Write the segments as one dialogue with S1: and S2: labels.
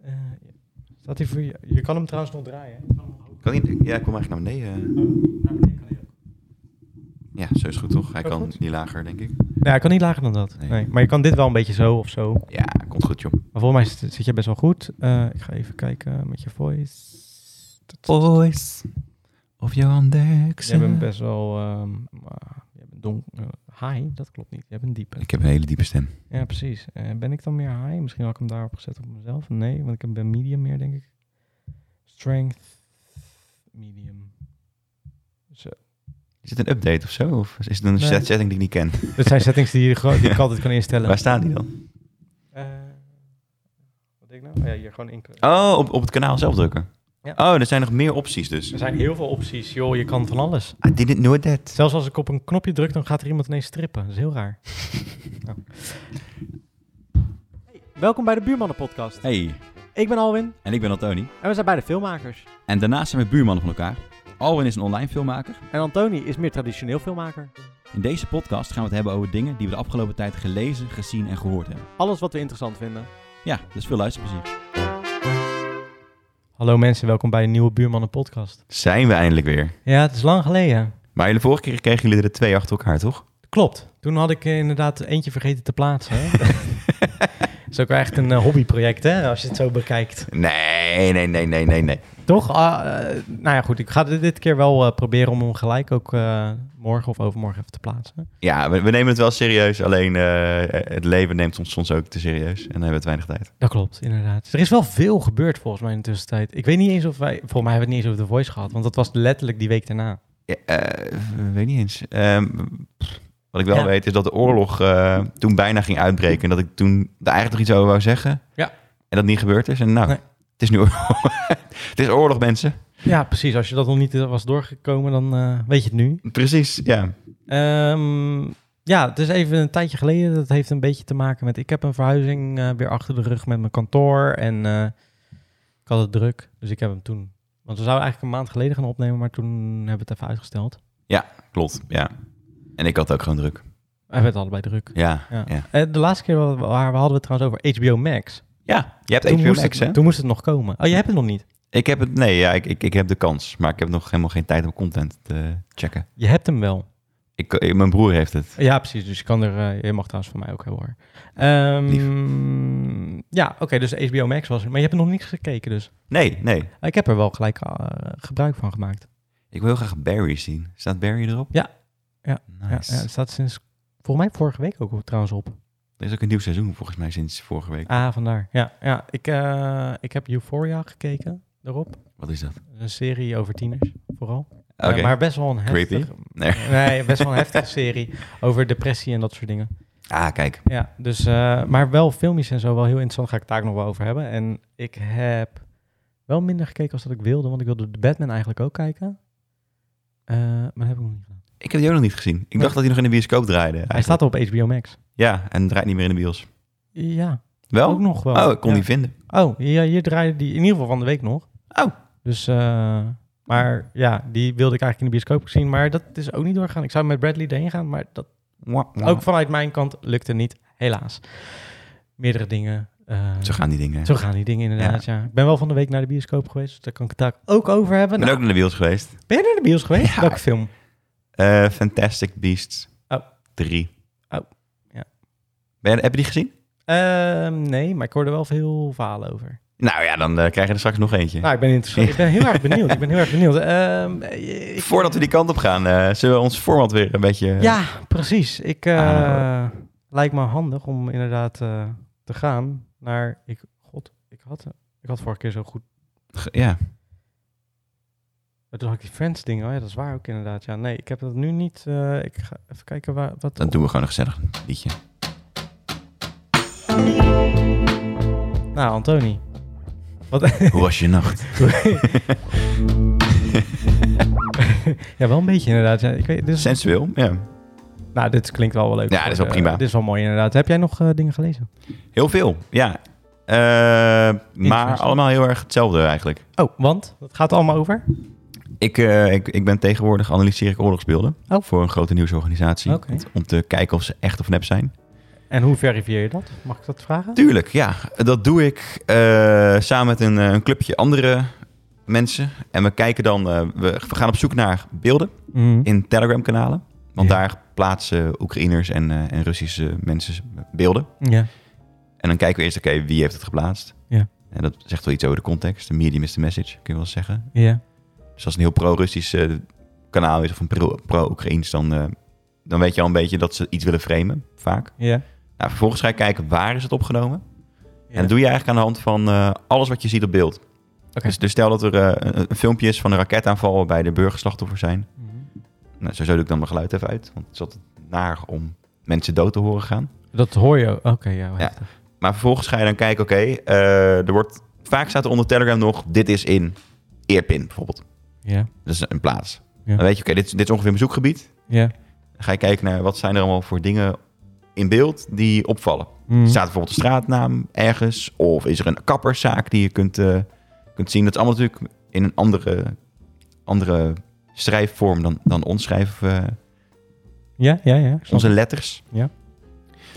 S1: Eh, Staat hij voor je? Je kan hem trouwens nog draaien. hè?
S2: Kan niet, ja, kom eigenlijk naar beneden. Ja, zo is goed toch? Hij
S1: Ook
S2: kan
S1: goed.
S2: niet lager, denk ik.
S1: Nee, hij kan niet lager dan dat.
S2: Nee.
S1: Nee. Maar je kan dit wel een beetje zo of zo.
S2: Ja, komt goed, joh.
S1: Maar volgens mij zit, zit je best wel goed. Eh, ik ga even kijken met je voice.
S2: Voice of Johan
S1: Je bent
S2: Derksen.
S1: best wel... ehm maar je bent donk, eh, high, dat klopt niet. Je bent diepe.
S2: Ik heb een hele diepe stem.
S1: Ja, precies. Eh, ben ik dan meer high? Misschien had ik hem daarop gezet op mezelf. Nee, want ik ben medium meer, denk ik. Strength, medium. Zo.
S2: Is het een update of zo? Of is het een
S1: Nee.
S2: set- setting die ik niet ken?
S1: Dat zijn settings die, je gewoon- die ik altijd kan instellen.
S2: Waar staat die dan?
S1: Eh, wat denk ik nou? Oh ja, hier gewoon in.
S2: Oh, op, op het kanaal zelf drukken.
S1: Ja.
S2: Oh, er zijn nog meer opties dus.
S1: Er zijn heel veel opties, joh. Je kan van alles.
S2: I didn't know that.
S1: Zelfs als ik op een knopje druk, dan gaat er iemand ineens strippen. Dat is heel raar. Oh. Welkom bij de Buurmannen Podcast.
S2: Hey,
S1: Ik ben Alwin
S2: en ik ben Antoni.
S1: en we zijn beide filmmakers.
S2: En daarnaast zijn we buurmannen van elkaar. Alwin is een online filmmaker.
S1: En Antoni is meer traditioneel filmmaker.
S2: In deze podcast gaan we het hebben over dingen die we de afgelopen tijd gelezen, gezien en gehoord hebben.
S1: Alles wat we interessant vinden.
S2: Ja, dus veel luisterplezier.
S1: Hallo mensen, welkom bij een nieuwe Buurmannen Podcast.
S2: Zijn we eindelijk weer.
S1: Ja, het is lang geleden.
S2: Maar jullie vorige keer kregen jullie er twee achter elkaar, toch?
S1: Klopt. Toen had ik eh, inderdaad eentje vergeten te plaatsen. hè. Dat is ook wel echt een eh, hobbyproject, hè, als je het zo bekijkt.
S2: Nee, nee, nee, nee, nee, nee.
S1: Toch? Ah, eh, nou ja, goed. Ik ga dit dit keer wel eh, proberen om hem gelijk ook eh, morgen of overmorgen even te plaatsen.
S2: Ja, we, we nemen het wel serieus. Alleen eh, het leven neemt ons soms ook te serieus. En dan hebben we het weinig tijd.
S1: Dat klopt, inderdaad. Er is wel veel gebeurd volgens mij in de tussentijd. Ik weet niet eens of wij... Volgens mij hebben we het niet eens over The Voice gehad, want dat was letterlijk die week daarna.
S2: Ja, eh, weet niet eens. Ehm, pff, wat ik wel
S1: Ja.
S2: weet is dat de oorlog eh, toen bijna ging uitbreken. En dat ik toen daar eigenlijk nog iets over wou zeggen.
S1: Ja.
S2: En dat niet gebeurd is. En nou,
S1: Nee.
S2: het is nu oorlog. het is oorlog, mensen.
S1: Ja, precies. Als je dat nog niet eh, was doorgekomen, dan eh, weet je het nu.
S2: Precies, ja.
S1: Ehm, ja, het is even een tijdje geleden. Dat heeft een beetje te maken met... Ik heb een verhuizing eh, weer achter de rug met mijn kantoor. En eh, ik had het druk. Dus ik heb hem toen... Want we zouden eigenlijk een maand geleden gaan opnemen. Maar toen hebben we het even uitgesteld.
S2: Klopt, ja. En ik had ook gewoon druk.
S1: We hebben het allebei druk.
S2: Ja,
S1: Ja.
S2: ja. ja.
S1: Eh, de laatste keer wa- waar we hadden we het trouwens over HBO Max.
S2: je hebt
S1: Toen
S2: HBO
S1: moest
S2: Max,
S1: het,
S2: hè?
S1: Toen moest het nog komen. Oh, je hebt het nog niet.
S2: Ik heb het, nee, ja, ik, ik, ik heb de kans. Maar ik heb nog helemaal geen tijd om content te checken.
S1: Je hebt hem wel.
S2: Ik, ik- mijn broer heeft het.
S1: Ja, precies. Dus je, kan er, eh, je mag trouwens van mij ook heel hoor. Ehm, ja, oké. dus HBO Max was er. Maar je hebt er nog niks gekeken dus.
S2: Nee, nee.
S1: Ik heb er wel gelijk eh, gebruik van gemaakt.
S2: Ik wil heel graag Barry zien. Staat Barry erop?
S1: Ja. Ja. Ja,
S2: Nice.
S1: ja, het staat sinds, volgens mij vorige week ook trouwens op.
S2: Er is ook een nieuw seizoen volgens mij sinds vorige week.
S1: Ah, vandaar. Ja, ja ik, eh, ik heb Euphoria gekeken erop.
S2: Wat is dat?
S1: Een serie over tieners, vooral.
S2: Oké.
S1: Eh, maar best wel een
S2: Creepy?
S1: heftige...
S2: Nee.
S1: Nee, best wel een heftige serie over depressie en dat soort dingen.
S2: Ah, kijk.
S1: Ja, dus, eh, maar wel filmpjes en zo, wel heel interessant. Ga ik het daar ook nog wel over hebben. En ik heb wel minder gekeken als dat ik wilde, want ik wilde de Batman eigenlijk ook kijken. Eh, maar dat heb ik nog niet gedaan.
S2: Ik heb die ook nog niet gezien. Ik dacht dat hij nog in de bioscoop draaide.
S1: Hij
S2: eigenlijk.
S1: staat al op HBO Max.
S2: Ja, en draait niet meer in de bios.
S1: Ja, ook
S2: Wel?
S1: nog wel.
S2: Oh, ik kon
S1: ja.
S2: die vinden.
S1: Oh, ja, hier draaide die in ieder geval van de week nog.
S2: Oh.
S1: Dus, eh, maar ja, die wilde ik eigenlijk in de bioscoop zien. Maar dat is ook niet doorgaan. Ik zou met Bradley erheen gaan, maar dat
S2: Mwah, mwah.
S1: ook vanuit mijn kant lukte niet, helaas. Meerdere dingen. eh,
S2: Zo gaan die dingen.
S1: zo gaan die dingen inderdaad, ja. Ik ben wel van de week naar de bioscoop geweest, dus daar kan ik het daar ook over hebben.
S2: Ik ben
S1: Nou,
S2: ook naar de bios geweest.
S1: ben je naar de bios geweest?
S2: Ja.
S1: Welke film?
S2: Eh, Fantastic Beasts
S1: Oh.
S2: 3.
S1: Oh, ja.
S2: Ben je, heb je die gezien?
S1: Ehm, nee, maar ik hoorde wel veel verhalen over.
S2: Nou ja, dan eh, krijg je er straks nog eentje.
S1: Nou, ik ben, interessant. ik ben heel erg benieuwd. Ik ben heel erg benieuwd. Ehm, eh, ik-
S2: Voordat we die kant op gaan, eh, zullen we ons format weer een beetje...
S1: Ja, precies. Ik eh,
S2: eh. Ah.
S1: lijkt me handig om inderdaad eh, te gaan naar. Ik, God, ik had, ik had vorige keer zo goed.
S2: Ge- eh, ja.
S1: maar Toen had ik die Friends dingen. Oh ja, dat is waar ook inderdaad. Ja, nee, ik heb dat nu niet. eh, ik ga even kijken waar, wat.
S2: Dan doen we gewoon een gezellig liedje.
S1: Nou, Antoni. Wat,
S2: Hoe was je nacht?
S1: ja, wel een beetje inderdaad. Ja, ik weet, dus,
S2: Sensueel, ja.
S1: nou, dit klinkt wel wel leuk.
S2: Ja, dit is wel
S1: Eh,
S2: prima.
S1: dit is wel mooi inderdaad. Heb jij nog eh, dingen gelezen?
S2: Heel veel, ja. Eh, maar
S1: Interessant.
S2: allemaal heel erg hetzelfde eigenlijk.
S1: Oh, want? Dat gaat allemaal over?
S2: Ik, eh, ik, ik ben tegenwoordig analyseer ik oorlogsbeelden
S1: Oh.
S2: voor een grote nieuwsorganisatie.
S1: Oké.
S2: Om te kijken of ze echt of nep zijn.
S1: En hoe verifieer je dat? Mag ik dat vragen?
S2: Tuurlijk, ja. Dat doe ik eh, samen met een, eh, een clubje andere mensen. En we kijken dan, eh, we, we gaan op zoek naar beelden
S1: Mhm.
S2: in Telegram-kanalen. Want
S1: Ja.
S2: daar plaatsen Oekraïners en, eh, en Russische mensen beelden.
S1: Ja.
S2: En dan kijken we eerst, oké, wie heeft het geplaatst?
S1: Ja.
S2: En dat zegt wel iets over de context. The medium is the message, kun je wel zeggen.
S1: Ja.
S2: Dus als het een heel pro-Russisch eh, kanaal is of een pro- pro-Oekraïns, dan, eh, dan weet je al een beetje dat ze iets willen framen, vaak.
S1: Ja.
S2: Nou, vervolgens ga je kijken waar is het opgenomen.
S1: Ja.
S2: En dat doe je eigenlijk aan de hand van eh, alles wat je ziet op beeld.
S1: Oké.
S2: Dus, dus stel dat er eh, een, een filmpje is van een raketaanval waarbij de burgerslachtoffers zijn.
S1: Mhm.
S2: Nou, sowieso doe ik dan mijn geluid even uit, want het is altijd naar om mensen dood te horen gaan.
S1: Dat hoor je. Oké, ja. wel
S2: Ja.
S1: heftig.
S2: Maar vervolgens ga je dan kijken, oké, eh, er wordt... Vaak staat er onder Telegram nog, dit is in Eerpin bijvoorbeeld.
S1: Ja.
S2: Dat is een plaats.
S1: Ja.
S2: Dan weet je, oké, dit, is- dit is ongeveer mijn zoekgebied.
S1: Ja.
S2: Dan ga je kijken naar wat zijn er allemaal voor dingen in beeld die opvallen.
S1: Mhm.
S2: Staat er bijvoorbeeld een straatnaam ergens? Of is er een kapperszaak die je kunt, eh, kunt zien? Dat is allemaal natuurlijk in een andere, andere schrijfvorm dan, dan ons schrijven. eh,
S1: Ja, ja, ja. ik snap
S2: onze
S1: het.
S2: letters.
S1: Ja.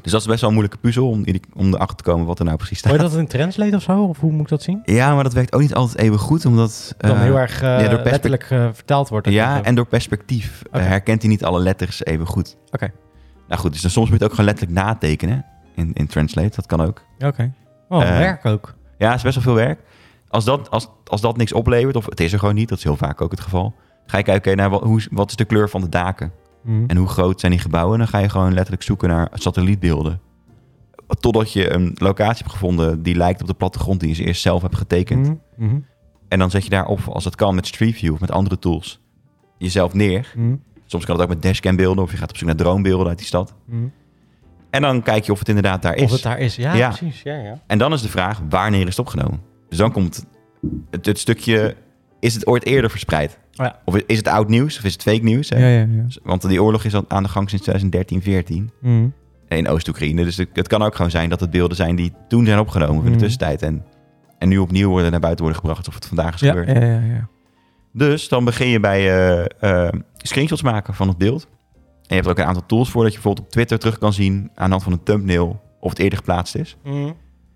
S2: Dus dat is best wel een moeilijke puzzel om, in die- om erachter te komen wat er nou precies
S1: Hoor
S2: staat.
S1: je dat in Translate of zo? Of hoe moet ik dat zien?
S2: Ja, maar dat werkt ook niet altijd even goed, omdat...
S1: Dan
S2: eh,
S1: heel erg eh,
S2: ja, door perspe-
S1: letterlijk eh, vertaald wordt.
S2: Ja, en door perspectief eh,
S1: Oké.
S2: herkent hij niet alle letters even goed.
S1: Oké.
S2: Nou goed, dus dan soms moet je het ook gewoon letterlijk natekenen in, in Translate. Dat kan ook.
S1: Oké. Oh,
S2: Eh,
S1: werk ook.
S2: Ja, het is best wel veel werk. Als dat, als, als dat niks oplevert, of het is er gewoon niet, dat is heel vaak ook het geval. Ga je kijken oké, naar wat, hoe, is- wat is de kleur van de daken
S1: Mhm.
S2: en hoe groot zijn die gebouwen. En dan ga je gewoon letterlijk zoeken naar satellietbeelden. Totdat je een locatie hebt gevonden die lijkt op de plattegrond die je eerst zelf hebt getekend.
S1: Mhm, mhm,
S2: En dan zet je daarop, als dat kan, met Street View of met andere tools, jezelf neer.
S1: mhm,
S2: Soms kan het ook met dashcambeelden of je gaat op zoek naar droombeelden uit die stad.
S1: mhm.
S2: En dan kijk je of het inderdaad daar is.
S1: Of het daar is. Ja,
S2: Ja.
S1: precies. Ja, ja.
S2: En dan is de vraag, wanneer is het opgenomen? Dus dan komt het, het stukje, is het ooit eerder verspreid?
S1: Oh ja.
S2: Of is het oud nieuws? Of is het fake nieuws? hè?
S1: Ja, ja, ja.
S2: Dus- Want die oorlog is al aan de gang sinds 2013, 14
S1: Mhm.
S2: in Oost-Oekraïne. Dus het, het kan ook gewoon zijn dat het beelden zijn die toen zijn opgenomen in de
S1: Mhm.
S2: tussentijd. En, en nu opnieuw worden naar buiten worden gebracht of het vandaag is
S1: Ja,
S2: gebeurd.
S1: ja, ja, ja.
S2: Dus dan begin je bij eh, eh, screenshots maken van het beeld. En je hebt er ook een aantal tools voor dat je bijvoorbeeld op Twitter terug kan zien aan de hand van een thumbnail of het eerder geplaatst is.
S1: Mm.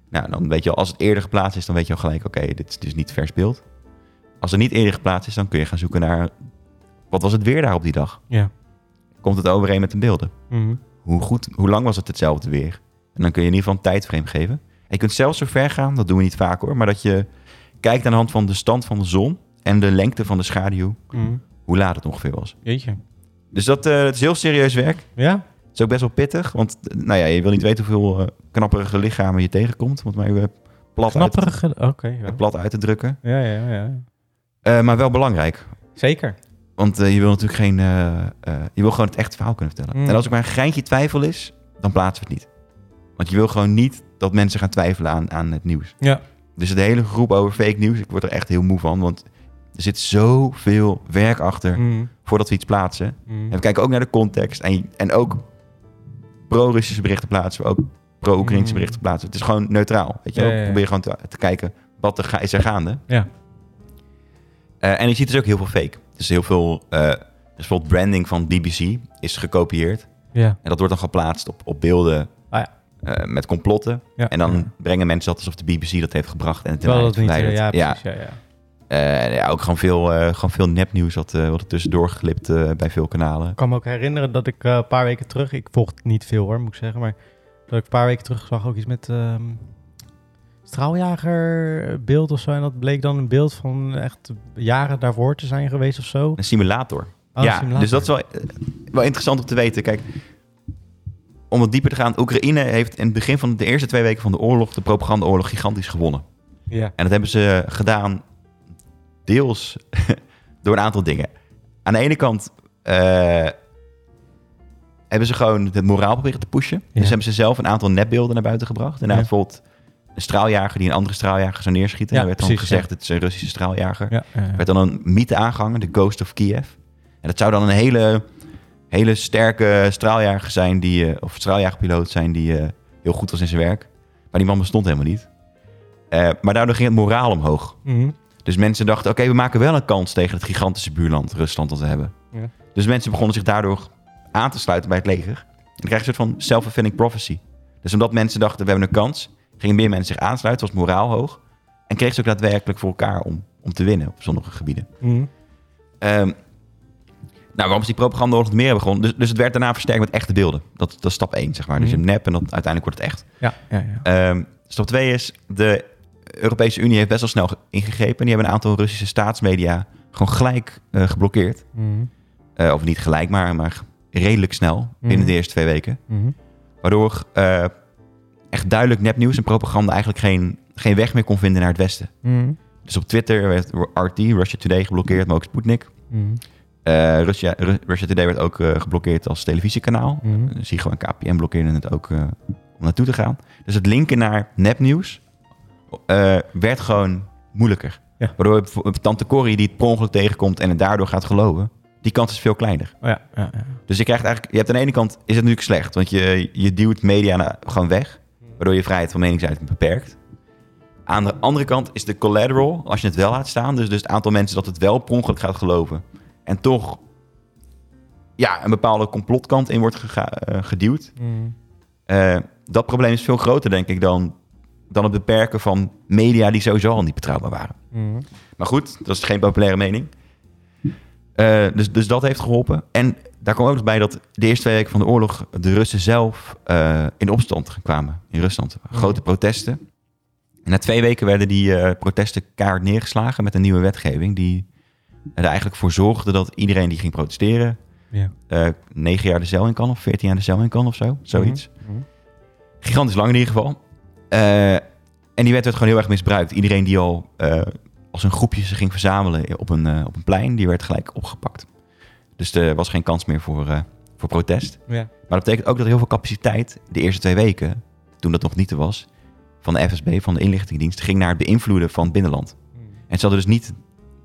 S2: Nou, dan weet je al, als het eerder geplaatst is, dan weet je al gelijk, oké, dit is dus niet vers beeld. Als het niet eerder geplaatst is, dan kun je gaan zoeken naar, wat was het weer daar op die dag?
S1: Ja.
S2: Komt het overeen met de beelden?
S1: Mhm.
S2: Hoe, goed, hoe lang was het hetzelfde weer? En dan kun je in ieder geval een tijdframe geven. En je kunt zelfs zo ver gaan, dat doen we niet vaak hoor, maar dat je kijkt aan de hand van de stand van de zon en de lengte van de schaduw,
S1: Mhm.
S2: hoe laat het ongeveer was.
S1: Jeetje.
S2: Dus dat, eh, dat is heel serieus werk.
S1: Ja?
S2: Het is ook best wel pittig, want eh, nou ja, je wil niet weten hoeveel eh, knapperige lichamen je tegenkomt, want maar even plat, uit,
S1: Knapperig. Oké. ja.
S2: plat uit te drukken.
S1: ja, ja, ja.
S2: Eh, maar wel belangrijk.
S1: Zeker.
S2: Want eh, je wil natuurlijk geen. eh, eh, je wil gewoon het echte verhaal kunnen vertellen.
S1: Mm.
S2: En als er maar een geintje twijfel is, dan plaatsen we het niet. Want je wil gewoon niet dat mensen gaan twijfelen aan, aan het nieuws.
S1: Ja.
S2: Dus de hele groep over fake nieuws, ik word er echt heel moe van. Want er zit zoveel werk achter
S1: Mhm.
S2: voordat we iets plaatsen.
S1: Mhm.
S2: En we kijken ook naar de context. En, en ook pro-Russische berichten plaatsen we, ook pro-Oekraïnse
S1: Mm.
S2: berichten plaatsen we. Het is gewoon neutraal. Weet je wel?
S1: Ja, ja, ja.
S2: Probeer gewoon te, te kijken wat er ga- is er gaande.
S1: Ja.
S2: Eh, en je ziet dus ook heel veel fake. Dus heel veel, eh, dus bijvoorbeeld branding van BBC is gekopieerd.
S1: Ja.
S2: En dat wordt dan geplaatst op, op beelden
S1: Ah, ja.
S2: eh, met complotten.
S1: ja.
S2: En dan
S1: Ja.
S2: brengen mensen dat alsof de BBC dat heeft gebracht en het
S1: Terwijl dat niet... eh,
S2: verwijderd.
S1: Ja,
S2: ja,
S1: precies. Ja, ja.
S2: Eh, ja, ook gewoon veel, eh, gewoon veel nepnieuws wat, eh, wat er tussendoor geglipt eh, bij veel kanalen.
S1: Ik kan me ook herinneren dat ik eh, een paar weken terug... Ik volg het niet veel hoor, moet ik zeggen. Maar dat ik een paar weken terug zag ook iets met... ehm straaljagerbeeld of zo. En dat bleek dan een beeld van echt jaren daarvoor te zijn geweest of zo.
S2: Een simulator.
S1: Oh,
S2: ja,
S1: simulator.
S2: dus dat is wel, eh, wel interessant om te weten. Kijk, om wat dieper te gaan. Oekraïne heeft in het begin van de eerste twee weken van de oorlog... de propagandaoorlog gigantisch gewonnen.
S1: Ja.
S2: En dat hebben ze gedaan deels door een aantal dingen. Aan de ene kant eh, hebben ze gewoon het moraal proberen te pushen.
S1: Ja.
S2: Dus hebben ze zelf een aantal nepbeelden naar buiten gebracht. En
S1: Ja.
S2: bijvoorbeeld een straaljager die een andere straaljager zou neerschieten.
S1: Ja,
S2: en er werd
S1: precies,
S2: dan
S1: ja.
S2: gezegd, het is een Russische straaljager.
S1: Ja, ja, ja.
S2: Er werd dan een mythe aangehangen, de Ghost of Kiev. En dat zou dan een hele, hele sterke straaljager zijn, die, eh, of straaljagerpiloot zijn die eh, heel goed was in zijn werk. Maar die man bestond helemaal niet. Eh, maar daardoor ging het moraal omhoog.
S1: Mhm.
S2: Dus mensen dachten, oké, we maken wel een kans tegen het gigantische buurland Rusland dat we hebben.
S1: Ja.
S2: Dus mensen begonnen zich daardoor aan te sluiten bij het leger. En dan krijg je een soort van self-fulfilling prophecy. Dus omdat mensen dachten, we hebben een kans, gingen meer mensen zich aansluiten, was het moraal hoog. En kregen ze ook daadwerkelijk voor elkaar om, om te winnen op sommige gebieden.
S1: Mhm.
S2: Ehm, nou, waarom is die propagandaoorlog meer begonnen? Dus, dus het werd daarna versterkt met echte beelden. Dat, dat is stap 1, zeg maar. Dus je
S1: Mhm.
S2: hebt nep en dan uiteindelijk wordt het echt.
S1: Ja, ja, ja.
S2: Ehm, stap 2 is, de Europese Unie heeft best wel snel ge- ingegrepen. En die hebben een aantal Russische staatsmedia gewoon gelijk eh, geblokkeerd.
S1: Mhm.
S2: Eh, of niet gelijk, maar, maar redelijk snel. Binnen de eerste twee weken.
S1: Mhm.
S2: Waardoor eh, echt duidelijk nepnieuws en propaganda eigenlijk geen, geen weg meer kon vinden naar het Westen.
S1: Mhm.
S2: Dus op Twitter werd RT, Russia Today, geblokkeerd, maar ook Sputnik.
S1: Mhm.
S2: Eh, Russia, Ru- Russia Today werd ook eh, geblokkeerd als televisiekanaal.
S1: Mhm.
S2: Dus Ziggo en KPN blokkeerden het ook eh, om naartoe te gaan. Dus het linken naar nepnieuws eh, werd gewoon moeilijker.
S1: Ja.
S2: Waardoor je bijvoorbeeld tante Corrie die het per ongeluk tegenkomt en het daardoor gaat geloven, die kans is veel kleiner.
S1: Oh, ja, ja, ja.
S2: Dus je krijgt eigenlijk, je hebt aan de ene kant is het natuurlijk slecht, want je, je duwt media naar- gewoon weg, waardoor je vrijheid van meningsuiting beperkt. Aan de andere kant is de collateral, als je het wel laat staan, dus, dus het aantal mensen dat het wel per ongeluk gaat geloven en toch ja, een bepaalde complotkant in wordt gega- eh, geduwd.
S1: Mhm.
S2: Eh, dat probleem is veel groter, denk ik, dan, dan het beperken van media die sowieso al niet betrouwbaar waren.
S1: Mhm.
S2: Maar goed, dat is geen populaire mening. Eh, dus, dus dat heeft geholpen. En daar kwam ook nog bij dat de eerste twee weken van de oorlog de Russen zelf eh, in opstand kwamen in Rusland. Grote protesten. En na twee weken werden die eh, protesten kaart neergeslagen met een nieuwe wetgeving die er eigenlijk voor zorgde dat iedereen die ging protesteren
S1: Ja.
S2: eh, negen jaar de cel in kan of veertien jaar de cel in kan of zo. Zoiets.
S1: Mhm.
S2: Gigantisch lang in ieder geval. Eh, en die wet werd gewoon heel erg misbruikt. Iedereen die al eh, als een groepje ze ging verzamelen op een, eh, op een plein, die werd gelijk opgepakt. Dus er was geen kans meer voor, eh, voor protest.
S1: Ja.
S2: Maar dat betekent ook dat heel veel capaciteit de eerste twee weken, toen dat nog niet er was, van de FSB, van de inlichtingendienst, ging naar het beïnvloeden van het binnenland.
S1: Mhm.
S2: En ze hadden dus niet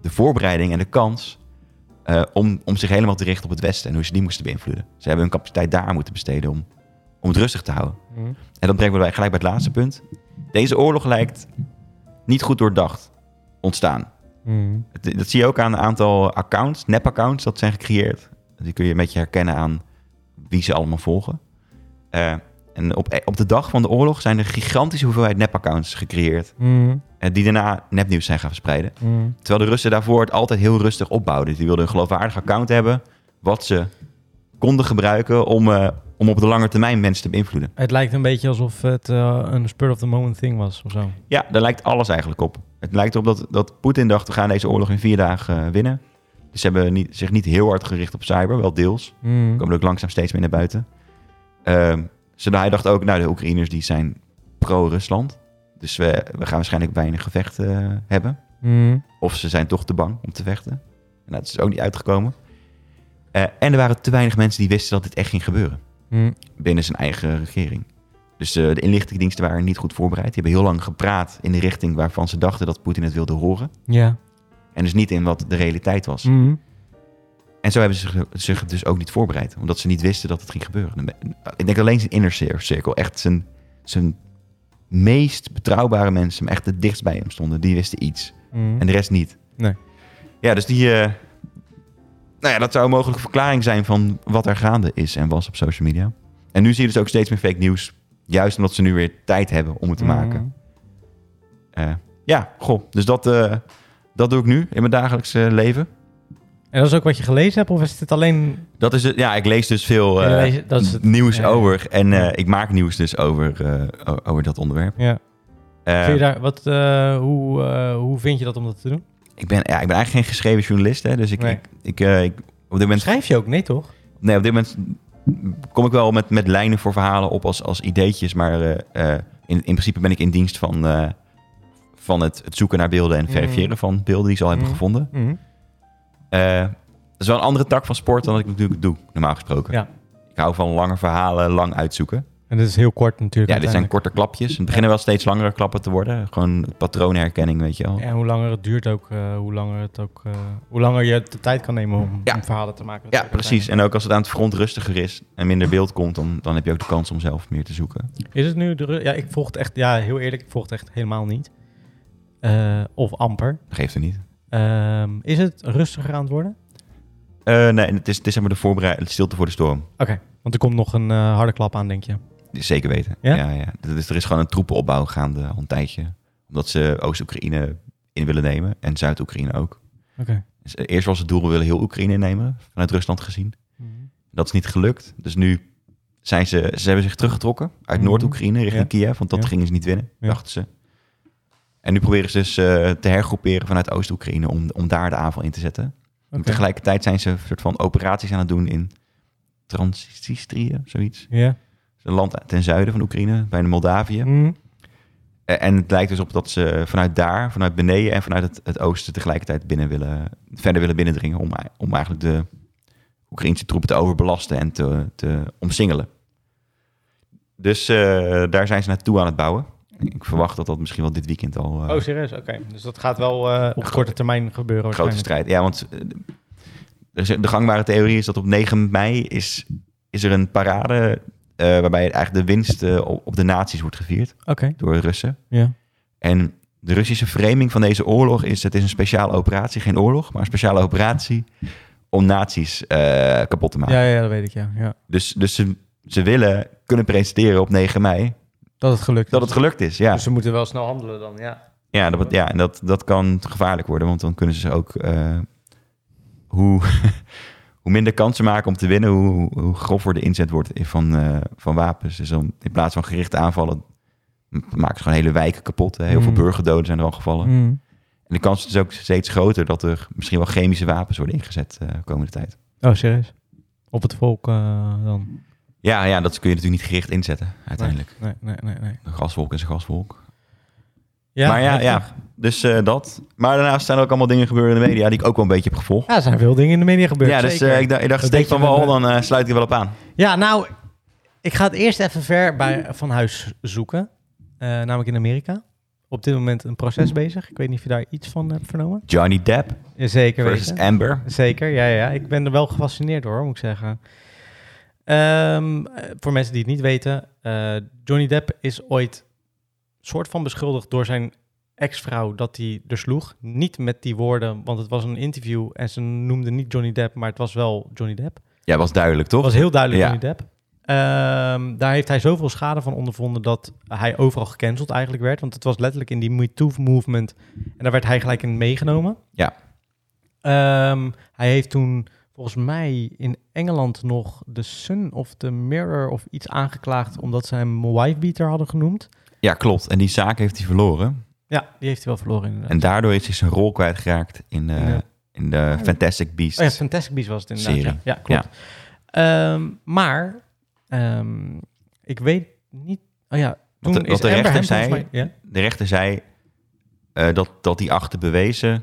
S2: de voorbereiding en de kans eh, om, om zich helemaal te richten op het Westen en hoe ze die moesten beïnvloeden. Ze hebben hun capaciteit daar moeten besteden om, om het rustig te houden.
S1: Mhm.
S2: En dat brengt me bij- gelijk bij het laatste punt. Deze oorlog lijkt niet goed doordacht ontstaan.
S1: Mhm.
S2: Het- dat zie je ook aan een aantal accounts, nep-accounts, dat zijn gecreëerd. Die kun je een beetje herkennen aan wie ze allemaal volgen. Eh, en op, op de dag van de oorlog zijn er gigantische hoeveelheid nep-accounts gecreëerd.
S1: Mhm.
S2: eh, die daarna nepnieuws zijn gaan verspreiden.
S1: Mhm.
S2: Terwijl de Russen daarvoor het altijd heel rustig opbouwden. Die wilden een geloofwaardig account hebben. wat ze konden gebruiken om, eh, om op de lange termijn mensen te beïnvloeden.
S1: Het lijkt een beetje alsof het eh, een spur of the moment thing was of zo.
S2: Ja, daar lijkt alles eigenlijk op. Het lijkt erop dat, dat Poetin dacht: we gaan deze oorlog in vier dagen eh, winnen. Dus ze hebben niet, zich niet heel hard gericht op cyber, wel deels.
S1: Mhm.
S2: komen er ook langzaam steeds meer naar buiten. Ehm zodat hij dacht ook, nou, de Oekraïners die zijn pro-Rusland. Dus we, we gaan waarschijnlijk weinig gevecht eh, hebben.
S1: Mhm.
S2: Of ze zijn toch te bang om te vechten. En dat is ook niet uitgekomen. Eh, en er waren te weinig mensen die wisten dat dit echt ging gebeuren.
S1: Mhm.
S2: Binnen zijn eigen regering. Dus eh, de inlichtingendiensten waren niet goed voorbereid. Die hebben heel lang gepraat in de richting waarvan ze dachten dat Poetin het wilde horen.
S1: Ja.
S2: En dus niet in wat de realiteit was.
S1: Mhm.
S2: En zo hebben ze zich- zich dus ook niet voorbereid. Omdat ze niet wisten dat het ging gebeuren. Ik denk alleen zijn inner cir- cirkel. Echt zijn, zijn meest betrouwbare mensen. Echt het dichtst bij hem stonden. Die wisten iets.
S1: Mhm.
S2: En de rest niet.
S1: Nee.
S2: Ja, dus die... eh, nou ja, dat zou een mogelijke verklaring zijn van wat er gaande is en was op social media. En nu zie je dus ook steeds meer fake nieuws. Juist omdat ze nu weer tijd hebben om het
S1: Mm. Mhm.
S2: te maken. Eh, ja, goh. Dus dat, eh, dat doe ik nu in mijn dagelijkse leven.
S1: En dat is ook wat je gelezen hebt, of is dit alleen...
S2: Dat is het, ja, ik lees dus veel
S1: Je
S2: eh,
S1: leest- dat is het-
S2: nieuws
S1: ja.
S2: over. En eh, ik maak nieuws dus over, eh, o- over dat onderwerp.
S1: Ja.
S2: Eh,
S1: Vind je daar, wat, eh, hoe, eh, hoe vind je dat om dat te doen?
S2: ik, ben, ja, ik ben eigenlijk geen geschreven journalist. Hè, dus ik,
S1: Nee.
S2: ik, ik, eh, ik- op, dit moment,
S1: Schrijf je ook? Nee, toch?
S2: nee, op dit moment kom ik wel met, met lijnen voor verhalen op als, als ideetjes. Maar eh, eh, in, in principe ben ik in dienst van, eh, van het, het zoeken naar beelden en
S1: Mm.
S2: verifiëren van beelden die ze al hebben
S1: Mm.
S2: gevonden.
S1: Mhm.
S2: Eh, dat is wel een andere tak van sport dan dat ik natuurlijk doe, normaal gesproken.
S1: Ja.
S2: Ik hou van lange verhalen, lang uitzoeken.
S1: En dit is heel kort natuurlijk.
S2: Ja, dit zijn
S1: uiteindelijk.
S2: korte klapjes. Het beginnen wel steeds langere klappen te worden. Gewoon patroonherkenning, weet je wel.
S1: En hoe langer het duurt ook, eh, hoe langer het ook... eh, hoe langer je de tijd kan nemen om,
S2: Ja.
S1: om verhalen te maken.
S2: Ja, precies. En ook als het aan het front rustiger is en minder beeld komt, dan, dan heb je ook de kans om zelf meer te zoeken.
S1: Is het nu de Ru- Ja, ik volg het echt... Ja, heel eerlijk, ik volg het echt helemaal niet. Eh, of amper.
S2: Dat geeft er niet.
S1: Ehm, is het rustiger aan het worden?
S2: Eh, nee, het is, het is zeg maar de voorbereid, stilte voor de storm.
S1: Oké, want er komt nog een eh, harde klap aan, denk je.
S2: Zeker weten.
S1: Ja?
S2: Ja? Ja, Dat is, er is gewoon een troepenopbouw gaande al een tijdje. Omdat ze Oost-Oekraïne in willen nemen en Zuid-Oekraïne ook.
S1: Oké.
S2: Dus, eh, eerst was het doel, we willen heel Oekraïne innemen, vanuit Rusland gezien.
S1: Mhm.
S2: Dat is niet gelukt. Dus nu zijn ze, ze hebben zich teruggetrokken uit
S1: Mhm.
S2: Noord-Oekraïne richting
S1: Ja.
S2: Kiev, want dat
S1: Ja.
S2: gingen ze niet winnen,
S1: Ja.
S2: dachten ze. En nu proberen ze dus eh, te hergroeperen vanuit Oost-Oekraïne om, om daar de aanval in te zetten. En
S1: Oké.
S2: tegelijkertijd zijn ze een soort van operaties aan het doen in Transnistrië, zoiets.
S1: Ja.
S2: Een land ten zuiden van Oekraïne, bij Moldavië.
S1: Mhm.
S2: Eh, En het lijkt dus op dat ze vanuit daar, vanuit beneden en vanuit het, het oosten tegelijkertijd binnen willen, verder willen binnendringen om, om eigenlijk de Oekraïnse troepen te overbelasten en te, te omsingelen. Dus eh, daar zijn ze naartoe aan het bouwen. Ik verwacht dat dat misschien wel dit weekend al eh,
S1: Oh, serieus? Oké. Dus dat gaat wel eh, op korte termijn gebeuren
S2: Een grote
S1: waarschijnlijk.
S2: strijd. Ja, want eh, er is- de gangbare theorie is dat op 9 mei is, is er een parade eh, waarbij eigenlijk de winst eh, op- op de naties wordt gevierd
S1: Oké.
S2: door de Russen.
S1: Ja.
S2: En de Russische framing van deze oorlog is, het is een speciale operatie, geen oorlog, maar een speciale operatie om naties eh, kapot te maken.
S1: ja. Ja, dat weet ik, ja. ja.
S2: Dus, dus ze, ze willen kunnen presenteren op 9 mei
S1: Dat het gelukt
S2: dat
S1: is.
S2: het gelukt is. Ja,
S1: Dus ze moeten wel snel handelen dan, ja.
S2: ja, dat, ja en dat, dat kan gevaarlijk worden, want dan kunnen ze ook eh, hoe, hoe minder kansen maken om te winnen, hoe, hoe grover de inzet wordt van, eh, van wapens. Dus dan in plaats van gerichte aanvallen m- maken ze gewoon hele wijken kapot. hè. Heel
S1: Mm.
S2: veel burgerdoden zijn er al gevallen.
S1: Mhm.
S2: En de kans is dus ook steeds groter dat er misschien wel chemische wapens worden ingezet eh, de komende tijd.
S1: Oh, serieus? Op het volk eh, dan?
S2: Ja, ja, dat kun je natuurlijk niet gericht inzetten uiteindelijk.
S1: Nee, nee, nee. nee.
S2: Een gaswolk is een gaswolk. maar ja, ja. dus eh, dat. Maar daarnaast zijn er ook allemaal dingen gebeurd in de media die ik ook wel een beetje heb gevolgd.
S1: Ja, er zijn veel dingen in de media gebeurd.
S2: Ja, dus
S1: zeker.
S2: eh, ik, dacht- ik dacht,
S1: Dat
S2: steek
S1: deed je
S2: van wel,
S1: met me.
S2: dan eh, sluit ik er wel op aan.
S1: Ja, nou, ik ga het eerst even ver bij, van huis zoeken. Eh, namelijk in Amerika. Op dit moment een proces bezig. Ik weet niet of je daar iets van hebt vernomen.
S2: Johnny Depp
S1: Ja, zeker
S2: versus
S1: weten.
S2: Amber.
S1: Zeker, ja, ja. Ik ben er wel gefascineerd door, moet ik zeggen. Ehm, eh, voor mensen die het niet weten, eh, Johnny Depp is ooit soort van beschuldigd door zijn ex-vrouw dat hij er sloeg. Niet met die woorden, want het was een interview en ze noemde niet Johnny Depp, maar het was wel Johnny Depp.
S2: Ja, was duidelijk, toch?
S1: Dat was heel duidelijk
S2: Ja.
S1: Johnny Depp. Ehm, daar heeft hij zoveel schade van ondervonden dat hij overal gecanceld eigenlijk werd. Want het was letterlijk in die MeToo-movement. En daar werd hij gelijk in meegenomen.
S2: Ja.
S1: Ehm, hij heeft toen volgens mij in Engeland nog de Sun of de Mirror of iets aangeklaagd... omdat ze hem wifebeater hadden genoemd.
S2: Ja, klopt. En die zaak heeft hij verloren.
S1: Ja, die heeft hij wel verloren inderdaad.
S2: En daardoor is hij zijn rol kwijtgeraakt in, eh,
S1: Ja.
S2: in de Fantastic Beasts.
S1: Oh ja, Fantastic Beasts was het inderdaad.
S2: Serie.
S1: Ja, ja, klopt. Ehm, maar ehm, ik weet niet... Oh ja, toen
S2: de-
S1: is
S2: wat de
S1: Amber
S2: rechter
S1: hem volgens
S2: zei-
S1: mij- ja?
S2: De rechter zei eh, dat, dat hij achter bewezen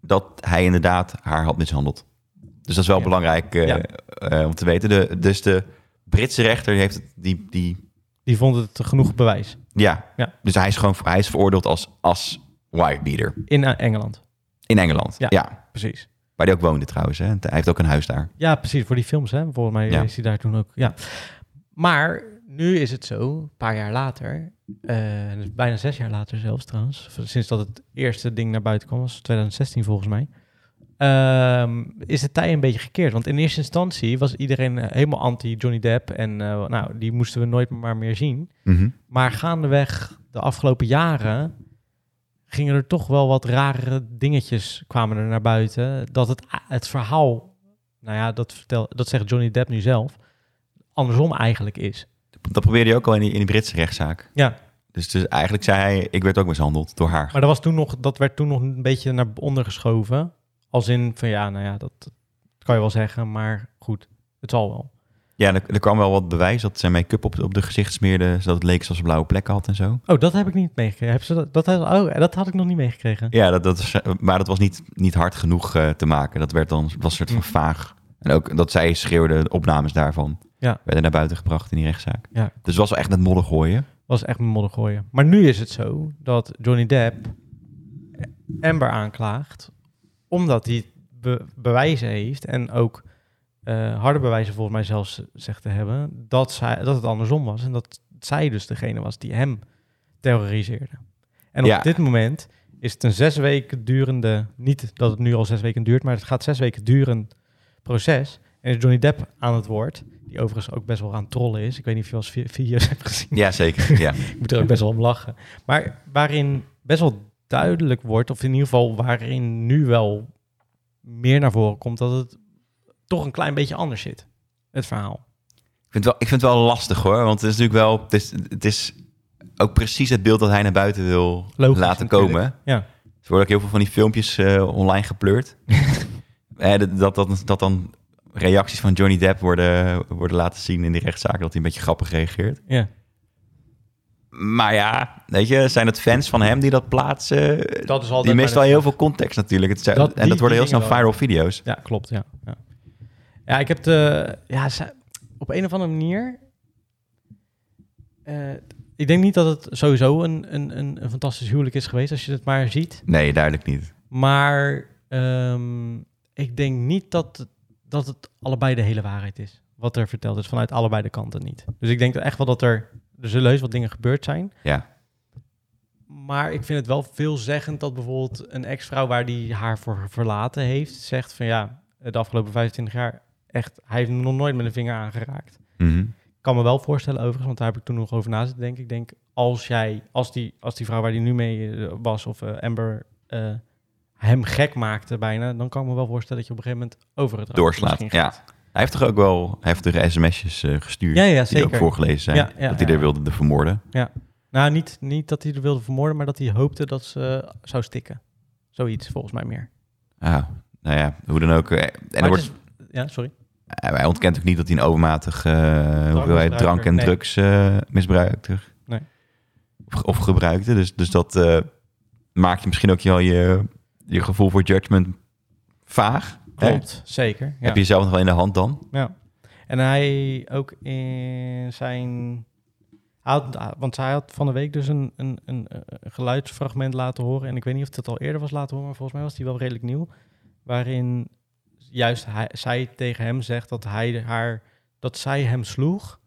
S2: dat hij inderdaad haar had mishandeld. Dus dat is wel
S1: Ja.
S2: belangrijk eh,
S1: Ja.
S2: eh, om te weten. De, dus de Britse rechter heeft het- die, die
S1: Die vond het genoeg bewijs.
S2: ja.
S1: Ja.
S2: Dus hij is gewoon hij is veroordeeld als, als wirebeater
S1: In eh, Engeland.
S2: in Engeland.
S1: Ja.
S2: ja.
S1: Precies.
S2: Waar hij ook woonde trouwens. Hè? Hij heeft ook een huis daar.
S1: Ja, precies. Voor die films, hè. Volgens mij
S2: Ja.
S1: is hij daar toen ook. Ja. Maar nu is het zo, een paar jaar later, eh, dus bijna zes jaar later zelfs trouwens, v- sinds dat het eerste ding naar buiten kwam, was 2016 volgens mij, ehm, is de tij een beetje gekeerd. Want in eerste instantie was iedereen eh, helemaal anti-Johnny Depp en eh, nou, die moesten we nooit maar meer zien. Maar gaandeweg de afgelopen jaren gingen er toch wel wat rare dingetjes kwamen er naar buiten. Dat het, het verhaal, nou ja, dat, vertel, dat zegt Johnny Depp nu zelf, andersom eigenlijk is.
S2: Dat probeerde hij ook al in die, in die Britse rechtszaak.
S1: Ja.
S2: Dus, dus eigenlijk zei hij, ik werd ook mishandeld door haar.
S1: Maar dat, was toen nog, dat werd toen nog een beetje naar onder geschoven. Als in van ja, nou ja, dat, dat kan je wel zeggen, maar goed, het zal wel.
S2: Ja, er, er kwam wel wat bewijs dat zijn make-up op, op de gezicht smeerde... zodat het leek alsof ze blauwe plekken had en zo.
S1: Oh, dat heb ik niet meegekregen. Heb ze dat, dat, had- oh, dat had ik nog niet meegekregen.
S2: Ja, dat, dat is, maar dat was niet, niet hard genoeg eh, te maken. Dat werd dan, was een soort van
S1: Mhm.
S2: vaag. En ook dat zij schreeuwde de opnames daarvan.
S1: Ja.
S2: Werden naar buiten gebracht in die rechtszaak.
S1: Ja,
S2: Dus het was wel echt met modder gooien.
S1: was echt mijn modder gooien. Maar nu is het zo dat Johnny Depp Amber aanklaagt omdat hij be- bewijzen heeft en ook eh, harde bewijzen volgens mij zelfs zegt te hebben dat, zij, dat het andersom was en dat zij dus degene was die hem terroriseerde. En op
S2: Ja.
S1: dit moment is het een zes weken durende, niet dat het nu al zes weken duurt, maar het gaat zes weken durend proces. En is Johnny Depp aan het woord. Die overigens ook best wel aan het trollen is. Ik weet niet of je wel eens vi- video's hebt gezien.
S2: Ja, zeker. Ja.
S1: Ik moet er ook best wel om lachen. Maar waarin best wel duidelijk wordt, of in ieder geval waarin nu wel meer naar voren komt, dat het toch een klein beetje anders zit. Het verhaal.
S2: Ik vind, het wel, ik vind het wel lastig hoor, want het is natuurlijk wel, het is, het is ook precies het beeld dat hij naar buiten wil
S1: Logisch,
S2: laten
S1: natuurlijk.
S2: komen.
S1: Ja.
S2: Er worden ook heel veel van die filmpjes eh, online gepleurd. Eh, dat, dat, dat, dat dan reacties van Johnny Depp worden, worden laten zien in die rechtszaken, dat hij een beetje grappig reageert.
S1: Ja.
S2: Maar ja, weet je, zijn het fans van hem die dat plaatsen?
S1: Dat is altijd maar
S2: die meestal
S1: de-
S2: heel veel context natuurlijk. Het zijn,
S1: Dat-
S2: en
S1: die-
S2: dat worden
S1: die
S2: heel snel
S1: dingen wel.
S2: viral video's.
S1: Ja, klopt. Ja, ja. ja ik heb de. Ja, ze- op een of andere manier. eh, ik denk niet dat het sowieso een, een, een, een fantastisch huwelijk is geweest, als je het maar ziet.
S2: Nee, duidelijk niet.
S1: Maar ehm, ik denk niet dat, het- dat het allebei de hele waarheid is. Wat er verteld is, vanuit allebei de kanten niet. Dus ik denk echt wel dat er, er zullen heus wat dingen gebeurd zijn.
S2: Ja.
S1: Maar ik vind het wel veelzeggend dat bijvoorbeeld een ex-vrouw waar die haar voor verlaten heeft, zegt van ja, de afgelopen 25 jaar echt, hij heeft me nog nooit met een vinger aangeraakt.
S2: Mhm.
S1: Ik kan me wel voorstellen overigens, want daar heb ik toen nog over na zitten denken. Ik denk, als jij, als die, als die vrouw waar die nu mee eh, was, of eh, Amber, eh, hem gek maakte bijna, dan kan ik me wel voorstellen dat je op een gegeven moment over het randje
S2: Doorslaat,
S1: misschien
S2: ja.
S1: gaat.
S2: Hij heeft toch ook wel heftige sms'jes eh, gestuurd?
S1: Ja, ja,
S2: Die ook
S1: zeker.
S2: voorgelezen zijn.
S1: Ja, ja,
S2: dat hij
S1: ja.
S2: er wilde de vermoorden.
S1: Nou, niet, niet dat hij er wilde vermoorden, maar dat hij hoopte dat ze eh, zou stikken. Zoiets, volgens mij meer.
S2: Ah, nou ja, hoe dan ook. eh, En er
S1: Maar
S2: wordt,
S1: het is- ja, sorry.
S2: eh, hij ontkent ook niet dat hij een overmatig eh hoeveelheid drank en
S1: nee.
S2: drugs eh misbruikte.
S1: Nee.
S2: Of, of gebruikte. Dus, dus dat eh, maakt je misschien ook wel je, je gevoel voor judgment vaag. hè?
S1: Klopt, zeker. Ja.
S2: Heb je zelf nog wel in de hand dan?
S1: Ja. En hij ook in zijn... hij had- want hij had van de week dus een, een, een, eh, geluidsfragment laten horen. En ik weet niet of dat al eerder was laten horen, maar volgens mij was die wel redelijk nieuw. Waarin juist hij, zij tegen hem zegt dat, hij haar, dat zij hem sloeg.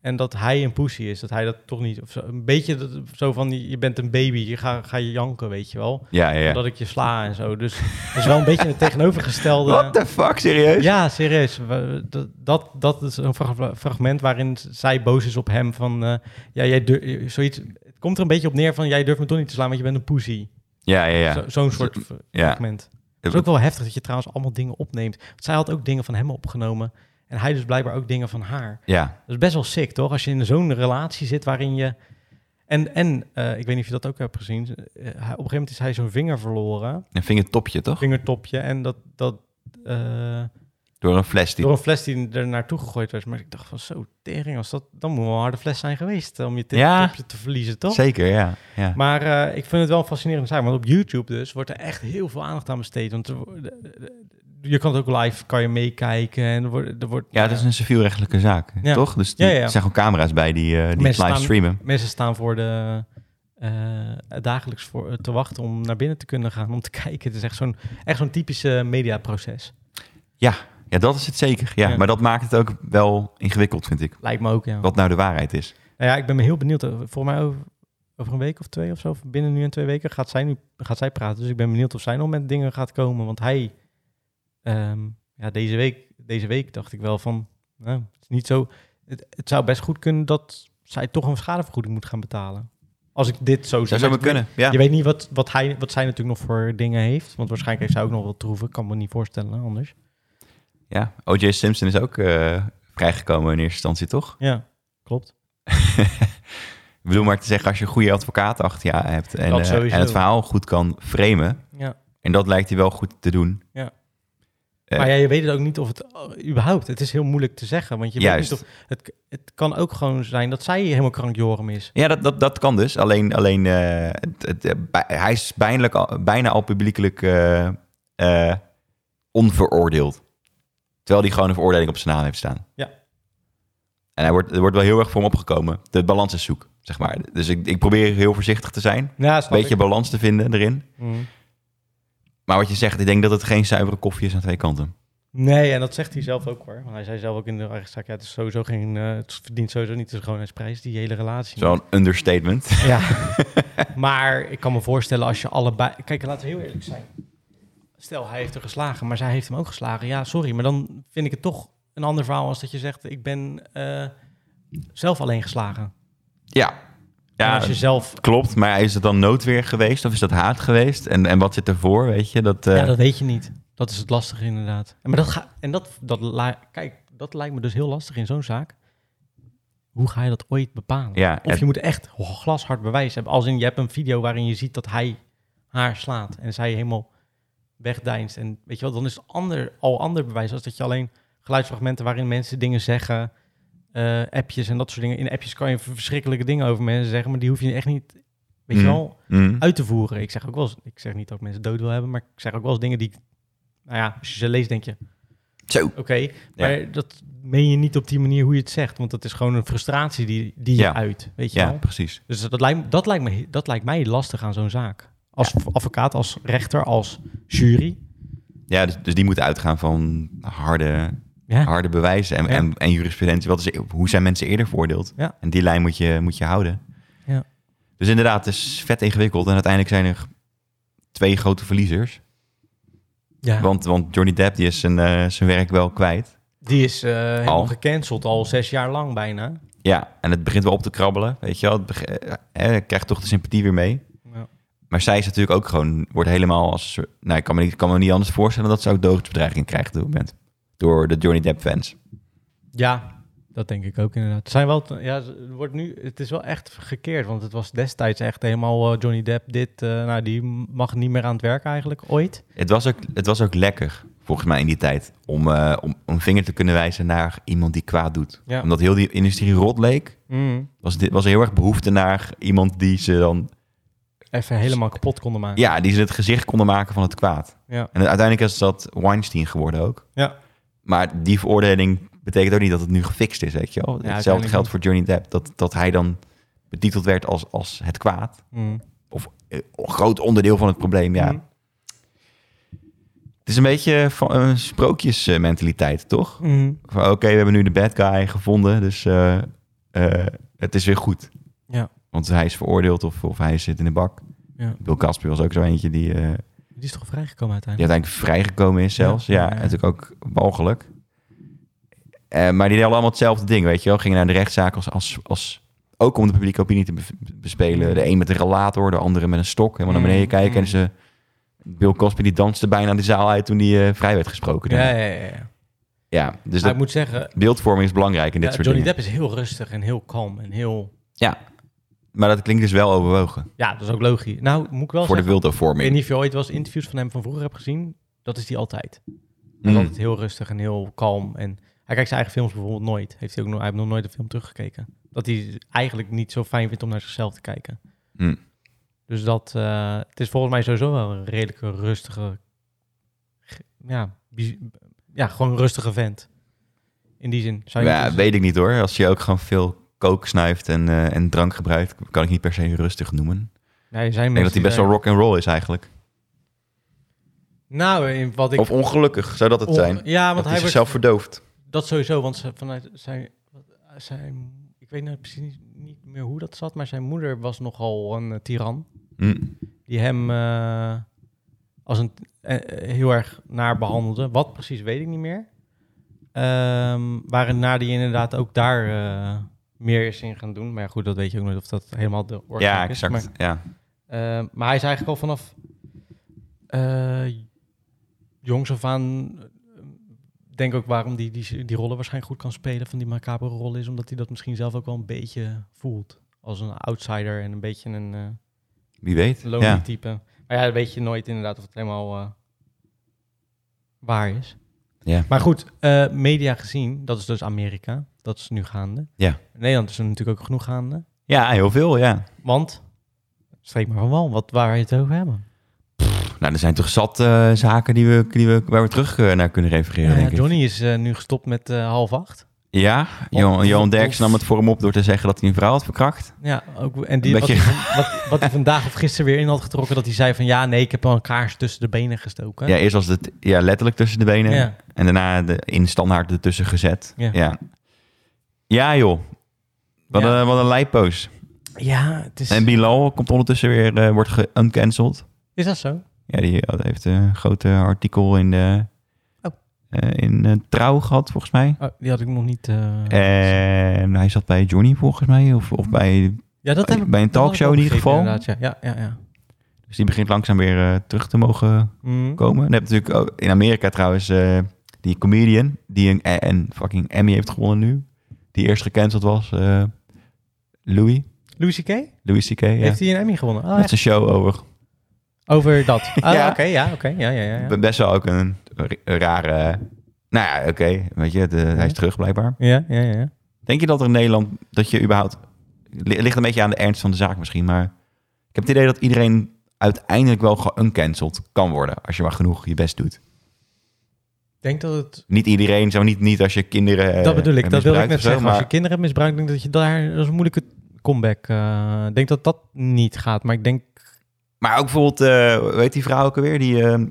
S1: En dat hij een pussy is. Dat hij dat toch niet... Of zo, een beetje dat- zo van, je bent een baby, je ga, ga je janken, weet je wel.
S2: Ja, ja, ja.
S1: Dat ik je sla en zo. Dus dat is wel een beetje het tegenovergestelde...
S2: What the fuck, serieus?
S1: eh, Ja, serieus. We- Dat, dat, dat is een fra- fragment waarin z- zij boos is op hem. Van, eh, ja, jij dur- zoiets, het komt er een beetje op neer van... jij durft me toch niet te slaan, want je bent een pussy.
S2: Ja, ja, ja.
S1: Zo- Zo'n soort v-
S2: ja.
S1: fragment. Het is ook wel heftig dat je trouwens allemaal dingen opneemt. Want zij had ook dingen van hem opgenomen. En hij dus blijkbaar ook dingen van haar.
S2: ja.
S1: Dat is best wel sick, toch? Als je in zo'n relatie zit waarin je... En, en eh, ik weet niet of je dat ook hebt gezien. Eh, hij- op een gegeven moment is hij zo'n vinger verloren.
S2: Een vingertopje, toch?
S1: Vingertopje. En dat... dat eh,
S2: Door een fles die
S1: door een fles die er naartoe gegooid werd. Maar ik dacht van zo, tering, als dat, dan moet wel een harde fles zijn geweest eh, om je
S2: Ja.
S1: tipje te verliezen, toch?
S2: Zeker, ja. ja.
S1: Maar eh, ik vind het wel een fascinerende zaak, want op YouTube dus wordt er echt heel veel aandacht aan besteed. Want er wo- de- de- je kan het ook live, kan je meekijken en er wordt... Er wordt
S2: ja, het is een civielrechtelijke zaak,
S1: Ja.
S2: toch? Dus die-
S1: Ja, ja,
S2: er
S1: ja.
S2: zijn gewoon camera's bij die, eh, die
S1: Mensen staan-
S2: live streamen.
S1: Mensen staan voor de... eh, dagelijks voor, te wachten om naar binnen te kunnen gaan, om te kijken. Het is echt zo'n echt zo'n typische mediaproces.
S2: Ja, dat is het zeker. Ja.
S1: Ja.
S2: Maar dat maakt het ook wel ingewikkeld, vind ik.
S1: Lijkt me ook, ja.
S2: Wat nou de waarheid is.
S1: Nou ja, ik ben me heel benieuwd. Volgens mij over, over een week of twee of zo, of binnen nu en twee weken, gaat zij, nu, gaat zij praten. Dus ik ben benieuwd of zij nog met dingen gaat komen. Want hij, ehm, ja, deze week, deze week dacht ik wel van, nou, het is niet zo... Het, het zou best goed kunnen dat zij toch een schadevergoeding moet gaan betalen. Als ik dit zo zie.
S2: Zou zo maar kunnen. Ja.
S1: Je weet niet wat, wat, hij, wat zij natuurlijk nog voor dingen heeft. Want waarschijnlijk heeft zij ook nog wel troeven. Kan me niet voorstellen anders.
S2: ja. O.J. Simpson is ook eh, vrijgekomen in eerste instantie, toch?
S1: Ja, klopt.
S2: Ik bedoel maar te zeggen, als je een goede advocaat achter je hebt... en,
S1: Dat
S2: eh,
S1: sowieso.
S2: en het verhaal goed kan framen...
S1: Ja.
S2: en dat lijkt hij wel goed te doen. Eh.
S1: Maar ja, je weet het ook niet of het oh, überhaupt. Het is heel moeilijk te zeggen, want je
S2: Juist.
S1: weet niet of het, het kan ook gewoon zijn dat zij helemaal krankjorum is.
S2: Ja, dat, dat, dat kan dus. Alleen, alleen eh, het, het, eh, bij- hij is bijna al, bijna al publiekelijk eh, eh, onveroordeeld. Terwijl hij gewoon een veroordeling op zijn naam heeft staan.
S1: Ja.
S2: En hij wordt, er wordt wel heel erg voor hem opgekomen. De balans is zoek, zeg maar. Dus ik, ik probeer heel voorzichtig te zijn.
S1: Ja,
S2: Een beetje balans te vinden erin.
S1: Mm.
S2: Maar wat je zegt, ik denk dat het geen zuivere koffie is aan twee kanten.
S1: Nee, en dat zegt hij zelf ook hoor. Want hij zei zelf ook in de rechtszaak, ja, het, is sowieso geen, eh, het verdient sowieso niet de schoonheidsprijs, die hele relatie.
S2: Zo'n understatement.
S1: Ja. maar ik kan me voorstellen als je allebei... Kijk, laten we heel eerlijk zijn. Stel, hij heeft er geslagen, maar zij heeft hem ook geslagen. Ja, sorry, maar dan vind ik het toch een ander verhaal als dat je zegt... ik ben eh, zelf alleen geslagen.
S2: Ja.
S1: en
S2: Ja,
S1: als je zelf...
S2: klopt. Maar is het dan noodweer geweest of is dat haat geweest? En, en wat zit ervoor, weet je? Dat, eh,
S1: Ja, dat weet je niet. Dat is het lastige inderdaad. En, maar dat ga, en dat, dat, la- kijk, dat lijkt me dus heel lastig in zo'n zaak. Hoe ga je dat ooit bepalen?
S2: ja,
S1: Of
S2: het-
S1: je moet echt glashard bewijs hebben. Als in, je hebt een video waarin je ziet dat hij haar slaat en zij helemaal wegdeinst. En weet je wel, dan is het ander, al ander bewijs als dat je alleen geluidsfragmenten waarin mensen dingen zeggen, eh, appjes en dat soort dingen. In appjes kan je verschrikkelijke dingen over mensen zeggen, maar die hoef je echt niet, weet je
S2: Mhm.
S1: wel,
S2: Mm.
S1: uit te voeren. Ik zeg ook wel eens, ik zeg niet dat ik mensen dood wil hebben, maar ik zeg ook wel eens dingen die, ik- nou ja, als je ze leest denk je,
S2: Zo.
S1: oké, maar dat meen je niet op die manier hoe je het zegt, want dat is gewoon een frustratie die, die je
S2: Ja.
S1: uit, weet je
S2: Ja,
S1: wel.
S2: precies.
S1: Dus dat lijkt, dat lijkt, me, dat lijkt mij lastig aan zo'n zaak. Als advocaat, als rechter, als jury.
S2: Ja, dus, dus die moet uitgaan van harde,
S1: Ja,
S2: harde bewijzen en,
S1: Ja.
S2: en, en jurisprudentie. Wat is, e- hoe zijn mensen eerder veroordeeld?
S1: Ja.
S2: En die lijn moet je, moet je houden.
S1: Ja.
S2: Dus inderdaad, het is vet ingewikkeld. En uiteindelijk zijn er twee grote verliezers.
S1: ja.
S2: Want, want Johnny Depp die is zijn, eh, zijn werk wel kwijt.
S1: die is eh helemaal
S2: Al.
S1: gecanceld al zes jaar lang bijna.
S2: Ja, en het begint wel op te krabbelen. Weet je wel, het beg- eh, eh, hij krijgt toch de sympathie weer mee. Maar zij is natuurlijk ook gewoon, wordt helemaal als... een soort- Nou, ik kan me niet, kan me niet anders voorstellen dat ze ook doodsbedreiging krijgt op dit moment. Door de Johnny Depp fans.
S1: Ja, dat denk ik ook inderdaad. Het, zijn wel, te- ja, het, wordt nu, het is wel echt gekeerd, want het was destijds echt helemaal eh, Johnny Depp dit. eh, nou, die mag niet meer aan het werk eigenlijk, ooit.
S2: Het was ook, het was ook lekker, volgens mij, in die tijd. Om, eh, om, om een vinger te kunnen wijzen naar iemand die kwaad doet.
S1: Ja.
S2: Omdat heel die industrie rot leek, was, dit, was er heel erg behoefte naar iemand die ze dan...
S1: Even helemaal kapot konden maken.
S2: Ja, die ze het gezicht konden maken van het kwaad.
S1: Ja.
S2: En uiteindelijk is dat Weinstein geworden ook.
S1: Ja.
S2: Maar die veroordeling betekent ook niet dat het nu gefixt is, weet je wel. Hetzelfde
S1: uiteindelijk
S2: geldt voor Johnny Depp. Dat, dat hij dan betiteld werd als, als het kwaad.
S1: Mm.
S2: Eh, Een groot onderdeel van het probleem, ja.
S1: Mm.
S2: Het is een beetje van een sprookjesmentaliteit, toch?
S1: Mm.
S2: Van oké, we hebben nu de bad guy gevonden, dus eh, eh, het is weer goed.
S1: Ja.
S2: Want hij is veroordeeld of, of hij zit in de bak.
S1: Ja.
S2: Bill Casper was ook zo eentje die, eh,
S1: Die is toch vrijgekomen uiteindelijk?
S2: die uiteindelijk vrijgekomen is zelfs.
S1: Ja,
S2: Ja,
S1: ja, ja.
S2: natuurlijk ook walgelijk. Eh, maar die deden allemaal hetzelfde ding, weet je wel. Gingen naar de rechtszaak als, als, als... Ook om de publieke opinie te bev- bespelen. De een met een relator, de andere met een stok. Helemaal naar beneden
S1: Mm,
S2: kijken.
S1: mm.
S2: En ze... Bill Cosby die danste bijna de zaal uit toen hij eh, vrij werd gesproken.
S1: Ja,
S2: Ja,
S1: ja, ja. ja.
S2: dus
S1: Maar
S2: dat,
S1: ik moet zeggen,
S2: beeldvorming is belangrijk in dit
S1: Ja,
S2: soort
S1: Johnny
S2: dingen.
S1: Depp is heel rustig en heel kalm en heel...
S2: Maar dat klinkt dus wel overwogen.
S1: Ja, dat is ook logisch. Nou, moet ik wel
S2: voor
S1: zeggen,
S2: de
S1: ik weet
S2: wildervorming.
S1: niet of je ooit wel eens interviews van hem van vroeger hebt gezien. Dat is die altijd. Hij is
S2: Mm.
S1: altijd heel rustig en heel kalm. En hij kijkt zijn eigen films bijvoorbeeld nooit. Heeft hij, ook nog, hij heeft nog nooit een film teruggekeken. Dat hij eigenlijk niet zo fijn vindt om naar zichzelf te kijken.
S2: Mm.
S1: Dus dat... eh, het is volgens mij sowieso wel een redelijke rustige... ge- Ja, bi- ja gewoon een rustige vent. In die zin. Zou je
S2: Ja,
S1: niet-
S2: weet ik niet hoor. Als je ook gewoon veel kook snuift en, eh, en drank gebruikt, kan ik niet per se rustig noemen.
S1: Nee, er zijn
S2: Ik denk dat
S1: mensen
S2: hij best
S1: die
S2: wel rock and roll is eigenlijk.
S1: Nou, in wat ik...
S2: Of ongelukkig zou dat het
S1: On-
S2: zijn.
S1: Ja,
S2: dat
S1: want
S2: hij
S1: hij
S2: zichzelf
S1: wordt...
S2: verdooft.
S1: Dat sowieso, want ze, vanuit zijn, wat- zijn... Ik weet nou precies niet, niet meer hoe dat zat, maar zijn moeder was nogal een eh, tiran.
S2: Mm.
S1: Die hem eh, als een eh, eh, heel erg naar behandelde. Wat precies weet ik niet meer. Ehm waarna die inderdaad ook daar eh, meer is in gaan doen. Maar ja, goed, dat weet je ook nooit of dat helemaal de oorzaak
S2: Ja,
S1: is.
S2: exact.
S1: Maar-
S2: Ja.
S1: Ehm, maar hij is eigenlijk al vanaf eh, jongs af aan. eh, Denk ook waarom die, die, die rollen waarschijnlijk goed kan spelen van die macabre rol is, omdat hij dat misschien zelf ook wel een beetje voelt. Als een outsider en een beetje een eh
S2: Wie weet.
S1: lonely
S2: Ja.
S1: type. Maar ja, dat weet je nooit inderdaad of het helemaal eh, waar is.
S2: Ja.
S1: Maar goed, eh, media gezien, dat is dus Amerika. Dat is nu gaande.
S2: Ja.
S1: In Nederland is er natuurlijk ook genoeg gaande.
S2: ja, heel veel. Ja.
S1: Want, streek maar van wal, wat, waar wil je het over hebben?
S2: Nou, er zijn toch zat eh, zaken die we, die we, waar we terug eh, naar kunnen refereren,
S1: Ja,
S2: denk ik.
S1: Johnny Oh, is eh, nu gestopt met eh, half acht.
S2: Ja, Johan, Johan Derksen nam het voor hem op door te zeggen dat hij een vrouw had verkracht.
S1: Ja, ook, en die,
S2: Een
S1: wat, hij,
S2: beetje-
S1: van- wat, wat hij vandaag of gisteren weer in had getrokken, dat hij zei van ja, nee, ik heb al een kaars tussen de benen gestoken.
S2: Ja, eerst was het ja, letterlijk tussen de benen.
S1: Ja.
S2: En daarna de, in standaard ertussen gezet.
S1: Ja.
S2: Ja, ja. joh. Wat, eh,
S1: Ja.
S2: Een, wat een lijppoos.
S1: Ja, het is...
S2: En Bilal komt ondertussen weer, eh, wordt geuncanceld.
S1: is dat zo?
S2: Ja, die had- heeft een grote artikel in de...
S1: Oh.
S2: eh, in eh, Trouw gehad, volgens mij.
S1: Oh, die had ik nog niet. eh,
S2: En hij zat bij Johnny, volgens mij. Of, of bij...
S1: ja, dat heb ik
S2: bij een
S1: dat had
S2: talkshow
S1: ik
S2: in ieder
S1: opgegeven,
S2: geval.
S1: inderdaad, Ja, ja, ja. ja.
S2: Dus die begint langzaam weer eh, terug te mogen
S1: Mm.
S2: komen. En dan heb je natuurlijk ook in Amerika trouwens eh, die comedian... die een, eh, een fucking Emmy heeft gewonnen nu. Die eerst gecanceld was. eh, Louis.
S1: Louis C.K.
S2: Louis C.K. Ja.
S1: Heeft hij een Emmy gewonnen? Oh,
S2: Met zijn show over
S1: ja. Over dat. Oh,
S2: Ja.
S1: Oké, ja, oké. Ja, ja, ja, ja.
S2: Be- Best wel ook een r- rare... Nou ja, oké. weet je, de- hij is terug blijkbaar.
S1: Ja, ja, ja, ja.
S2: Denk je dat er in Nederland... Dat je überhaupt... li- ligt een beetje aan de ernst van de zaak misschien, maar... Ik heb het idee dat iedereen uiteindelijk wel geuncanceld kan worden. Als je maar genoeg je best doet.
S1: Ik denk dat het...
S2: Niet iedereen, zo niet, niet als je kinderen... eh,
S1: dat bedoel ik, dat wil ik
S2: misbruikt
S1: net
S2: of zo,
S1: zeggen. Als
S2: Maar
S1: je kinderen misbruikt, denk ik dat je daar... Dat is een moeilijke comeback. eh, ik denk dat dat niet gaat, maar ik denk...
S2: maar ook bijvoorbeeld... eh, weet die vrouw ook alweer? Die, eh,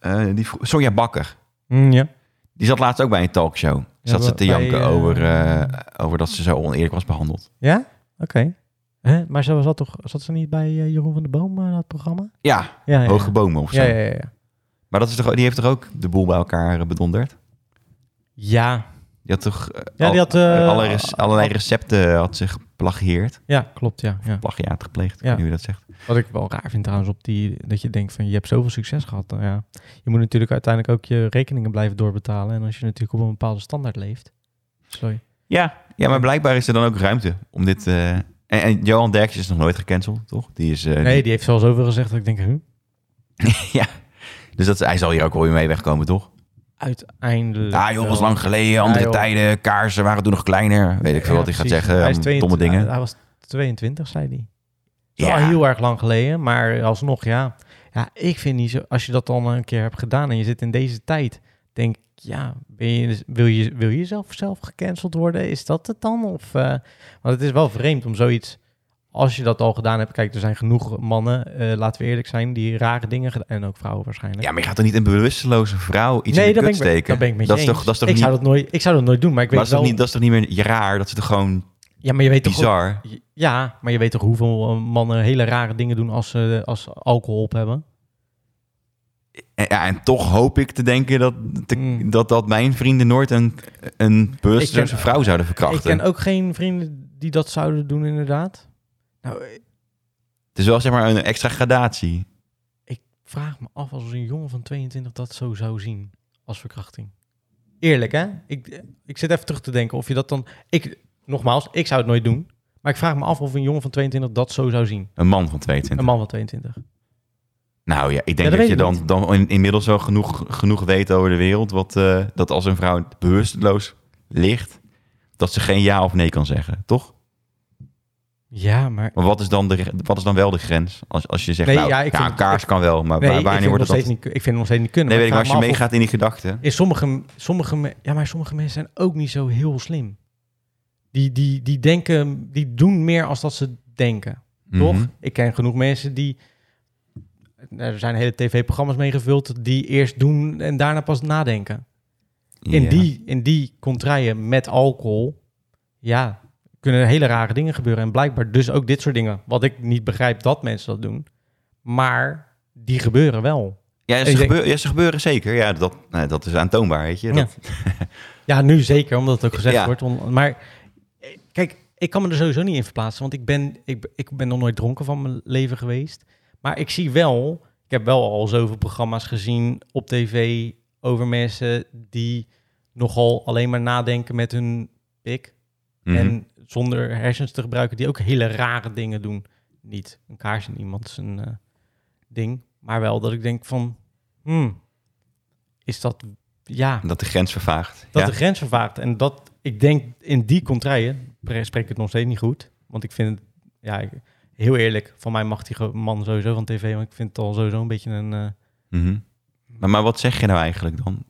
S2: eh, die vro- Sonja Bakker.
S1: Mm, ja.
S2: Die zat laatst ook bij een talkshow. Zat ze
S1: bij,
S2: te janken
S1: eh,
S2: over, eh, over dat ze zo oneerlijk was behandeld.
S1: Ja? Oké. Hè? Maar ze zat, toch, zat ze niet bij eh, Jeroen van de Boom, eh, dat programma?
S2: Ja,
S1: Ja, ja, ja.
S2: hoge bomen of zo.
S1: ja, ja, ja, ja.
S2: Maar dat is toch, die heeft toch ook de boel bij elkaar eh, bedonderd?
S1: Ja,
S2: Die had toch eh,
S1: ja
S2: al-
S1: die had... eh,
S2: alle rec- allerlei recepten had zich geplagieerd.
S1: Ja, klopt, ja, ja.
S2: Plagiaat gepleegd, ik
S1: Ja.
S2: weet niet hoe je dat zegt.
S1: Wat ik wel raar vind trouwens op die... Dat je denkt van, je hebt zoveel succes gehad. Nou ja. Je moet natuurlijk uiteindelijk ook je rekeningen blijven doorbetalen. En als je natuurlijk op een bepaalde standaard leeft... Sorry.
S2: Ja. ja, maar blijkbaar is er dan ook ruimte om dit... eh, en, en Johan Derks is nog nooit gecanceld, toch? Die is, eh,
S1: Nee, die heeft zelfs over gezegd dat ik denk... Huh?
S2: Dus dat, hij zal hier ook wel weer mee wegkomen, toch?
S1: Uiteindelijk...
S2: Ja, joh, was lang geleden, andere
S1: Dus, eh, joh.
S2: tijden, kaarsen waren toen nog kleiner. Weet ik veel
S1: Ja,
S2: wat hij gaat
S1: precies.
S2: zeggen,
S1: Hij is
S2: allemaal domme
S1: 22
S2: dingen.
S1: Hij, hij was 22, zei hij. Ja.
S2: ja,
S1: heel erg lang geleden, maar alsnog, ja. Ja, ik vind niet zo... Als je dat dan een keer hebt gedaan en je zit in deze tijd... Denk ik, ja, ben je, dus- wil, je, wil je zelf, zelf gecanceld worden? Is dat het dan? Of, eh, want het is wel vreemd om zoiets... Als je dat al gedaan hebt... Kijk, er zijn genoeg mannen, eh, laten we eerlijk zijn... die rare dingen gedaan... En ook vrouwen waarschijnlijk.
S2: ja, maar je gaat er niet een bewusteloze vrouw iets in de
S1: dat
S2: kut
S1: ben, ik,
S2: steken?
S1: dat ben ik met je
S2: dat is
S1: eens.
S2: toch, dat is toch
S1: ik,
S2: niet
S1: zou dat nooit, ik zou dat nooit doen, maar ik
S2: Maar
S1: weet
S2: is dat,
S1: wel...
S2: niet, dat is toch niet meer je raar? Dat ze er gewoon
S1: ja, maar je weet toch ook-
S2: bizar...
S1: Ja, maar je weet toch hoeveel eh, mannen hele rare dingen doen als ze als ze alcohol op hebben?
S2: En, ja, en toch hoop ik te denken dat te-
S1: Mm.
S2: dat, dat mijn vrienden nooit een, een bewusteloze
S1: Ik ken-
S2: vrouw zouden
S1: Ik
S2: verkrachten.
S1: ken ook geen vrienden die dat zouden doen, inderdaad. Nou, eh,
S2: Het is wel zeg maar een extra gradatie.
S1: vraag me af als een jongen van 22 dat zo zou zien als verkrachting. Eerlijk, hè? Ik, eh, ik zit even terug te denken of je dat dan... Ik, nogmaals, ik zou het nooit doen. Maar ik vraag me af of een jongen van 22 dat zo zou zien.
S2: Een man van
S1: Een
S2: 22.
S1: man van 22.
S2: Nou ja, ik
S1: Ja,
S2: denk
S1: dat
S2: dat
S1: weet
S2: je
S1: ik
S2: dan, dan in- inmiddels wel genoeg, genoeg weet over de wereld. Wat, eh, dat als een vrouw bewusteloos ligt, dat ze geen ja of nee kan zeggen, toch?
S1: Ja, maar...
S2: Maar wat is dan, de, wat is dan wel de grens? Als, als je zegt,
S1: Nee,
S2: nou,
S1: ja, ik
S2: ja,
S1: vind-
S2: een kaars kan wel, maar
S1: Nee,
S2: waar-
S1: ik vind,
S2: wanneer
S1: het
S2: wordt
S1: nog
S2: het dan...
S1: steeds niet, ik vind het nog steeds niet kunnen.
S2: Nee, weet ik,
S1: maar
S2: maar
S1: ik
S2: als je
S1: vraag me af of-
S2: meegaat in die gedachten...
S1: In sommige, sommige, me- ja, maar sommige mensen zijn ook niet zo heel slim. Die, die, die denken, die doen meer als dat ze denken.
S2: Mhm.
S1: Toch? Ik ken genoeg mensen die. nou, Er zijn hele tv-programma's mee gevuld die eerst doen en daarna pas nadenken.
S2: Ja.
S1: In, die, in die contraien met alcohol, ja, kunnen hele rare dingen gebeuren. En blijkbaar dus ook dit soort dingen. Wat ik niet begrijp dat mensen dat doen. Maar die gebeuren wel.
S2: Ja,
S1: Ik
S2: ze,
S1: denk-
S2: gebeur, ja, ze gebeuren zeker. Ja, dat, nou, dat is aantoonbaar, weet je. Dat,
S1: Ja, nu zeker, omdat het ook gezegd
S2: Ja.
S1: wordt. om- maar eh, kijk, ik kan me er sowieso niet in verplaatsen, want ik ben, ik, ik ben nog nooit dronken van mijn leven geweest. Maar ik zie wel, ik heb wel al zoveel programma's gezien op tv over mensen die nogal alleen maar nadenken met hun pik.
S2: Mhm.
S1: En zonder hersens te gebruiken, die ook hele rare dingen doen. Niet een kaars in iemand zijn eh, ding, maar wel dat ik denk van, hmm, is dat, ja,
S2: dat de grens vervaagt.
S1: dat
S2: ja.
S1: de grens vervaagt. En dat, ik denk in die contraien, pre- spreek ik het nog steeds niet goed. Want ik vind het, ja, ik- heel eerlijk, van mij mag die gro- man sowieso van tv. Want ik vind het al sowieso een beetje een... eh,
S2: Mhm. maar, maar wat zeg je nou eigenlijk dan?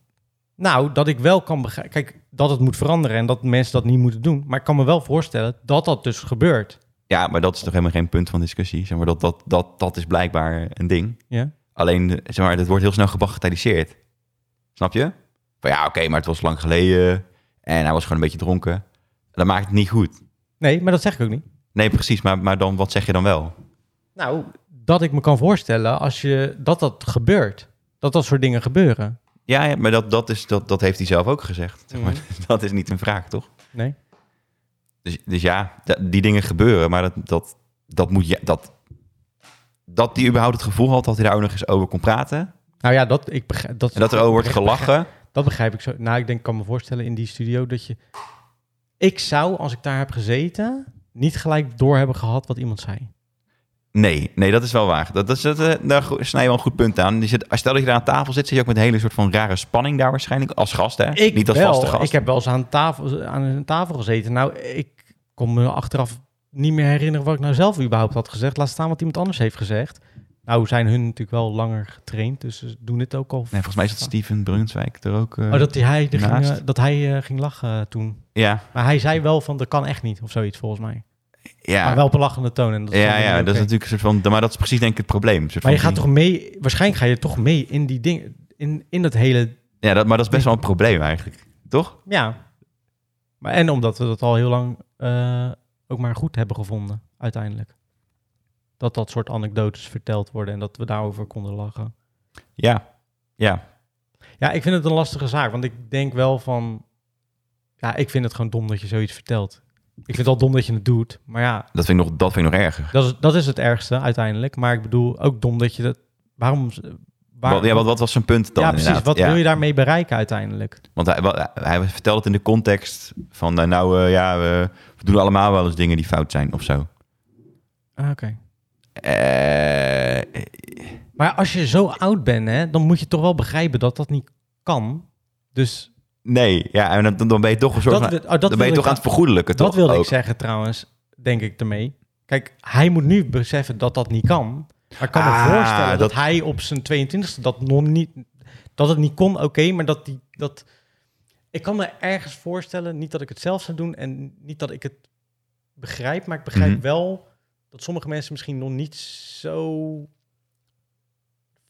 S1: nou, dat ik wel kan begrijpen... Kijk, dat het moet veranderen en dat mensen dat niet moeten doen. Maar ik kan me wel voorstellen dat dat dus gebeurt.
S2: Ja, maar dat is toch helemaal geen punt van discussie. Zeg maar, dat, dat, dat, dat is blijkbaar een ding.
S1: Ja.
S2: Alleen, eh, zeg maar, dat wordt heel snel gebagatelliseerd. Snap je? Van ja, oké, maar het was lang geleden. En hij was gewoon een beetje dronken. Dat maakt het niet goed.
S1: Nee, maar dat zeg ik ook niet.
S2: Nee, precies. Maar, maar dan, wat zeg je dan wel?
S1: Nou, dat ik me kan voorstellen als je, dat dat gebeurt. Dat dat soort dingen gebeuren.
S2: Ja, ja, maar dat, dat, is, dat, dat heeft hij zelf ook gezegd. Zeg maar,
S1: Mhm.
S2: Dat is niet een vraag, toch?
S1: Nee?
S2: Dus, dus ja, da- die dingen gebeuren, maar dat, dat, dat moet je... Dat, dat hij überhaupt het gevoel had dat hij daar ook nog eens over kon praten.
S1: Nou ja, dat, ik begrijp, dat,
S2: En dat er over wordt gelachen.
S1: Dat begrijp ik zo. Nou, ik denk, ik kan me voorstellen in die studio dat je... Ik zou, als ik daar heb gezeten, niet gelijk door hebben gehad wat iemand zei.
S2: Nee, nee, dat is wel waar. Dat, dat, is- dat, eh, daar go- snij je wel een goed punt aan. Je zit, als- stel dat je daar aan tafel zit, zit je ook met een hele soort van rare spanning daar waarschijnlijk. Als gast, hè?
S1: Ik
S2: Niet als
S1: wel.
S2: vaste gast.
S1: Ik heb wel eens aan, tafel, aan een tafel gezeten. Nou, ik kon me achteraf niet meer herinneren wat ik nou zelf überhaupt had gezegd. Laat staan wat iemand anders heeft gezegd. Nou zijn hun natuurlijk wel langer getraind, dus ze doen dit ook al.
S2: Nee, volgens mij is dat Steven Brunswijk er ook. eh,
S1: Oh, dat hij, er ging,
S2: Naast.
S1: eh, dat hij eh, ging lachen eh, toen.
S2: Ja,
S1: Maar hij zei wel van, dat kan echt niet, of zoiets volgens mij.
S2: ja.
S1: Maar Ah, wel op een lachende toon. En dat is
S2: ja,
S1: dan
S2: ja,
S1: weer
S2: dat is
S1: oké.
S2: natuurlijk een soort van. Maar dat is precies denk ik het probleem. Een soort
S1: Maar je
S2: van
S1: gaat toch mee, waarschijnlijk ga je toch mee in die dingen, in, in dat hele,
S2: Ja, dat, maar dat is best wel een probleem eigenlijk, toch?
S1: ja. Maar en omdat we dat al heel lang eh, ook maar goed hebben gevonden, uiteindelijk. Dat dat soort anekdotes verteld worden en dat we daarover konden lachen.
S2: Ja, ja.
S1: Ja, ik vind het een lastige zaak, want ik denk wel van, ja, ik vind het gewoon dom dat je zoiets vertelt. Ik vind het al dom dat je het doet, maar ja,
S2: Dat vind ik nog, dat vind ik nog erger.
S1: dat is, dat is het ergste uiteindelijk. Maar ik bedoel, ook dom dat je dat, waarom... waar-
S2: Wat- ja, wat, wat was zijn punt dan?
S1: ja, precies.
S2: inderdaad?
S1: Wat
S2: Ja.
S1: wil je daarmee bereiken uiteindelijk?
S2: Want hij, wa- hij vertelde het in de context van, eh, nou eh, ja, we, we doen allemaal wel eens dingen die fout zijn of zo.
S1: Ah, Oké.
S2: Eh,
S1: Maar als je zo oud bent, hè, dan moet je toch wel begrijpen dat dat niet kan. Dus
S2: nee, ja, en dan, dan ben je toch een soort
S1: dat,
S2: van-
S1: wil- oh, dat
S2: dan ben je
S1: wil
S2: toch
S1: ik-
S2: aan het vergoedelijken, toch?
S1: Dat wilde
S2: Ook.
S1: ik zeggen trouwens, denk ik ermee. Kijk, hij moet nu beseffen dat dat niet kan. Maar ik kan
S2: Ah,
S1: me voorstellen dat,
S2: dat-
S1: hij op zijn 22e dat nog niet... Dat het niet kon, oké, maar dat die... Dat, ik kan me ergens voorstellen, niet dat ik het zelf zou doen... en niet dat ik het begrijp, maar ik begrijp
S2: Mhm.
S1: wel... dat sommige mensen misschien nog niet zo...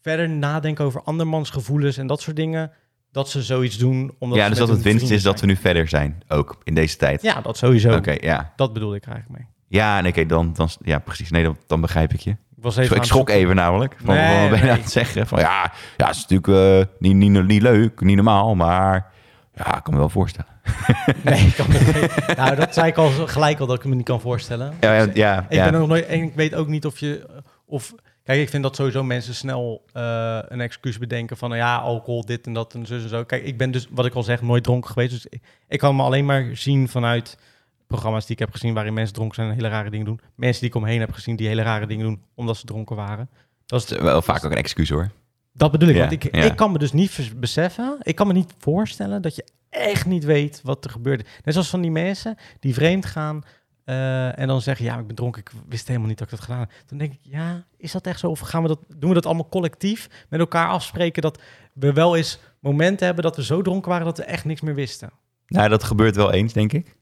S1: verder nadenken over andermans gevoelens en dat soort dingen... dat ze zoiets doen omdat
S2: Ja,
S1: ze
S2: dus
S1: met
S2: dat het
S1: hun
S2: winst is
S1: vrienden
S2: dat we nu verder zijn, ook in deze tijd.
S1: zijn. Ja, dat sowieso.
S2: Oké, ja.
S1: Dat bedoel ik eigenlijk mee.
S2: Ja, nee, oké, dan, dan, ja, precies. Nee, dan, dan begrijp ik je.
S1: Ik was even
S2: Ik
S1: aan-
S2: schrok even namelijk. Van,
S1: Nee,
S2: wat ben je
S1: nee.
S2: aan het zeggen? Van, ja, ja, het is natuurlijk eh, niet, niet, niet leuk, niet normaal, maar ja, ik kan me wel voorstellen.
S1: Nee, ik kan me niet. Nou, dat zei ik al zo- gelijk al dat ik me niet kan voorstellen.
S2: Ja, ja, ja,
S1: Ik ben er nog nooit en ik weet ook niet of je of kijk, ik vind dat sowieso mensen snel eh, een excuus bedenken van nou ja, alcohol, dit en dat en zo en zo. Kijk, ik ben dus wat ik al zeg nooit dronken geweest, dus ik, ik kan me alleen maar zien vanuit programma's die ik heb gezien waarin mensen dronken zijn en hele rare dingen doen. Mensen die ik omheen heb gezien die hele rare dingen doen omdat ze dronken waren. Dat, is,
S2: Dat is wel vaak ook een excuus hoor.
S1: dat bedoel ik,
S2: Ja,
S1: want ik,
S2: ja.
S1: ik kan me dus niet vers- beseffen, ik kan me niet voorstellen dat je echt niet weet wat er gebeurde. Net zoals van die mensen die vreemd gaan eh, en dan zeggen, ja, ik ben dronken, ik wist helemaal niet dat ik dat gedaan had. Dan denk ik, ja, is dat echt zo? Of gaan we dat, doen we dat allemaal collectief met elkaar afspreken dat we wel eens momenten hebben dat we zo dronken waren dat we echt niks meer wisten?
S2: Nou, dat gebeurt wel eens, denk ik.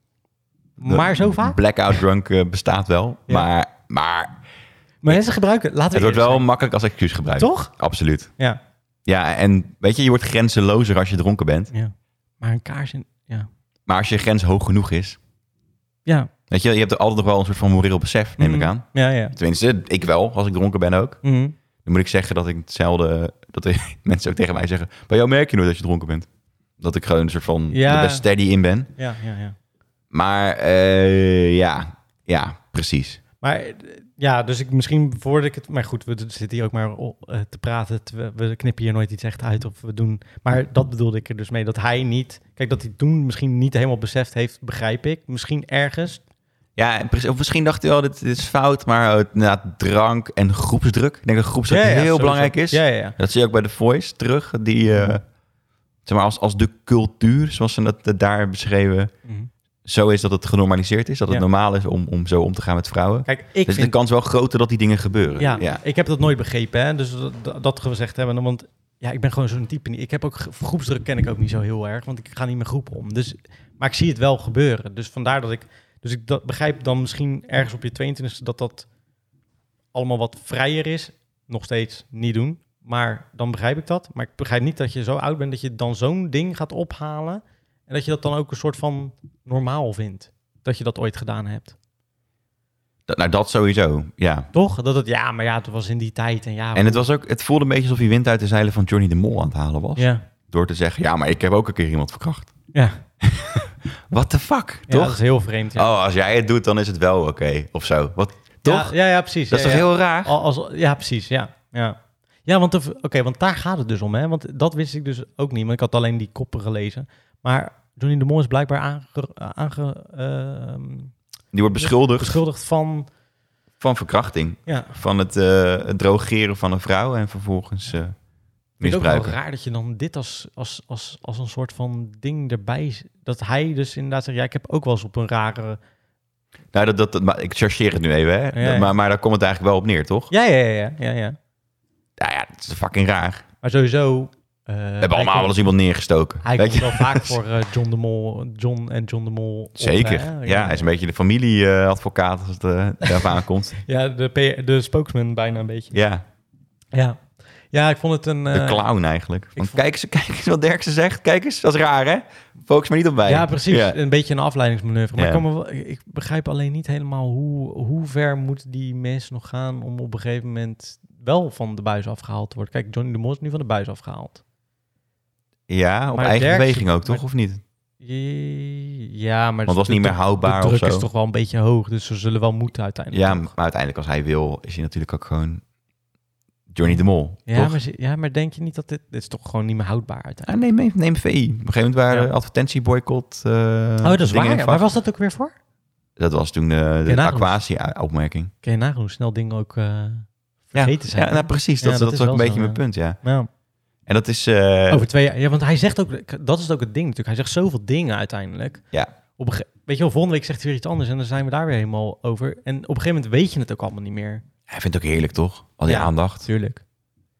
S2: De
S1: Maar zo vaak?
S2: Blackout drunk eh, bestaat wel,
S1: Ja.
S2: maar, maar
S1: Maar mensen gebruiken, laten we
S2: het wordt
S1: eerlijk
S2: wel makkelijk als excuus gebruikt.
S1: zijn. Toch?
S2: Absoluut.
S1: Ja.
S2: Ja, en weet je, je wordt grenzelozer als je dronken bent.
S1: ja. Maar een kaars in, ja.
S2: Maar als je grens hoog genoeg is,
S1: Ja,
S2: weet je, je hebt er altijd nog wel een soort van moreel besef, neem ik
S1: Mhm.
S2: aan.
S1: ja, ja.
S2: Tenminste, ik wel, als ik dronken ben ook.
S1: Mhm.
S2: Dan moet ik zeggen dat ik hetzelfde... Dat de mensen ook tegen mij zeggen... Bij jou merk je nooit dat je dronken bent. Dat ik gewoon een soort van...
S1: Ja.
S2: Er best steady in ben.
S1: Ja, ja, ja.
S2: Maar eh, ja, ja, precies.
S1: Maar eh, ja, dus ik, misschien voordat ik het... Maar goed, we d- zitten hier ook maar o- eh, te praten. te- we- we knippen hier nooit iets echt uit of we doen... Maar dat bedoelde ik er dus mee, dat hij niet... Kijk, dat hij toen misschien niet helemaal beseft heeft, begrijp ik. Misschien ergens.
S2: Ja, en precies. Of misschien dacht hij wel, dit, dit is fout. Maar eh, na drank en groepsdruk. Ik denk dat groepsdruk heel
S1: sowieso.
S2: belangrijk is.
S1: Ja, Mhm. ja, ja.
S2: Dat zie je ook bij The Voice terug. Die, eh, zeg maar, als, als de cultuur, zoals ze dat eh, daar beschreven... Zo is dat het genormaliseerd is. Dat het
S1: Ja.
S2: normaal is om, om zo om te gaan met vrouwen.
S1: Kijk, ik
S2: dus
S1: vind...
S2: de kans wel groter dat die dingen gebeuren.
S1: Ja, ik heb dat nooit begrepen, hè. Dus dat, dat- dat gezegd hebben, want... Ja, ik ben gewoon zo'n type niet. Ik heb ook... ge- Groepsdruk ken ik ook niet zo heel erg, want ik ga niet met groepen om. Dus, maar ik zie het wel gebeuren. Dus vandaar dat ik... Dus ik dat, begrijp dan misschien ergens op je 22e dat dat allemaal wat vrijer is. Nog steeds niet doen. Maar dan begrijp ik dat. Maar ik begrijp niet dat je zo oud bent dat je dan zo'n ding gaat ophalen. En dat je dat dan ook een soort van normaal vindt. Dat je dat ooit gedaan hebt.
S2: Dat- nou, dat sowieso, ja.
S1: Toch? Dat het, ja, maar ja, het was in die tijd. En, ja,
S2: En het, was ook, het voelde een beetje alsof hij wind uit de zeilen van Johnny de Mol aan het halen was.
S1: Ja,
S2: Door te zeggen, ja, maar ik heb ook een keer iemand verkracht.
S1: ja.
S2: What the fuck,
S1: ja dat
S2: toch?
S1: is heel vreemd. Ja.
S2: Oh, als jij het doet, dan is het wel oké, of zo. Wat,
S1: Ja,
S2: toch?
S1: Ja, ja, precies.
S2: dat is
S1: ja,
S2: toch
S1: ja.
S2: heel raar?
S1: Al- Als, ja, precies. Ja, ja. ja want, de v- oké, want daar gaat het dus om. Hè? Want dat wist ik dus ook niet, want ik had alleen die koppen gelezen. Maar Johnny de Mol is blijkbaar aange, aange, ehm,
S2: Die wordt beschuldigd
S1: beschuldigd van...
S2: van verkrachting.
S1: Ja, vind
S2: Van het, eh, het drogeren van een vrouw en vervolgens eh
S1: ik ook wel
S2: misbruiken.
S1: raar dat je dan dit als, als, als, als een soort van ding erbij... z- Dat hij dus inderdaad zegt, ja, ik heb ook wel eens op een rare...
S2: Nou, dat, dat, dat- maar ik chargeer het nu even, hè.
S1: Ja, ja.
S2: Maar, maar daar komt het eigenlijk wel op neer, toch?
S1: Ja, ja, ja, ja. ja, ja.
S2: Ja, ja, het is fucking raar. We
S1: Maar sowieso... eh, We
S2: hebben allemaal wel eens iemand neergestoken.
S1: Hij
S2: weet
S1: komt
S2: je?
S1: wel vaak voor eh, John de Mol, John en John de Mol. op,
S2: Zeker.
S1: hè?
S2: ja, hij is een beetje de familieadvocaat als het eh, daarop aankomt.
S1: Ja, de, P- de spokesman bijna een beetje.
S2: Ja,
S1: Ja, ja ik vond het een...
S2: de
S1: eh,
S2: clown eigenlijk. Want
S1: vond-
S2: kijk, eens, kijk eens wat Derksen zegt. Kijk eens, dat is raar, hè? Focus maar niet op mij.
S1: ja, precies.
S2: Ja.
S1: Een beetje een afleidingsmanoeuvre. Maar
S2: Ja.
S1: ik, kan me wel- ik- ik begrijp alleen niet helemaal hoe, hoe ver moeten die mensen nog gaan om op een gegeven moment wel van de buis afgehaald te worden. Kijk, Johnny de Mol is nu van de buis afgehaald.
S2: Ja, op
S1: Maar
S2: eigen
S1: Derksen-
S2: beweging ook, toch?
S1: maar-
S2: Of niet?
S1: Je- Ja, maar...
S2: Want het was
S1: de-
S2: niet meer
S1: de-
S2: houdbaar
S1: De
S2: of
S1: druk
S2: zo.
S1: is toch wel een beetje hoog, dus ze zullen wel moeten uiteindelijk.
S2: Ja,
S1: toch?
S2: maar uiteindelijk als hij wil, is hij natuurlijk ook gewoon Johnny de Mol.
S1: ja,
S2: toch?
S1: maar, ze- ja, maar denk je niet dat dit... Dit is toch gewoon niet meer houdbaar uiteindelijk?
S2: Ah, neem, neem VI. Op een gegeven moment waren
S1: Ja.
S2: er advertentieboycott. eh,
S1: Oh, dat is
S2: dingen
S1: waar.
S2: in
S1: ja. Waar
S2: vast.
S1: was dat ook weer voor?
S2: Dat was toen eh, de, de
S1: nagenoeg.
S2: Aquasia-opmerking.
S1: Kun je nagaan hoe snel dingen ook eh,
S2: Ja,
S1: vergeten zijn.
S2: ja, nou, precies. Dat,
S1: Ja,
S2: dat,
S1: dat is
S2: is ook
S1: wel
S2: een beetje
S1: zo,
S2: mijn
S1: ja. Oh.
S2: punt, ja.
S1: Ja.
S2: En dat is... eh,
S1: Over twee jaar. Ja, want hij zegt ook, dat is ook het ding natuurlijk. Hij zegt zoveel dingen uiteindelijk.
S2: Ja.
S1: Op een ge- weet je wel, volgende week zegt hij weer iets anders en dan zijn we daar weer helemaal over. En op een gegeven moment weet je het ook allemaal niet meer.
S2: Hij vindt het ook heerlijk, toch? Al die
S1: Ja.
S2: aandacht.
S1: Tuurlijk.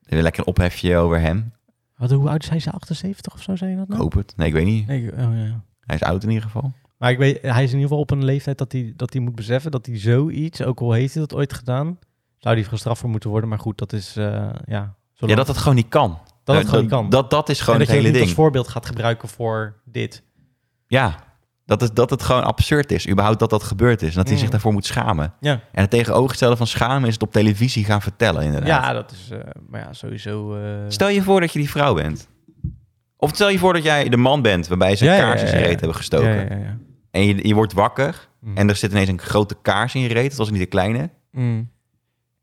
S2: Lekker een ophefje over hem.
S1: Wat, hoe oud zijn ze? 78 of zo, zei je dat
S2: Ik
S1: nou?
S2: hoop het. Nee, ik weet niet.
S1: Nee, ik- oh, ja.
S2: Hij is oud in ieder geval.
S1: Maar ik weet, hij is in ieder geval op een leeftijd dat hij, dat hij moet beseffen dat hij zoiets, ook al heeft hij dat ooit gedaan, zou hij gestraft voor moeten worden. Maar goed, dat is, eh, ja, zolang-
S2: Ja, dat het gewoon niet kan.
S1: dat
S2: Eh,
S1: het gewoon niet kan.
S2: Dat, dat is gewoon
S1: en dat
S2: het
S1: je het
S2: hele
S1: niet
S2: ding.
S1: als voorbeeld gaat gebruiken voor dit.
S2: Ja. Dat, is, dat het gewoon absurd is. Überhaupt dat dat gebeurd is. En dat hij
S1: Mm.
S2: zich daarvoor moet schamen.
S1: Ja.
S2: En het tegenovergestelde van schamen is het op televisie gaan vertellen, inderdaad.
S1: Ja, dat is, eh, maar ja, sowieso... eh,
S2: Stel je voor dat je die vrouw bent. Of stel je voor dat jij de man bent waarbij ze
S1: Ja,
S2: een
S1: ja,
S2: kaars in
S1: ja,
S2: zijn
S1: ja.
S2: reet hebben gestoken.
S1: Ja, ja, ja.
S2: En je, je wordt wakker
S1: Mm.
S2: en er zit ineens een grote kaars in je reet. Dat was niet de kleine.
S1: Mm.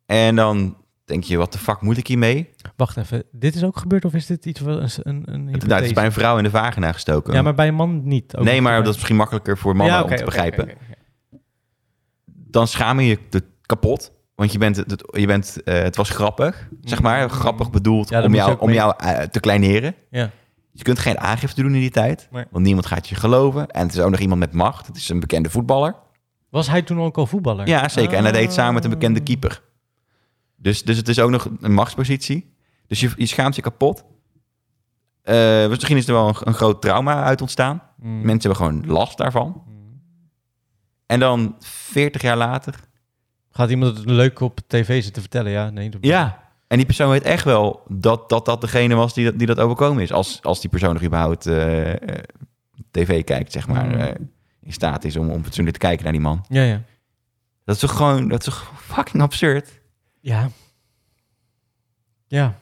S2: En dan denk je, wat de fuck moet ik hiermee?
S1: Wacht even, dit is ook gebeurd of is dit iets wel een, een, een
S2: Het, nou, het is bij een vrouw in de vagina gestoken.
S1: Ja, maar bij een man niet. ook
S2: nee,
S1: niet.
S2: maar dat is misschien makkelijker voor mannen
S1: Ja,
S2: om
S1: oké,
S2: te
S1: oké,
S2: begrijpen.
S1: oké, oké.
S2: Dan schaam je je de- kapot. Want je bent, het, je bent, eh, het was grappig, zeg maar.
S1: Mm.
S2: Grappig bedoeld
S1: Ja, dat
S2: om
S1: moet je
S2: jou,
S1: ook
S2: om
S1: mee-
S2: jou eh, te kleineren.
S1: Ja.
S2: Je kunt geen aangifte doen in die tijd.
S1: Nee.
S2: Want niemand gaat je geloven. En het is ook nog iemand met macht. Het is een bekende voetballer.
S1: Was hij toen ook al voetballer?
S2: Ja, zeker. En hij deed het samen met een bekende
S1: Ah.
S2: keeper. Dus, dus het is ook nog een machtspositie. Dus je, je schaamt je kapot. Eh, dus misschien is er wel een, een groot trauma uit ontstaan.
S1: Mm.
S2: Mensen hebben gewoon last daarvan.
S1: Mm.
S2: En dan 40 jaar later.
S1: Gaat iemand het leuk op tv zitten vertellen? Ja, nee. dat-
S2: Ja. En die persoon weet echt wel dat dat, dat degene was die dat, die dat overkomen is. Als, als die persoon nog überhaupt eh, eh, tv kijkt, zeg maar.
S1: Mm.
S2: eh, in staat is om, om fatsoenlijk te kijken naar die man.
S1: Ja, ja.
S2: Dat is toch gewoon dat is toch fucking absurd.
S1: Ja. Ja.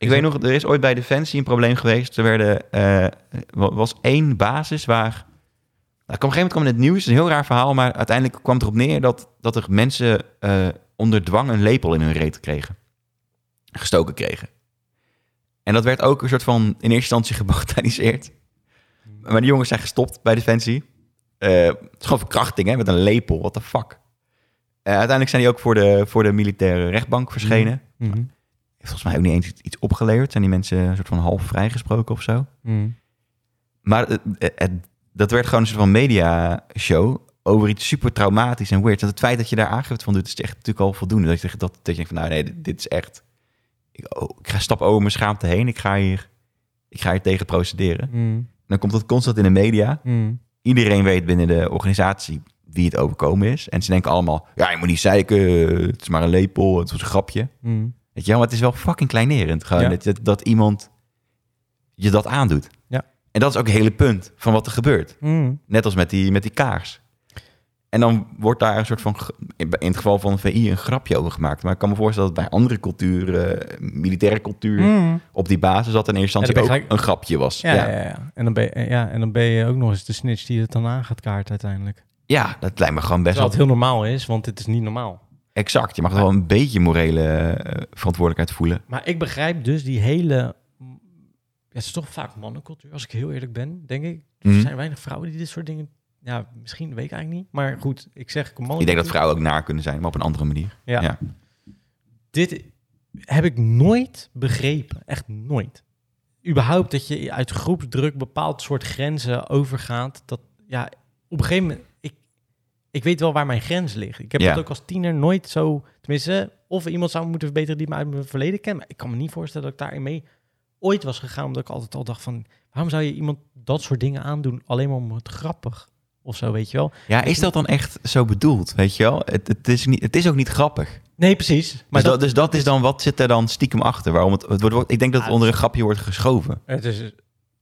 S2: Ik
S1: Is
S2: weet nog, er is ooit bij Defensie een probleem geweest. Er werden, eh, wa- was één basis waar... Nou, kwam op een gegeven moment kwam in het nieuws, een heel raar verhaal... maar uiteindelijk kwam het erop neer dat, dat er mensen eh, onder dwang een lepel in hun reet kregen. Gestoken kregen. En dat werd ook een soort van in eerste instantie gebagatelliseerd. Maar die jongens zijn gestopt bij Defensie. Eh, het is gewoon verkrachting, hè, met een lepel. What the fuck? Eh, uiteindelijk zijn die ook voor de, voor de militaire rechtbank verschenen
S1: Mhm.
S2: heeft volgens mij ook niet eens iets- iets opgeleverd. Zijn die mensen een soort van half vrijgesproken of zo.
S1: Mm.
S2: Maar het, het- dat werd gewoon een soort van media-show over iets super traumatisch en weird. Want het feit dat je daar aangifte van doet, is echt natuurlijk al voldoende. Dat je, zegt- dat, dat je denkt van, nou nee, dit, dit is echt... Ik, oh, ik ga stappen over mijn schaamte heen. Ik ga hier, ik ga hier tegen procederen. En
S1: Mm.
S2: dan komt dat constant in de media.
S1: Mm.
S2: Iedereen weet binnen de organisatie wie het overkomen is. En ze denken allemaal, ja, je moet niet zeiken. Het is maar een lepel. Het was een grapje.
S1: Mm.
S2: Weet je wel, maar het is wel fucking kleinerend. Gewoon
S1: Ja.
S2: dat, dat, dat iemand je dat aandoet.
S1: Ja.
S2: En dat is ook het hele punt van wat er gebeurt.
S1: Mm.
S2: Net als met die, met die kaars. En dan wordt daar een soort van, ge- in in het geval van VI, een grapje over gemact. Maar ik kan me voorstellen dat bij andere culturen, eh, militaire cultuur,
S1: Mm.
S2: op die basis dat in eerste
S1: Ja, dan
S2: instantie
S1: ben
S2: ook
S1: je gelijk-
S2: een grapje was.
S1: Ja, ja. Ja, ja. En, dan ben je, ja, en dan ben je ook nog eens de snitch die het dan aan gaat kaarten uiteindelijk.
S2: Ja, dat lijkt me gewoon
S1: Terwijl
S2: best wel
S1: het heel normaal is, want dit is niet normaal.
S2: exact. Je mag wel een beetje morele eh, verantwoordelijkheid voelen.
S1: Maar ik begrijp dus die hele... Ja, het is toch vaak mannencultuur, als ik heel eerlijk ben, denk ik.
S2: Mhm.
S1: Er zijn weinig vrouwen die dit soort dingen... Ja, misschien weet ik eigenlijk niet. Maar goed, ik zeg
S2: Ik denk
S1: mannencultuur.
S2: dat vrouwen ook naar kunnen zijn, maar op een andere manier.
S1: Ja.
S2: Ja.
S1: Dit heb ik nooit begrepen. Echt nooit. Überhaupt dat je uit groepsdruk bepaald soort grenzen overgaat. Dat, ja, op een gegeven moment... Ik, ik weet wel waar mijn grens ligt. Ik heb
S2: Ja.
S1: dat ook als tiener nooit zo... Tenminste, of iemand zou me moeten verbeteren die me uit mijn verleden kent. Maar ik kan me niet voorstellen dat ik daarin mee ooit was gegaan. Omdat ik altijd al dacht van... Waarom zou je iemand dat soort dingen aandoen? Alleen maar om het grappig of zo, weet je wel.
S2: ja, is dat dan echt zo bedoeld? Weet je wel, het, het, is, niet, het is ook niet grappig.
S1: Nee, precies.
S2: Maar
S1: Maar
S2: dus,
S1: dat,
S2: dat, dus dat is dan, wat zit er dan stiekem achter? Waarom het, het wordt, ik denk dat het onder een grapje wordt geschoven.
S1: Het is,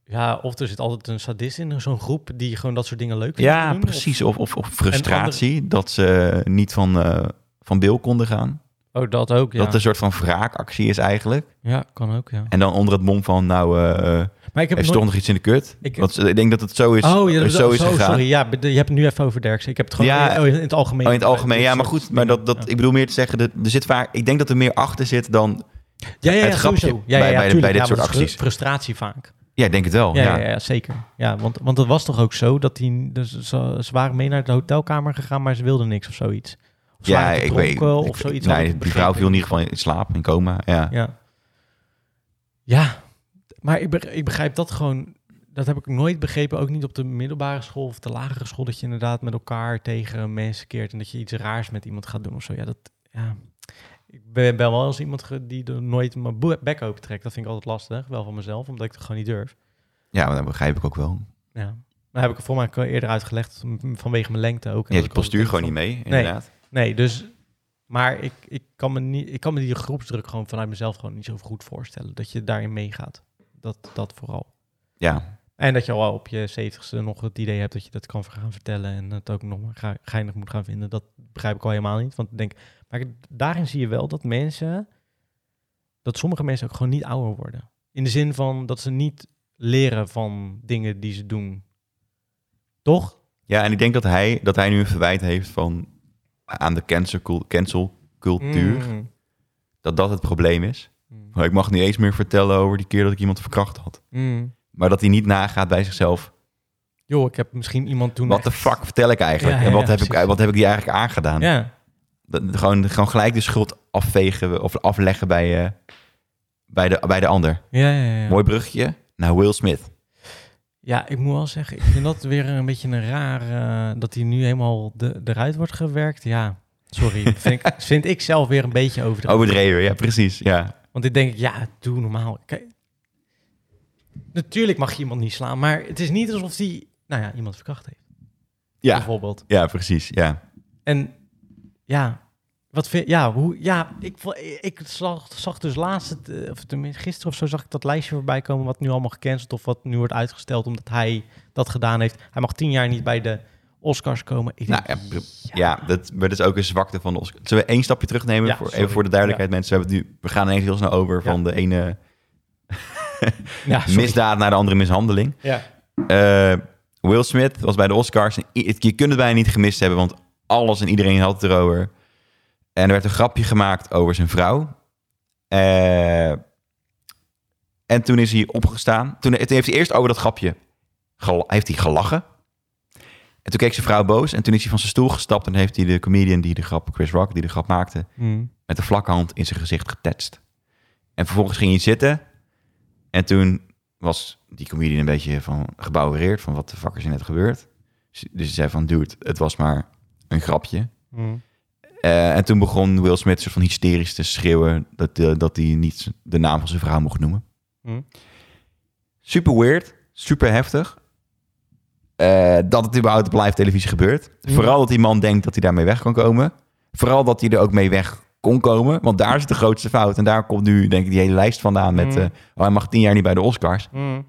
S1: ja, of er zit altijd een sadist in zo'n groep die gewoon dat soort dingen leuk vindt. te
S2: Ja,
S1: doen,
S2: precies. Of, of, of frustratie, dat ze niet van, eh, van beeld konden gaan.
S1: Of, oh, dat ook, ja.
S2: Dat het een soort van wraakactie is eigenlijk.
S1: Ja, kan ook, ja.
S2: En dan onder het mom van, nou, eh, eh,
S1: Maar ik heb
S2: heeft
S1: nooit...
S2: toch nog iets in de kut?
S1: Ik-
S2: Want ze- ik denk dat het zo is,
S1: Oh, ja, dat-
S2: zo is
S1: zo,
S2: gegaan.
S1: sorry. Ja, be- je hebt het nu even over Derksen. Ik heb het gewoon
S2: Ja.
S1: oh, in het algemeen.
S2: Oh, in het algemeen,
S1: Dit
S2: ja,
S1: soort
S2: maar goed. Maar dat, dat,
S1: dingen.
S2: ik bedoel meer te zeggen, er, er zit vaak, ik denk dat er meer achter zit dan...
S1: ja, ja, ja,
S2: het grapje
S1: sowieso. Ja, ja,
S2: bij-
S1: ja,
S2: bij de-
S1: tuurlijk.
S2: bij dit
S1: Ja,
S2: soort
S1: want het is
S2: acties.
S1: Frustratie vaak.
S2: Ja, ik denk het wel.
S1: Ja,
S2: ja.
S1: ja. Ja, zeker. Ja, want, want het was toch ook zo dat die, dus ze, ze waren mee naar de hotelkamer gegaan, maar ze wilden niks of zoiets. Of ze
S2: Ja,
S1: waren te
S2: ik weet
S1: dronken
S2: ik-
S1: of zoiets. had ik
S2: Nee, die
S1: begrepen.
S2: vrouw viel in ieder geval in slaap, in coma. Ja.
S1: Ja. Ja, maar ik, be- ik begrijp dat gewoon. Dat heb ik nooit begrepen, ook niet op de middelbare school of de lagere school, dat je inderdaad met elkaar tegen mensen keert en dat je iets raars met iemand gaat doen of zo. Ja, dat. Ja. Ik ben, ben wel eens iemand ge- die er nooit mijn bo- bek open trekt. Dat vind ik altijd lastig, wel van mezelf, omdat ik het gewoon niet durf.
S2: ja, maar dat begrijp ik ook wel.
S1: Ja. Maar heb ik er voor mij ook al eerder uitgelegd, m- vanwege mijn lengte ook.
S2: Je hebt je postuur gewoon niet
S1: mee.
S2: mee, inderdaad.
S1: Nee, dus. Maar ik, ik, kan me niet, ik kan me die groepsdruk gewoon vanuit mezelf gewoon niet zo goed voorstellen. Dat je daarin meegaat. Dat, dat vooral.
S2: Ja,
S1: En dat je al op je zeventigste nog het idee hebt dat je dat kan gaan vertellen. En het ook nog maar ge- geinig moet gaan vinden. Dat begrijp ik al helemaal niet. Want ik denk, maar ik- daarin zie je wel dat mensen. Dat sommige mensen ook gewoon niet ouder worden. In de zin van dat ze niet leren van dingen die ze doen. Toch?
S2: ja en ik denk dat hij, dat hij nu een verwijt heeft van aan de cancel, cancelcultuur.
S1: Mm.
S2: Dat dat het probleem is.
S1: Mm.
S2: Maar Ik mag niet eens meer vertellen over die keer dat ik iemand verkracht had.
S1: Mm.
S2: Maar dat hij niet nagaat bij zichzelf.
S1: Joh, ik heb misschien iemand toen.
S2: Wat de
S1: echt-
S2: fuck vertel ik eigenlijk?
S1: Ja, ja,
S2: en wat
S1: ja,
S2: heb, ik,
S1: precies.
S2: wat heb ik die eigenlijk aangedaan?
S1: Ja.
S2: Dat, gewoon, gewoon gelijk de schuld afvegen of afleggen bij, eh, bij, de, bij de ander.
S1: Ja, ja, ja.
S2: Mooi brugje naar Will Smith.
S1: Ja, ik moet wel zeggen, ik vind dat weer een beetje een raar... eh, dat hij nu helemaal de, eruit wordt gewerkt. Ja, sorry. Vind ik, vind ik zelf weer een beetje overdreven.
S2: Overdreven, ja, precies. Ja.
S1: Want ik denk, ja, doe normaal. Kijk, natuurlijk mag je iemand niet slaan, maar het is niet alsof hij... Nou ja, iemand verkracht heeft,
S2: Ja,
S1: bijvoorbeeld.
S2: ja, precies. Ja.
S1: En ja, wat vind ja, hoe, ja, ik, vo- ik zag, zag dus laatst, het, eh, of tenminste gisteren of zo, zag ik dat lijstje voorbij komen wat nu allemaal gecanceld of wat nu wordt uitgesteld omdat hij dat gedaan heeft. Hij mag tien jaar niet bij de Oscars komen. Ik
S2: Nou,
S1: denk,
S2: ja, pr- ja dat, maar dat is ook een zwakte van de Oscar. Zullen we één stapje terugnemen?
S1: Ja,
S2: voor, even
S1: sorry.
S2: voor de duidelijkheid, mensen. We, hebben het nu, we gaan ineens heel snel over van de ene
S1: ja, sorry.
S2: misdaad naar de andere mishandeling.
S1: Ja.
S2: Eh, Will Smith was bij de Oscars. En i- het- Je kunt het bijna niet gemist hebben, want alles en iedereen had het erover. En er werd een grapje gemaakt over zijn vrouw. Eh, en toen is hij opgestaan. Toen, toen heeft hij eerst over dat grapje gel- heeft hij gelachen. En toen keek zijn vrouw boos. En toen is hij van zijn stoel gestapt. En heeft hij de comedian die de grap, Chris Rock, die de grap maakte,
S1: Mm.
S2: met de vlakke hand in zijn gezicht getetst. En vervolgens ging hij zitten. En toen was die comedian een beetje van gebouwereerd van wat de fuck is er net gebeurd. Dus- Dus hij zei van, dude, het was maar een grapje.
S1: Mm.
S2: Eh, en toen begon Will Smith soort van hysterisch te schreeuwen dat, eh, dat hij niet z- de naam van zijn vrouw mocht noemen.
S1: Mm.
S2: Super weird, super heftig. Eh, dat het überhaupt op live televisie gebeurt.
S1: Mm.
S2: Vooral dat die man denkt dat hij daarmee weg kan komen. Vooral dat hij er ook mee weg kon komen. Want daar zit de grootste fout. En daar komt nu denk ik die hele lijst vandaan met...
S1: Mm.
S2: eh, oh, hij mag tien jaar niet bij de Oscars.
S1: Mm.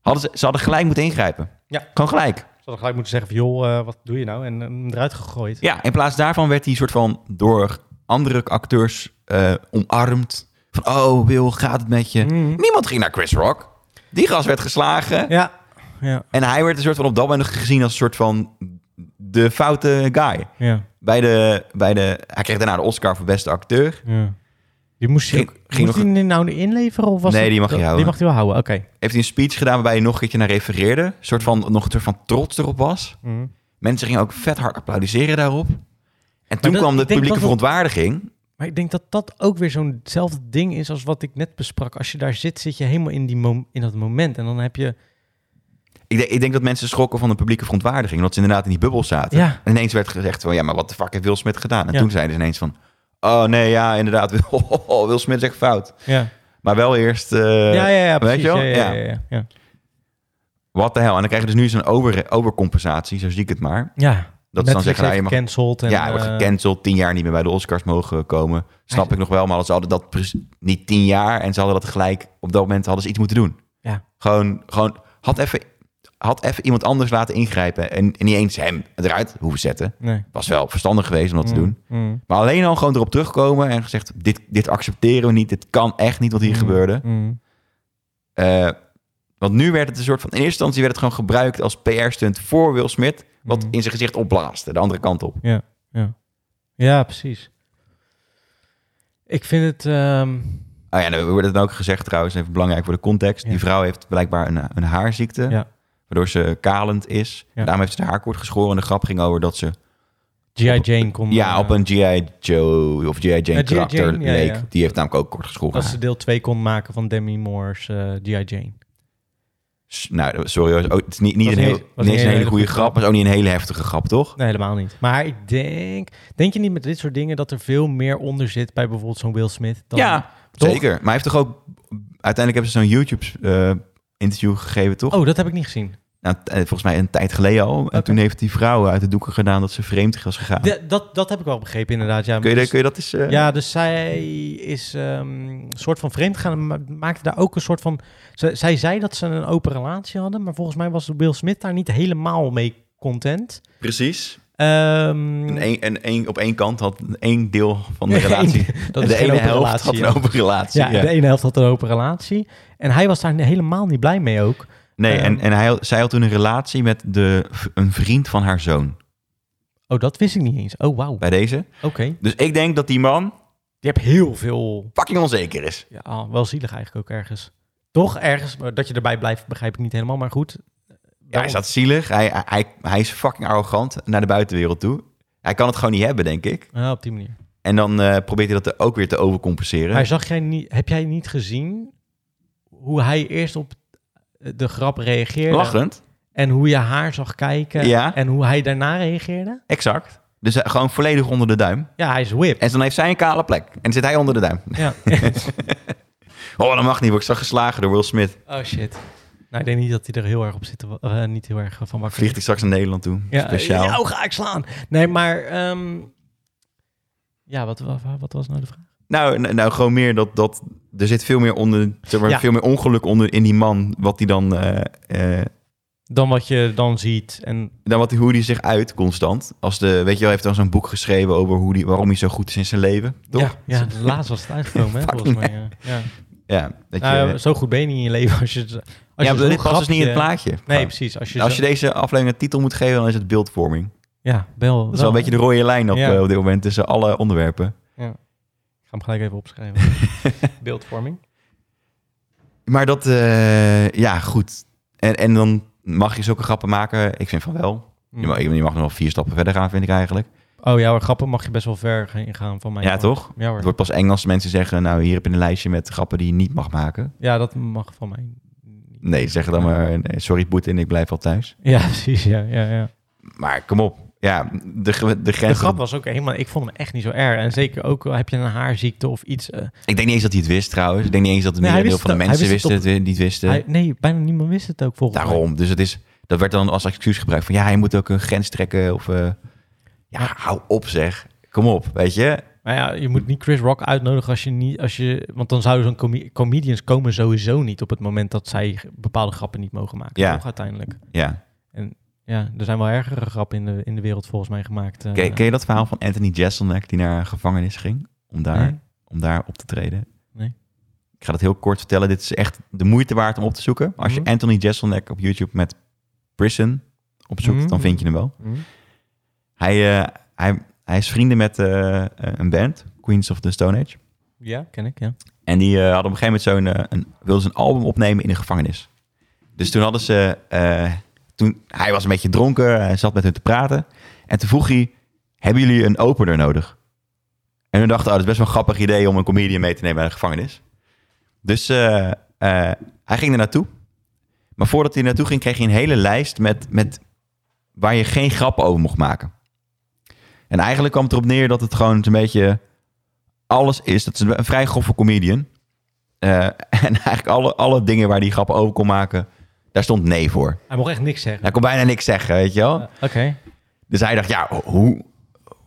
S2: Hadden ze, ze hadden gelijk moeten ingrijpen.
S1: Ja.
S2: Gewoon gelijk.
S1: hadden gelijk moeten zeggen van, joh, eh, wat doe je nou? En hem eruit gegooid.
S2: Ja, in plaats daarvan werd hij soort van door andere acteurs eh, omarmd. Van, oh Wil, gaat het met je?
S1: Mm.
S2: Niemand ging naar Chris Rock. Die gast werd geslagen.
S1: Ja. Ja.
S2: En hij werd een soort van op dat moment gezien als een soort van de foute guy.
S1: Ja.
S2: Bij de, bij de, hij kreeg daarna de Oscar voor beste acteur.
S1: ja. Die moest hij,
S2: Ging-
S1: ook-
S2: ging
S1: moest
S2: nog-
S1: hij die nou inleveren? Of was
S2: Nee,
S1: het- Oh,
S2: die mag hij houden.
S1: Die mag hij wel houden, oké.
S2: Heeft hij een speech gedaan waarbij hij nog een keertje naar refereerde. Een soort van, nog een soort van trots erop was.
S1: Mm.
S2: Mensen gingen ook vet hard applaudisseren daarop. En toen
S1: dat-
S2: kwam de
S1: ik denk
S2: publieke
S1: dat dat-
S2: verontwaardiging.
S1: Maar ik denk dat dat ook weer zo'nzelfde ding is als wat ik net besprak. Als je daar zit, zit je helemaal in, die mom- in dat moment. En dan heb je...
S2: Ik denk, ik denk dat mensen schrokken van de publieke verontwaardiging. Omdat ze inderdaad in die bubbel zaten.
S1: Ja.
S2: En ineens werd gezegd van, ja, maar wat de fuck heeft Will Smith gedaan? En
S1: Ja.
S2: toen zeiden ze ineens van, oh nee, ja, inderdaad, Oh, Will, Will Smith is echt fout.
S1: Ja,
S2: Maar wel eerst, eh,
S1: ja, ja, ja, precies.
S2: weet je wel?
S1: Ja, ja,
S2: Ja.
S1: ja, ja, ja.
S2: wat de hel. En dan krijg je dus nu zo'n over, overcompensatie, zo zie ik het maar.
S1: Ja,
S2: Dat
S1: Netflix
S2: ze dan zeggen, nou,
S1: heeft
S2: je mag,
S1: gecanceld. En,
S2: ja, hij wordt
S1: eh,
S2: gecanceld, tien jaar niet meer bij de Oscars mogen komen. Snap
S1: Hij-
S2: ik nog wel, maar ze hadden dat pre- niet tien jaar en ze hadden dat gelijk, op dat moment hadden ze iets moeten doen.
S1: Ja.
S2: Gewoon, gewoon had even... Had even iemand anders laten ingrijpen en, en niet eens hem eruit hoeven zetten.
S1: Nee.
S2: Was wel verstandig geweest om dat te
S1: Mm,
S2: doen.
S1: mm,
S2: Maar alleen al gewoon erop terugkomen en gezegd: dit, dit accepteren we niet, dit kan echt niet wat hier
S1: Mm.
S2: gebeurde.
S1: mm.
S2: Eh, want nu werd het een soort van. In eerste instantie werd het gewoon gebruikt als PR-stunt voor Will Smith, wat
S1: Mm.
S2: in zijn gezicht opblaasde, de andere kant op.
S1: Ja, precies. Ik vind het... ehm,
S2: Oh ja, er wordt dan ook gezegd trouwens, even belangrijk voor de context:
S1: Ja.
S2: die vrouw heeft blijkbaar een, een haarziekte,
S1: Ja.
S2: waardoor ze kalend is.
S1: Ja.
S2: Daarom heeft ze haar haarkort geschoren en de grap ging over dat ze
S1: G.I.
S2: Op-
S1: Jane eh, komt...
S2: ja, op een G.I. Joe of G.I. Jane
S1: Ja, G.I.
S2: karakter
S1: Jane, ja,
S2: leek.
S1: ja.
S2: Die heeft namelijk ook kort geschoren.
S1: Dat ze deel 2 kon maken van Demi Moore's eh, G.I. Jane.
S2: S- Nou, sorry, hoor. Oh, het is niet, niet,
S1: Was
S2: een,
S1: niet-
S2: heel,
S1: was
S2: niet eens een hele goede grap, maar het is ook niet een hele heftige grap, toch?
S1: Nee, helemaal niet. Maar ik denk... Denk je niet met dit soort dingen dat er veel meer onder zit bij bijvoorbeeld zo'n Will Smith? Dan, toch?
S2: zeker. Maar hij heeft toch ook... Uiteindelijk hebben ze zo'n YouTube-interview gegeven, toch?
S1: Oh, dat heb ik niet gezien.
S2: Nou, t- eh, volgens mij een tijd geleden al. En
S1: Oké.
S2: toen heeft die vrouw uit de doeken gedaan dat ze vreemd was gegaan.
S1: De- dat, dat heb ik wel begrepen, inderdaad. Ja,
S2: kun, je,
S1: Dus-
S2: kun je dat eens... eh,
S1: ja dus zij is ehm, een soort van vreemd gegaan. en ma- Maakte daar ook een soort van. Zij, zij zei dat ze een open relatie hadden. Maar volgens mij was Will Smith daar niet helemaal mee content.
S2: Precies.
S1: Ehm,
S2: En, één- en één- op één kant had één deel van de relatie...
S1: dat
S2: en
S1: is
S2: de
S1: geen
S2: ene
S1: open
S2: helft
S1: relatie,
S2: had
S1: ja.
S2: een open relatie.
S1: ja,
S2: Ja,
S1: de ene helft had een open relatie. En hij was daar helemaal niet blij mee ook.
S2: Nee, en,
S1: Ehm.
S2: en hij, had- zij had toen een relatie met de, v- een vriend van haar zoon.
S1: Oh, dat wist ik niet eens. Oh, wauw. Oké.
S2: Bij deze. Dus ik denk dat die man
S1: Je hebt heel veel...
S2: fucking onzeker is.
S1: Ja, ah, wel zielig eigenlijk ook ergens. Toch ergens, maar dat je erbij blijft begrijp ik niet helemaal. Maar goed.
S2: Ja, hij
S1: Waarom?
S2: is dat zielig. Hij, hij- hij, hij is fucking arrogant naar de buitenwereld toe. Hij kan het gewoon niet hebben, denk ik.
S1: Ah, op die manier.
S2: En dan eh, probeert hij dat ook weer te overcompenseren.
S1: Maar zag jij niet, heb jij niet gezien hoe hij eerst op de grap reageerde?
S2: Lachend.
S1: En hoe je haar zag kijken?
S2: Ja.
S1: En hoe hij daarna reageerde?
S2: Exact. Dus hij- gewoon volledig onder de duim.
S1: Ja, hij is whip.
S2: En dan heeft zij een kale plek. En zit hij onder de duim.
S1: Ja.
S2: Oh, dat mag niet. Word ik zag geslagen door Will Smith.
S1: oh shit. Nou, ik denk niet dat hij er heel erg op zit, te wa- eh, niet heel erg van wakker.
S2: Vliegt hij straks naar Nederland toe.
S1: ja,
S2: Speciaal.
S1: Ja, oh, ga ik slaan. Nee, maar... ehm, ja, wat, wa- wa- wat was nou de vraag?
S2: Nou, nou, nou, gewoon meer dat, dat... Er zit veel meer, onder, zeg maar,
S1: Ja.
S2: veel meer ongeluk onder in die man. Wat hij dan... eh, eh,
S1: Dan wat je dan ziet en...
S2: dan wat, hij- hoe hij zich uit constant. Als de, weet je wel, hij heeft dan zo'n boek geschreven over hoe die, waarom hij zo goed is in zijn leven. Toch?
S1: Ja, ja, de laatste was het uitgekomen, hè, volgens mij. Ja. Ja.
S2: Ja, dat je,
S1: Nou, zo goed ben je niet in je leven als je... Als
S2: ja,
S1: je
S2: maar dit
S1: zo'n
S2: past dus niet in het
S1: grapje-
S2: plaatje.
S1: Nee,
S2: Gewoon.
S1: precies. dus- Als je,
S2: als
S1: zo-
S2: je deze aflevering een titel moet geven, dan is het beeldvorming.
S1: Ja, bel.
S2: Dat is wel een beetje de rode lijn op,
S1: Ja.
S2: eh, op dit moment tussen alle onderwerpen.
S1: Ik ga hem gelijk even opschrijven. Beeldvorming.
S2: Maar dat, eh, ja, goed. En, en dan mag je zulke grappen maken. Ik vind van wel. Je mag, je mag nog wel vier stappen verder gaan, vind ik eigenlijk.
S1: Hmm. Oh ja, hoor, grappen mag je best wel ver ingaan van mij.
S2: ja, toch?
S1: Ja, hoor.
S2: Het wordt pas eng als mensen zeggen, nou, hier heb je een lijstje met grappen die je niet mag maken.
S1: ja, dat mag van mij. niet.
S2: Nee, zeg dan maar, nee, sorry Poetin, ik blijf al thuis.
S1: Ja, precies. Ja, ja, ja.
S2: Maar kom op. Ja, de, ge- de
S1: De
S2: grens...
S1: grap was ook helemaal... Ik vond hem echt niet zo erg. En zeker ook al heb je een haarziekte of iets... eh,
S2: Ik denk niet eens dat hij het wist trouwens. Ik denk niet eens dat het
S1: Nee, hij
S2: merendeel
S1: wist
S2: van de
S1: het ook.
S2: mensen
S1: Hij wist
S2: wisten
S1: het
S2: het, eh, niet wisten.
S1: hij- nee, bijna niemand wist het ook volgens mij.
S2: Daarom. Dus het is, dat werd dan als excuus gebruikt. Van ja, hij moet ook een grens trekken. Of eh, ja, hou op zeg. Kom op, weet je.
S1: Maar ja, je moet niet Chris Rock uitnodigen als je niet... Als je, want dan zouden zo'n comi- comedians komen sowieso niet... op het moment dat zij bepaalde grappen niet mogen maken.
S2: Ja.
S1: Toch uiteindelijk.
S2: Ja.
S1: Ja, er zijn wel ergere grappen in de, in de wereld volgens mij gemaakt. eh.
S2: Ken, ken je dat verhaal van Anthony Jeselnik die naar een gevangenis ging om daar,
S1: Nee?
S2: om daar op te treden?
S1: Nee.
S2: Ik ga dat heel kort vertellen. Dit is echt de moeite waard om op te zoeken. Als je
S1: Mhm.
S2: Anthony Jeselnik op YouTube met prison opzoekt,
S1: Mhm.
S2: dan vind je hem wel.
S1: Hm?
S2: Hij, eh, hij, hij is vrienden met eh, eh, een band, Queens of the Stone Age.
S1: Ja, ken ik, ja.
S2: En die eh, hadden op een gegeven moment zo'n, eh, een, wilden ze een album opnemen in een gevangenis. Dus toen hadden ze, eh, toen, hij was een beetje dronken, hij zat met hun te praten. En toen vroeg hij, hebben jullie een opener nodig? En toen dachten, oh, dat is best wel een grappig idee om een comedian mee te nemen naar de gevangenis. Dus eh, eh, hij ging er naartoe. Maar voordat hij naartoe ging, kreeg hij een hele lijst met, met waar je geen grappen over mocht maken. En eigenlijk kwam het erop neer dat het gewoon een beetje alles is. Dat is een vrij grove comedian. Eh, en eigenlijk alle, alle dingen waar hij grappen over kon maken, daar stond nee voor.
S1: Hij mocht echt niks zeggen.
S2: Hij kon bijna niks zeggen, weet je wel.
S1: Eh, Oké.
S2: Dus hij dacht, ja, hoe,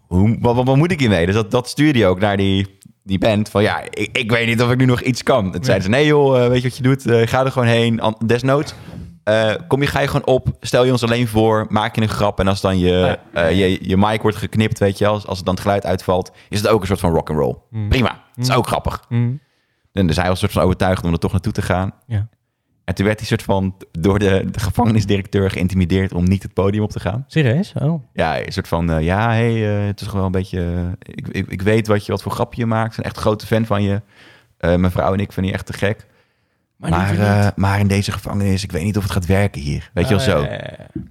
S2: hoe, wat, wat, wat moet ik hiermee? Dus dat, dat stuurde hij ook naar die, die band. Van ja, ik, ik weet niet of ik nu nog iets kan. En toen zeiden ze, nee joh, eh, weet je wat je doet? Eh, ga er gewoon heen. An- Desnoods, eh, kom je, ga je gewoon op. Stel je ons alleen voor, maak je een grap. En als dan je, eh, je, je mic wordt geknipt, weet je wel. Als, als het dan het geluid uitvalt, is het ook een soort van rock'n'roll.
S1: Mm.
S2: Prima, dat is ook grappig.
S1: Hm.
S2: En dus hij was soort van overtuigd om er toch naartoe te gaan.
S1: Ja.
S2: En toen werd hij soort van door de, de gevangenisdirecteur geïntimideerd om niet het podium op te gaan.
S1: Serieus? Oh.
S2: Ja, een soort van, eh, ja, hey, eh, het is gewoon een beetje... eh, ik, ik, ik weet wat, je, wat voor grapje je maakt. Ik ben echt een grote fan van je. Eh, mijn vrouw en ik vinden je echt te gek. Maar, eh, maar in deze gevangenis, ik weet niet of het gaat werken hier. Weet je
S1: Eh, Oh,
S2: wel zo.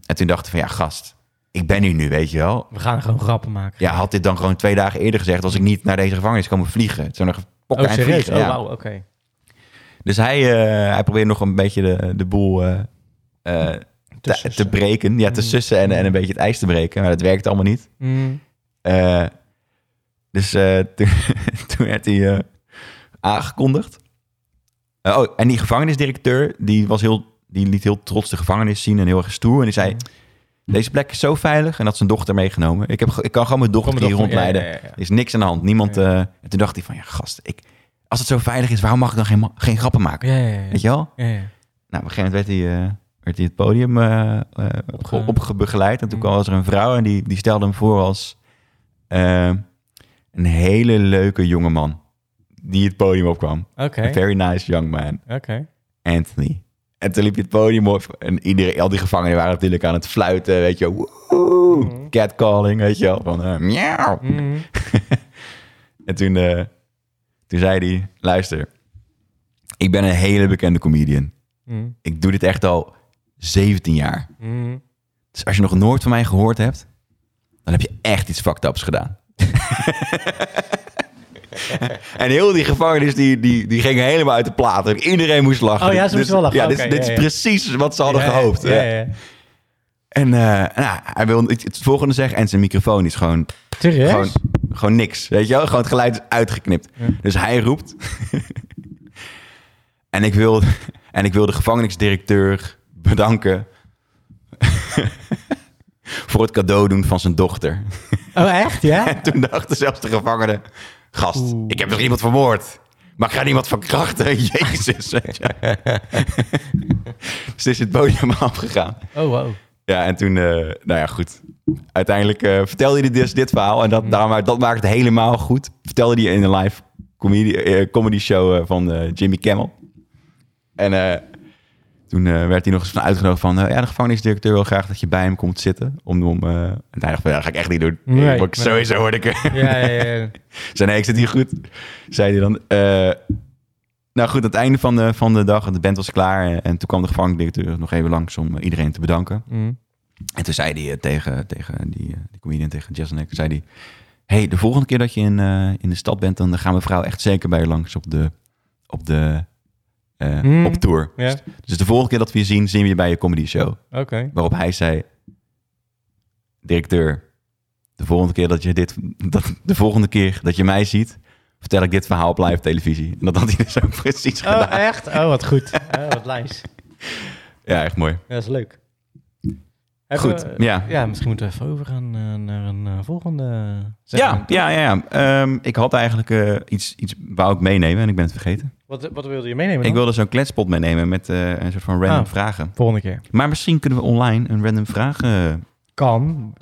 S2: En toen dacht ik van, ja, gast, ik ben hier nu, weet je wel.
S1: we gaan gewoon grappen maken.
S2: Ja, had dit dan gewoon twee dagen eerder gezegd... als ik niet naar deze gevangenis komen vliegen. Het zou nog pokken
S1: oh,
S2: en
S1: serieus?
S2: vliegen.
S1: oh,
S2: ja.
S1: wauw, oké.
S2: Dus hij, eh, hij probeerde nog een beetje de, de boel eh, eh,
S1: Te
S2: te,
S1: sussen.
S2: te breken. Ja, te
S1: Mm.
S2: sussen en, en een beetje het ijs te breken. Maar dat werkte allemaal niet.
S1: Hm.
S2: Eh, dus eh, toen, toen werd hij eh, aangekondigd. Eh, oh, en die gevangenisdirecteur, die, was heel, die liet heel trots de gevangenis zien en heel erg stoer. En
S1: Hm.
S2: die zei,
S1: Mm.
S2: deze plek is zo veilig. En had zijn dochter meegenomen. Ik, heb, ge- ik kan gewoon mijn dochter
S1: Kom maar,
S2: hier
S1: dochter. Ja,
S2: rondleiden.
S1: ja, ja, ja.
S2: Er is niks aan de hand. Niemand,
S1: Nee.
S2: eh, en toen dacht hij van, ja gast, ik, als het zo veilig is, waarom mag ik dan geen, ma- geen grappen maken?
S1: Ja, ja, ja.
S2: Weet je wel?
S1: Ja, ja.
S2: Nou, op een gegeven moment werd hij, eh, werd hij het podium eh eh,
S1: Opge-
S2: opge- opgebegeleid. En toen
S1: Mm.
S2: kwam was er een vrouw en die, die stelde hem voor als eh, een hele leuke jongeman. Die het podium opkwam.
S1: Oké,
S2: A very nice young man,
S1: oké.
S2: Anthony. En toen liep hij het podium op en iedereen, al die gevangenen waren natuurlijk aan het fluiten, weet je. Woehoe,
S1: Mm.
S2: catcalling, weet je wel. Van eh, miauw.
S1: Hm.
S2: En toen, eh, toen zei hij, luister, ik ben een hele bekende comedian.
S1: Hm.
S2: Ik doe dit echt al 17 jaar.
S1: Hm.
S2: Dus als je nog nooit van mij gehoord hebt, dan heb je echt iets fucked ups gedaan. en heel die gevangenis, die, die, die gingen helemaal uit de platen. Iedereen moest lachen.
S1: Oh ja, ze
S2: Dit-
S1: moesten wel lachen.
S2: Ja, dit,
S1: Oké,
S2: dit
S1: ja, ja.
S2: is precies wat ze hadden
S1: Ja,
S2: gehoopt.
S1: Ja, ja, ja.
S2: En eh, nou, hij wil het, het volgende zeggen. En zijn microfoon is gewoon,
S1: Serieus?
S2: gewoon, gewoon niks. Weet je wel? Gewoon het geluid is uitgeknipt.
S1: Ja.
S2: Dus hij roept. en, ik wil, en ik wil de gevangenisdirecteur bedanken... voor het cadeau doen van zijn dochter.
S1: Oh, echt? Ja?
S2: En toen dachten zelfs de gevangenen... Gast,
S1: Oeh.
S2: ik heb nog iemand vermoord. Maar ik ga niemand verkrachten. Jezus. weet je. dus is het podium afgegaan.
S1: Oh, wow.
S2: Ja, en toen... eh, nou ja, goed. Uiteindelijk eh, vertelde hij dus dit verhaal. En dat, daarom, dat maakt het helemaal goed. Vertelde hij in een live comedy, eh, comedy show eh, van eh, Jimmy Kimmel. En eh, toen eh, werd hij nog eens van uitgenodigd van... eh, ja, de gevangenisdirecteur wil graag dat je bij hem komt zitten. Om, om, eh, en hij dacht van, ja, dat ga ik echt niet doen.
S1: Nee,
S2: Ik word-
S1: nee.
S2: Sowieso word ik er.
S1: Ja, ja, ja.
S2: Zei, nee, ik zit hier goed. Zei hij dan. eh, nou goed, aan het einde van de, van de dag, de band was klaar. En, en toen kwam de gevangenisdirecteur nog even langs om eh, iedereen te bedanken.
S1: Hm.
S2: En toen zei hij eh, tegen, tegen die, eh, die comedian, tegen Jessenek, zei hij... hey, de volgende keer dat je in, eh, in de stad bent, dan gaan mevrouw echt zeker bij je langs op de, op de eh,
S1: Hmm.
S2: op tour.
S1: Ja,
S2: Dus de volgende keer dat we je zien, zien we je bij je comedy show.
S1: oké.
S2: Waarop hij zei: Directeur, de volgende keer dat je dit, dat, de volgende keer dat je mij ziet, vertel ik dit verhaal op live televisie. En dat had hij dus ook precies
S1: Oh,
S2: gedaan.
S1: echt? Oh, wat goed. Oh, wat lijst.
S2: Ja, echt mooi.
S1: Ja, dat is leuk. Hebben
S2: Goed,
S1: we-
S2: ja.
S1: Ja, misschien moeten we even overgaan eh, naar een eh, volgende
S2: Ja,
S1: segment.
S2: ja, ja. ja. Ehm, ik had eigenlijk eh, iets, iets wou ik meenemen en ik ben het vergeten.
S1: Wat, wat wilde je meenemen
S2: Ik
S1: dan?
S2: wilde zo'n kletspot meenemen met eh, een soort van random
S1: Ah.
S2: vragen.
S1: Volgende keer.
S2: Maar misschien kunnen we online een random vragen eh,
S1: Kan.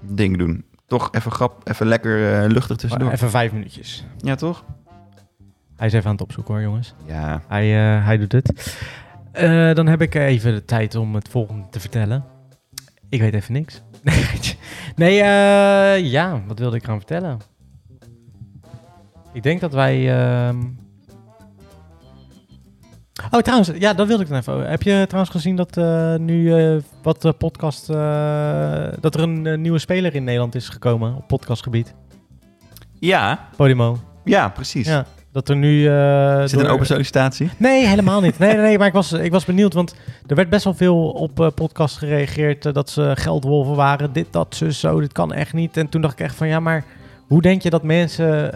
S2: ding doen. Toch even grap, even lekker eh, luchtig tussendoor.
S1: Even vijf minuutjes.
S2: Ja, toch?
S1: Hij is even aan het opzoeken hoor, jongens.
S2: Ja.
S1: Hij, eh, hij doet het. Eh, dan heb ik even de tijd om het volgende te vertellen. Ik weet even niks. Nee, geitje. nee eh, ja, wat wilde ik gaan vertellen? Ik denk dat wij... ehm, Oh, trouwens, ja, dat wilde ik dan even. over. Heb je trouwens gezien dat eh, nu eh, wat eh, podcast... eh, dat er een eh, nieuwe speler in Nederland is gekomen op podcastgebied?
S2: Ja,
S1: Podimo.
S2: ja precies.
S1: Ja, dat er nu... eh,
S2: Is het een
S1: door-
S2: open sollicitatie?
S1: Nee, helemaal niet. Nee, nee, nee maar ik was, ik was benieuwd, want er werd best wel veel op eh podcast gereageerd eh, dat ze geldwolven waren. Dit, dat, zus, zo, dit kan echt niet. En toen dacht ik echt van, ja, maar hoe denk je dat mensen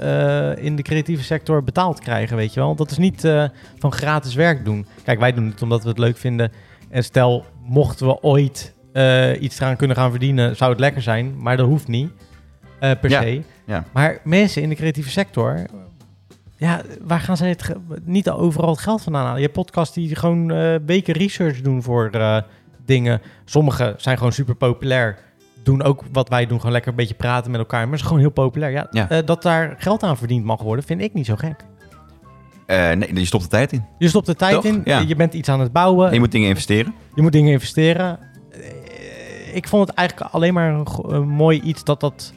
S1: eh, in de creatieve sector betaald krijgen, weet je wel? Want dat is niet eh, van gratis werk doen. Kijk, wij doen het omdat we het leuk vinden. En stel, mochten we ooit eh, iets eraan kunnen gaan verdienen, zou het lekker zijn. Maar dat hoeft niet, eh, per
S2: Ja,
S1: se.
S2: ja.
S1: Maar mensen in de creatieve sector, ja, waar gaan ze het ge- niet overal het geld vandaan halen? Je hebt podcasts die gewoon eh weken research doen voor eh, dingen. Sommige zijn gewoon super populair. Doen ook wat wij doen, gewoon lekker een beetje praten met elkaar. Maar het is gewoon heel populair. Ja,
S2: Ja.
S1: eh, dat daar geld aan verdiend mag worden, vind ik niet zo gek.
S2: Eh, nee, je stopt de tijd in.
S1: Je stopt de tijd
S2: Toch?
S1: in,
S2: Ja.
S1: je bent iets aan het bouwen,
S2: En je moet dingen investeren.
S1: je moet dingen investeren. Eh, Ik vond het eigenlijk alleen maar een, go- een mooi iets dat dat,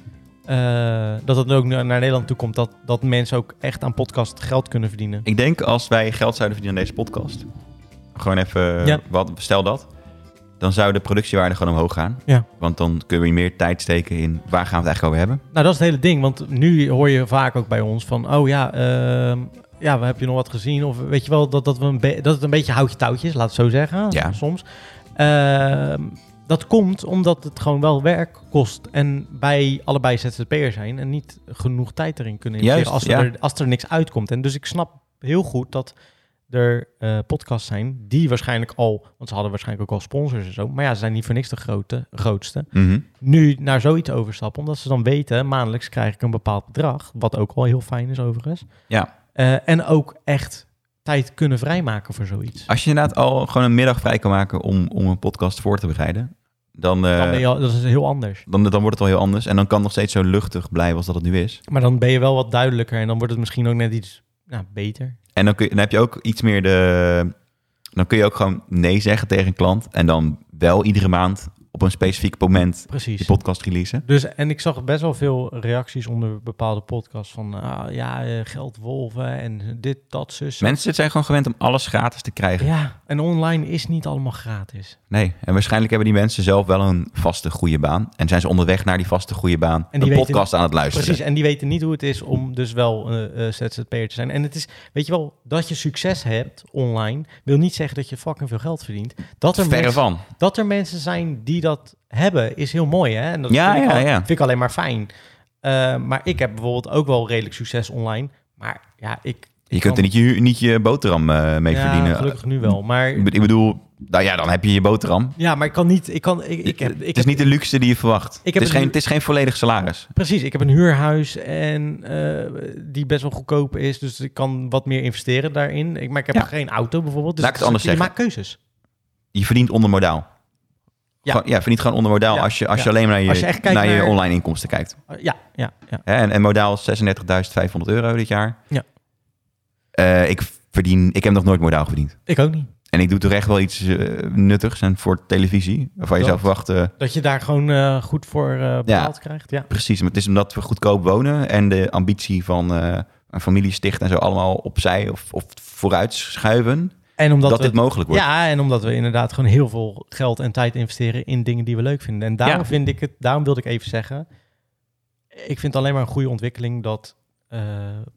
S1: eh, dat dat ook naar naar Nederland toe komt. Dat, dat mensen ook echt aan podcast geld kunnen verdienen.
S2: Ik denk als wij geld zouden verdienen aan deze podcast. Gewoon even,
S1: Ja.
S2: wat, stel dat. Dan zou de productiewaarde gewoon omhoog gaan.
S1: Ja.
S2: Want dan kunnen we meer tijd steken in waar gaan we het eigenlijk over hebben.
S1: Nou, dat is het hele ding. Want nu hoor je vaak ook bij ons van... oh ja, ehm, ja we heb je nog wat gezien? Of weet je wel, dat, dat, we een be- dat het een beetje houtje touwtjes, laat het zo zeggen,
S2: Ja.
S1: soms. Ehm, dat komt omdat het gewoon wel werk kost. En wij allebei ZZP'er zijn en niet genoeg tijd erin kunnen investeren...
S2: Juist,
S1: als,
S2: ja.
S1: er, als er niks uitkomt. En dus ik snap heel goed dat er eh, podcasts zijn die waarschijnlijk al... want ze hadden waarschijnlijk ook al sponsors en zo... maar ja, ze zijn niet voor niks de grote, grootste
S2: Mhm.
S1: nu naar zoiets overstappen. Omdat ze dan weten, maandelijks krijg ik een bepaald bedrag. Wat ook wel heel fijn is overigens.
S2: Ja.
S1: Eh, en ook echt tijd kunnen vrijmaken voor zoiets.
S2: Als je inderdaad al gewoon een middag vrij kan maken om, om een podcast voor te bereiden. Dan, eh,
S1: dan ben je al- dat is heel anders.
S2: dan, dan wordt het al heel anders. En dan kan het nog steeds zo luchtig blijven als dat het nu is.
S1: Maar dan ben je wel wat duidelijker. En dan wordt het misschien ook net iets nou, beter.
S2: En dan, kun je, dan heb je ook iets meer de... Dan kun je ook gewoon nee zeggen tegen een klant. En dan wel iedere maand op een specifiek moment
S1: Precies.
S2: die podcast releasen.
S1: Dus, en ik zag best wel veel reacties onder bepaalde podcasts van ah, ja, eh, geldwolven en dit, dat, zus.
S2: Mensen zijn gewoon gewend om alles gratis te krijgen.
S1: Ja, en online is niet allemaal gratis.
S2: Nee, en waarschijnlijk hebben die mensen zelf wel een vaste goede baan. En zijn ze onderweg naar die vaste goede baan
S1: En
S2: en
S1: die
S2: een
S1: weten-
S2: podcast aan het luisteren.
S1: Precies, en die weten niet hoe het is om dus wel eh eh, ZZP'er te zijn. En het is, weet je wel, dat je succes hebt online, wil niet zeggen dat je fucking veel geld verdient. Dat er,
S2: Verre
S1: mensen,
S2: van.
S1: dat er mensen zijn die dat hebben, is heel mooi, hè? En dat
S2: Ja,
S1: vind, ik
S2: ja,
S1: al-
S2: ja.
S1: vind ik alleen maar fijn. Eh, maar ik heb bijvoorbeeld ook wel redelijk succes online, maar ja, ik... ik
S2: Je
S1: kan-
S2: kunt er niet je, niet je boterham eh, mee
S1: ja,
S2: verdienen.
S1: gelukkig nu wel, maar...
S2: Ik be- Ik bedoel, nou ja, dan heb je je boterham.
S1: Ja, maar ik kan niet... Ik kan, ik, ik heb, ik
S2: het is
S1: heb-
S2: niet de luxe die je verwacht.
S1: heb
S2: het, is
S1: het
S2: geen,
S1: nu-
S2: het is geen volledig salaris.
S1: Precies, ik heb een huurhuis en eh, die best wel goedkoop is, dus ik kan wat meer investeren daarin. Ik, maar ik heb
S2: Ja.
S1: geen auto bijvoorbeeld, dus
S2: Laat ik het anders
S1: je
S2: zeggen.
S1: maakt keuzes.
S2: Je verdient onder modaal.
S1: Ja.
S2: Gewoon- ja, je verdient gewoon onder modaal
S1: Ja,
S2: als je, als
S1: ja.
S2: je alleen maar naar je,
S1: Als je echt
S2: naar,
S1: kijkt
S2: je
S1: naar-
S2: online inkomsten kijkt.
S1: Eh, ja, ja, ja.
S2: Hè, En, en modaal is 36.500 euro dit jaar.
S1: Ja.
S2: Eh, ik, verdien, ik heb nog nooit modaal verdiend.
S1: Ik ook niet.
S2: En ik doe toch echt wel iets eh, nuttigs en voor televisie. Waarvan je
S1: Dat.
S2: zou verwachten,
S1: Dat je daar gewoon eh, goed voor eh, betaald krijgt, ja.
S2: precies. Maar het is omdat we goedkoop wonen en de ambitie van eh, een familie sticht en zo allemaal opzij of, of vooruit schuiven.
S1: En omdat
S2: Dat,
S1: we,
S2: dit mogelijk wordt.
S1: ja, en omdat we inderdaad gewoon heel veel geld en tijd investeren in dingen die we leuk vinden. En daarom
S2: Ja.
S1: vind ik het, daarom wilde ik even zeggen, ik vind het alleen maar een goede ontwikkeling dat eh,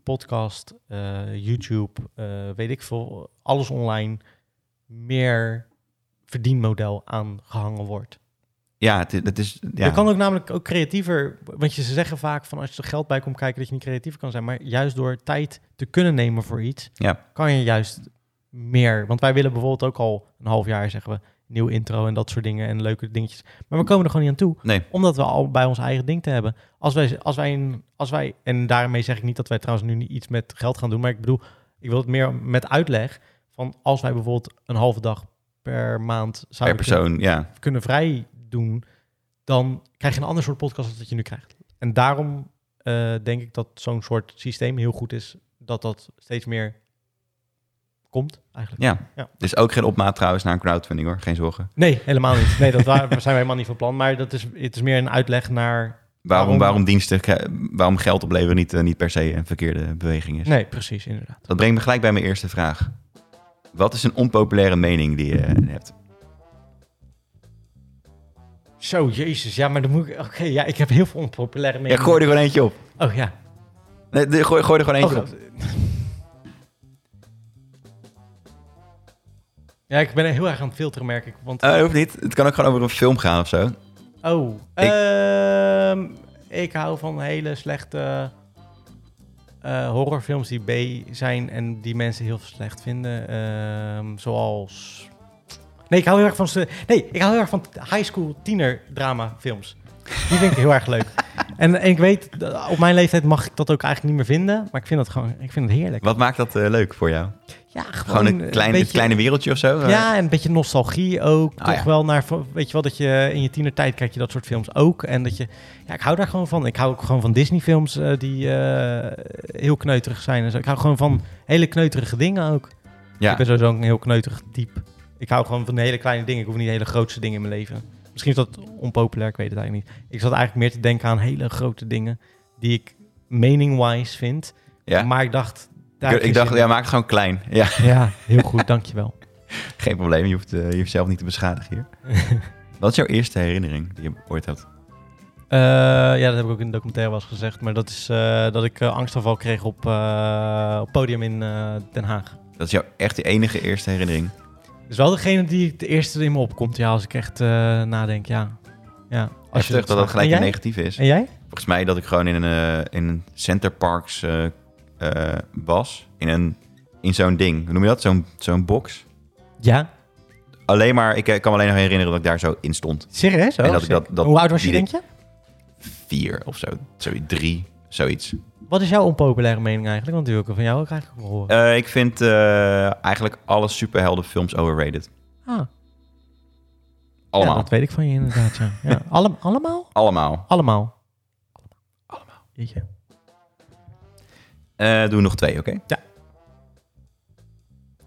S1: podcast, eh, YouTube, eh, weet ik veel, alles online meer verdienmodel aangehangen wordt.
S2: Ja, het, het is... Ja.
S1: Je kan ook namelijk ook creatiever, want je, ze zeggen vaak van als je er geld bij komt kijken dat je niet creatiever kan zijn, maar juist door tijd te kunnen nemen voor iets,
S2: Ja.
S1: kan je juist meer. Want wij willen bijvoorbeeld ook al een half jaar zeggen we nieuw intro en dat soort dingen en leuke dingetjes, maar we komen er gewoon niet aan toe,
S2: Nee.
S1: omdat we al bij ons eigen ding te hebben. Als wij, als wij, een, als wij en daarmee zeg ik niet dat wij trouwens nu niet iets met geld gaan doen, maar ik bedoel Ik wil het meer met uitleg van als wij bijvoorbeeld een halve dag per maand
S2: per
S1: zouden
S2: persoon, ja.
S1: kunnen, kunnen vrij doen, dan krijg je een ander soort podcast dan dat je nu krijgt. En daarom eh, denk ik dat zo'n soort systeem heel goed is, dat dat steeds meer komt eigenlijk.
S2: ja.
S1: Ja.
S2: Dus ook geen opmaat trouwens naar een crowdfunding hoor, geen zorgen.
S1: Nee, helemaal niet. Nee, dat waar, zijn wij helemaal niet van plan. Maar dat is, het is meer een uitleg naar... Waarom?
S2: Waarom, waarom diensten, eh, waarom geld opleveren niet, eh, niet per se een verkeerde beweging is.
S1: Nee, precies, inderdaad.
S2: Dat brengt me gelijk bij mijn eerste vraag. Wat is een onpopulaire mening die je eh, hebt?
S1: Zo, jezus. Ja, maar dan moet ik... Oké, ja, ik heb heel veel onpopulaire
S2: Ja,
S1: meningen.
S2: gooi er gewoon eentje op.
S1: Oh ja.
S2: Nee, de- gooi, gooi er gewoon eentje
S1: Oh,
S2: op.
S1: ja, ik ben heel erg aan het filteren, merk ik. Want,
S2: Eh, dat hoeft niet. Het kan ook gewoon over een film gaan of zo.
S1: oh, ehm, ik hou van hele slechte eh, horrorfilms die B zijn en die mensen heel slecht vinden. Ehm, zoals... Nee, ik hou heel erg van... ze- Nee, ik hou heel erg van high school tiener drama films. Die vind ik heel erg leuk. En, en ik weet, dat op mijn leeftijd mag ik dat ook eigenlijk niet meer vinden. Maar ik vind dat gewoon, ik vind het heerlijk.
S2: Wat maakt dat eh, leuk voor jou?
S1: Ja, gewoon,
S2: Gewoon een, klein,
S1: beetje-
S2: een kleine wereldje of zo? Eh,
S1: Ja, en een beetje nostalgie ook.
S2: Ah,
S1: toch
S2: ja.
S1: wel naar, weet je wel, dat je in je tienertijd kijk je dat soort films ook. En dat je, ja, ik hou daar gewoon van. Ik hou ook gewoon van Disney-films eh, die eh, heel kneuterig zijn en zo. Ik hou gewoon van hele kneuterige dingen ook.
S2: Ja.
S1: Ik ben sowieso een heel kneuterig type. Ik hou gewoon van hele kleine dingen. Ik hoef niet hele grootste dingen in mijn leven. Misschien is dat onpopulair, ik weet het eigenlijk niet. Ik zat eigenlijk meer te denken aan hele grote dingen die ik mening-wise vind.
S2: ja.
S1: Maar ik dacht... daar
S2: Ik, ik
S1: is
S2: dacht,
S1: in-
S2: ja, maak het gewoon klein. Ja,
S1: ja, heel goed, dankjewel.
S2: geen probleem. Je hoeft eh, je hoeft jezelf niet te beschadigen hier. Wat is jouw eerste herinnering die je ooit had?
S1: Eh, ja, dat heb ik ook in de documentaire wel eens gezegd. Maar dat is eh, dat ik eh, angstaanval kreeg op eh, op podium in eh, Den Haag.
S2: Dat is jouw echt de enige eerste herinnering.
S1: Dat is wel degene die de eerste in me opkomt. Ja, als ik echt eh, nadenk, ja. ja
S2: Als je
S1: dat
S2: zegt dat dat
S1: snapt.
S2: gelijk een
S1: en jij?
S2: negatief is.
S1: En jij?
S2: Volgens mij dat ik gewoon in een, eh, in een Center Parks eh, eh, was. In, een, in zo'n ding. Hoe noem je dat? Zo'n zo'n box.
S1: Ja.
S2: Alleen maar, ik eh, kan me alleen nog herinneren dat ik daar zo in stond.
S1: Serieus? Oh,
S2: En dat ik
S1: sick.
S2: dat- dat-
S1: Hoe oud was je,
S2: die
S1: denk je?
S2: Vier of zo. Zoiets. Drie. Zoiets.
S1: Wat is jouw onpopulaire mening eigenlijk? Want die wil ik van jou ook eigenlijk wel horen.
S2: Eh, ik vind eh, eigenlijk alle superheldenfilms overrated.
S1: ah,
S2: Allemaal.
S1: Ja, dat weet ik van je inderdaad, ja. ja. Allem, allemaal?
S2: Allemaal.
S1: Allemaal. Allemaal. Jeetje.
S2: Eh doen we nog twee, oké?
S1: Ja.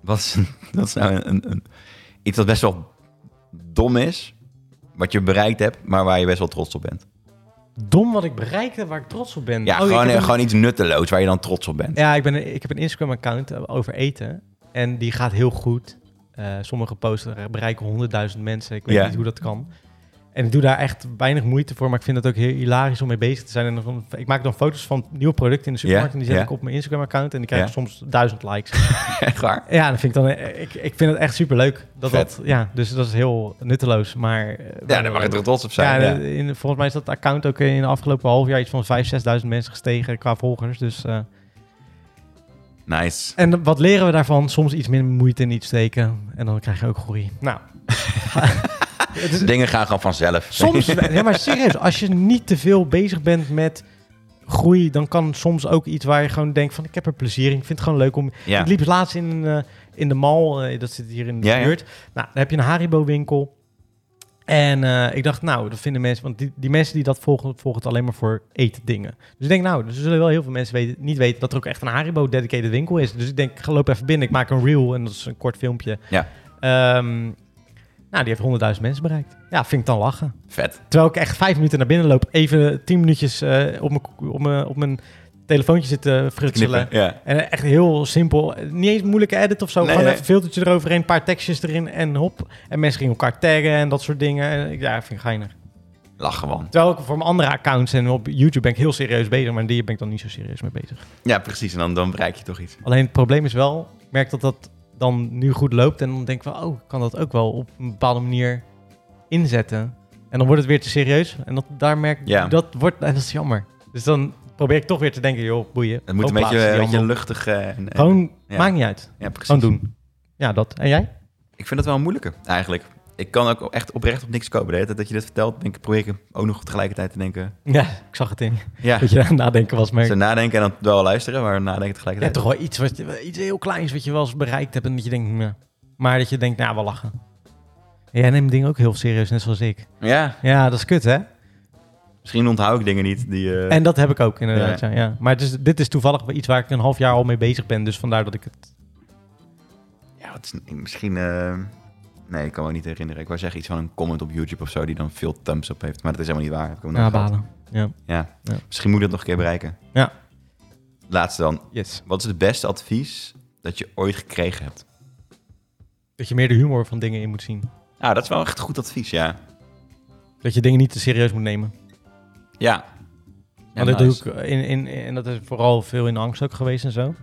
S2: Wat is, dat is nou een, een, een- iets dat best wel dom is, wat je bereikt hebt, maar waar je best wel trots op bent.
S1: Dom wat ik bereikte, waar ik trots op ben.
S2: Ja,
S1: Mm. Oh, ik
S2: gewoon,
S1: heb een-
S2: gewoon iets nutteloos waar je dan trots op bent.
S1: Ja, ik, ben, ik heb een Instagram-account over eten. En die gaat heel goed. Eh, sommige posts bereiken 100.000 mensen. Ik weet
S2: Ja.
S1: niet hoe dat kan. En ik doe daar echt weinig moeite voor. Maar ik vind het ook heel hilarisch om mee bezig te zijn. En dan, ik maak dan foto's van nieuwe producten in de supermarkt.
S2: Ja,
S1: En die zet
S2: ja.
S1: ik op mijn Instagram-account. En die krijgen
S2: Ja.
S1: soms duizend likes.
S2: Echt waar.
S1: ja, dan vind ik, dan, eh, ik, ik vind het echt superleuk. Dat
S2: Vet.
S1: dat, ja, dus dat is heel nutteloos. Maar, eh,
S2: Ja, daar mag je er trots op zijn.
S1: ja, eh,
S2: Ja,
S1: in- volgens mij is dat account ook in de afgelopen half jaar iets van 5.000, 6.000 mensen gestegen qua volgers. Dus... eh,
S2: Nice.
S1: en wat leren we daarvan? Soms iets minder moeite in iets steken. En dan krijg je ook groei. Nou. het is,
S2: Dingen gaan gewoon vanzelf.
S1: soms, ja, maar serieus, als je niet te veel bezig bent met groei, dan kan soms ook iets waar je gewoon denkt van ik heb er plezier in. Ik vind het gewoon leuk om...
S2: Ja.
S1: Ik liep laatst in, eh, in de mall, eh, dat zit hier in de
S2: Ja, ja.
S1: buurt. Nou, dan heb je een Haribo winkel. En eh, ik dacht, nou, dat vinden mensen... Want die, die mensen die dat volgen, volgen het alleen maar voor eetdingen. Dus ik denk, nou, er zullen wel heel veel mensen weten, niet weten dat er ook echt een Haribo-dedicated winkel is. Dus ik denk, ik ga loop even binnen, ik maak een reel en dat is een kort filmpje.
S2: Ja.
S1: Ehm, nou, die heeft 100.000 mensen bereikt. Ja, vind ik dan lachen.
S2: Vet.
S1: Terwijl ik echt vijf minuten naar binnen loop, even tien minuutjes eh, op, mijn, ko- op, mijn, op mijn telefoontje zitten eh, frutselen.
S2: Knippen. Ja.
S1: En echt heel simpel. Niet eens een moeilijke edit of zo.
S2: Nee,
S1: Gewoon
S2: nee.
S1: even een filtertje eroverheen, een paar tekstjes erin en hop. En mensen gingen elkaar taggen en dat soort dingen. En ik- Ja, vind ik geinig.
S2: Lach gewoon.
S1: Terwijl ik voor mijn andere accounts en op YouTube ben ik heel serieus bezig. Maar die ben ik dan niet zo serieus mee bezig.
S2: Ja, precies. En dan, dan bereik je toch iets.
S1: Alleen het probleem is wel, ik merk dat dat dan nu goed loopt. En dan denk ik van, oh, ik kan dat ook wel op een bepaalde manier inzetten. En dan wordt het weer te serieus. En dat, daar merk ik,
S2: Ja.
S1: dat wordt, en dat is jammer. Dus dan probeer ik toch weer te denken, joh, boeien.
S2: Het moet een
S1: Hoop
S2: beetje,
S1: plaatsen
S2: een
S1: die
S2: beetje
S1: allemaal.
S2: luchtig... eh, en- en-
S1: Gewoon,
S2: ja.
S1: maakt niet uit.
S2: ja, precies.
S1: Gewoon doen. Ja, dat. En jij?
S2: Ik vind dat wel een moeilijke, eigenlijk. Ik kan ook echt oprecht op niks komen. De hele tijd dat je dit vertelt, denk ik, probeer ik ook nog tegelijkertijd te denken.
S1: Ja, ik zag het in. je.
S2: Ja,
S1: Dat je aan het nadenken was, maar...
S2: ze nadenken en dan wel luisteren, maar nadenken
S1: Ja,
S2: tegelijkertijd.
S1: toch wel iets, wat, je- iets heel kleins wat je wel eens bereikt hebt en dat je denkt... "Meh." Maar dat je denkt, nou, we lachen. Jij neemt dingen ook heel serieus, net zoals ik.
S2: Ja,
S1: Ja, dat is kut, hè?
S2: misschien onthoud ik dingen niet die... eh,
S1: En dat heb ik ook, inderdaad. Ja. ja. Maar het is, dit is toevallig iets waar ik een half jaar al mee bezig ben. Dus vandaar dat ik het...
S2: Ja, het is misschien... eh, nee, ik kan me niet herinneren. Ik wou zeggen iets van een comment op YouTube of zo die dan veel thumbs up heeft. Maar dat is helemaal niet waar. Heb ik hem nog gehad.
S1: nabalen. Ja.
S2: Ja.
S1: Ja.
S2: Misschien moet ik dat nog een keer bereiken.
S1: Ja.
S2: Laatste dan.
S1: Yes.
S2: Wat is het beste advies dat je ooit gekregen hebt?
S1: Dat je meer de humor van dingen in moet zien.
S2: Nou, dat is wel echt goed advies, ja.
S1: Dat je dingen niet te serieus moet nemen.
S2: Ja. Ja,
S1: Want dat
S2: nice.
S1: doe ik in, in, in- en dat is vooral veel in angst ook geweest en zo.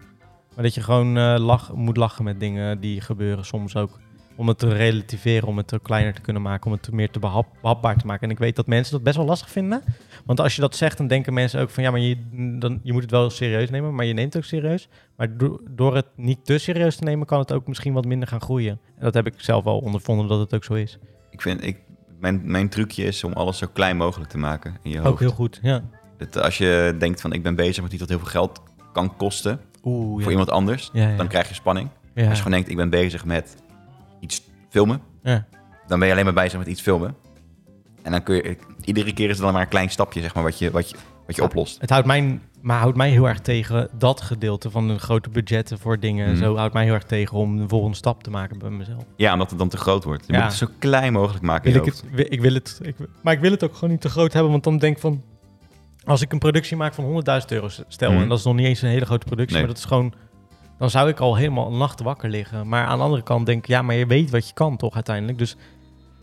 S1: Maar dat je gewoon eh, lach, moet lachen met dingen die gebeuren soms ook. Om het te relativeren, om het te kleiner te kunnen maken, om het meer te behap, behapbaar te maken. En ik weet dat mensen dat best wel lastig vinden. Want als je dat zegt, dan denken mensen ook van ja, maar je, dan, je moet het wel serieus nemen, maar je neemt het ook serieus. Maar do- door het niet te serieus te nemen, kan het ook misschien wat minder gaan groeien. En dat heb ik zelf wel ondervonden dat het ook zo is.
S2: Ik vind, ik, mijn, mijn trucje is om alles zo klein mogelijk te maken in je hoofd.
S1: Ook heel goed, ja.
S2: Dat als je denkt van ik ben bezig met iets dat heel veel geld kan kosten
S1: Oeh,
S2: voor iemand anders,
S1: Ja, ja.
S2: dan krijg je spanning.
S1: ja.
S2: Als je gewoon denkt ik ben bezig met iets filmen,
S1: Ja.
S2: dan ben je alleen maar bezig met iets filmen. En dan kun je, iedere keer is het dan maar een klein stapje zeg maar wat je, wat je, wat je
S1: Ja.
S2: oplost.
S1: Het houdt mij, maar houdt mij heel erg tegen dat gedeelte van de grote budgetten voor dingen. en
S2: Mhm.
S1: Zo houdt mij heel erg tegen om de volgende stap te maken bij mezelf.
S2: Ja, omdat het dan te groot wordt. Je
S1: Ja.
S2: moet het zo klein mogelijk maken in
S1: Wil
S2: je
S1: ik,
S2: hoofd.
S1: het, wi- ik wil het, ik, wil- maar ik wil het ook gewoon niet te groot hebben, want dan denk ik van... Als ik een productie maak van 100.000 euro, s- stel,
S2: Mhm.
S1: en dat is nog niet eens een hele grote productie,
S2: Nee.
S1: maar dat is gewoon... Dan zou ik al helemaal een nacht wakker liggen. Maar aan de andere kant denk ik, ja, maar je weet wat je kan toch uiteindelijk. Dus,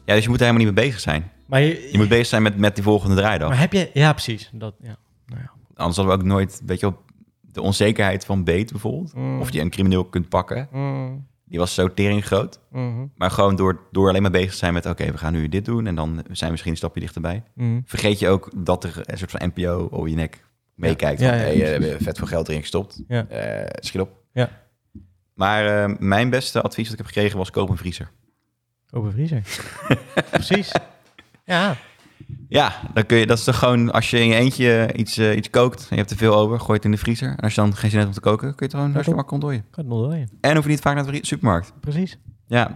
S2: Ja, dus je moet er helemaal niet mee bezig zijn.
S1: maar, je,
S2: Je moet bezig zijn met, met die volgende draaidag.
S1: maar heb je... Ja, precies. Dat, ja. Nou ja.
S2: Anders hadden we ook nooit, weet je wel, de onzekerheid van Beet bijvoorbeeld.
S1: Mm.
S2: Of je een crimineel kunt pakken.
S1: Mm,
S2: Die was zo tering groot.
S1: mhm,
S2: Maar gewoon door, door alleen maar bezig te zijn met... oké, we gaan nu dit doen en dan zijn we misschien een stapje dichterbij.
S1: mhm.
S2: Vergeet je ook dat er een soort van NPO over je nek meekijkt.
S1: Ja,
S2: van,
S1: ja, ja.
S2: hey, eh, we hebben vet veel geld erin gestopt.
S1: Ja.
S2: Eh, schiet op.
S1: Ja.
S2: Maar eh, mijn beste advies dat ik heb gekregen was koop een vriezer.
S1: Open vriezer. precies. Ja.
S2: Ja, dan kun je, dat is toch gewoon... als je in je eentje iets, eh, iets kookt en je hebt er veel over... gooi het in de vriezer. En als je dan geen zin hebt om te koken... kun je het gewoon hartstikke makkelijk ontdooien.
S1: Kan het nog wel, ja.
S2: En hoef je niet vaak naar de vrie- supermarkt.
S1: Precies.
S2: Ja.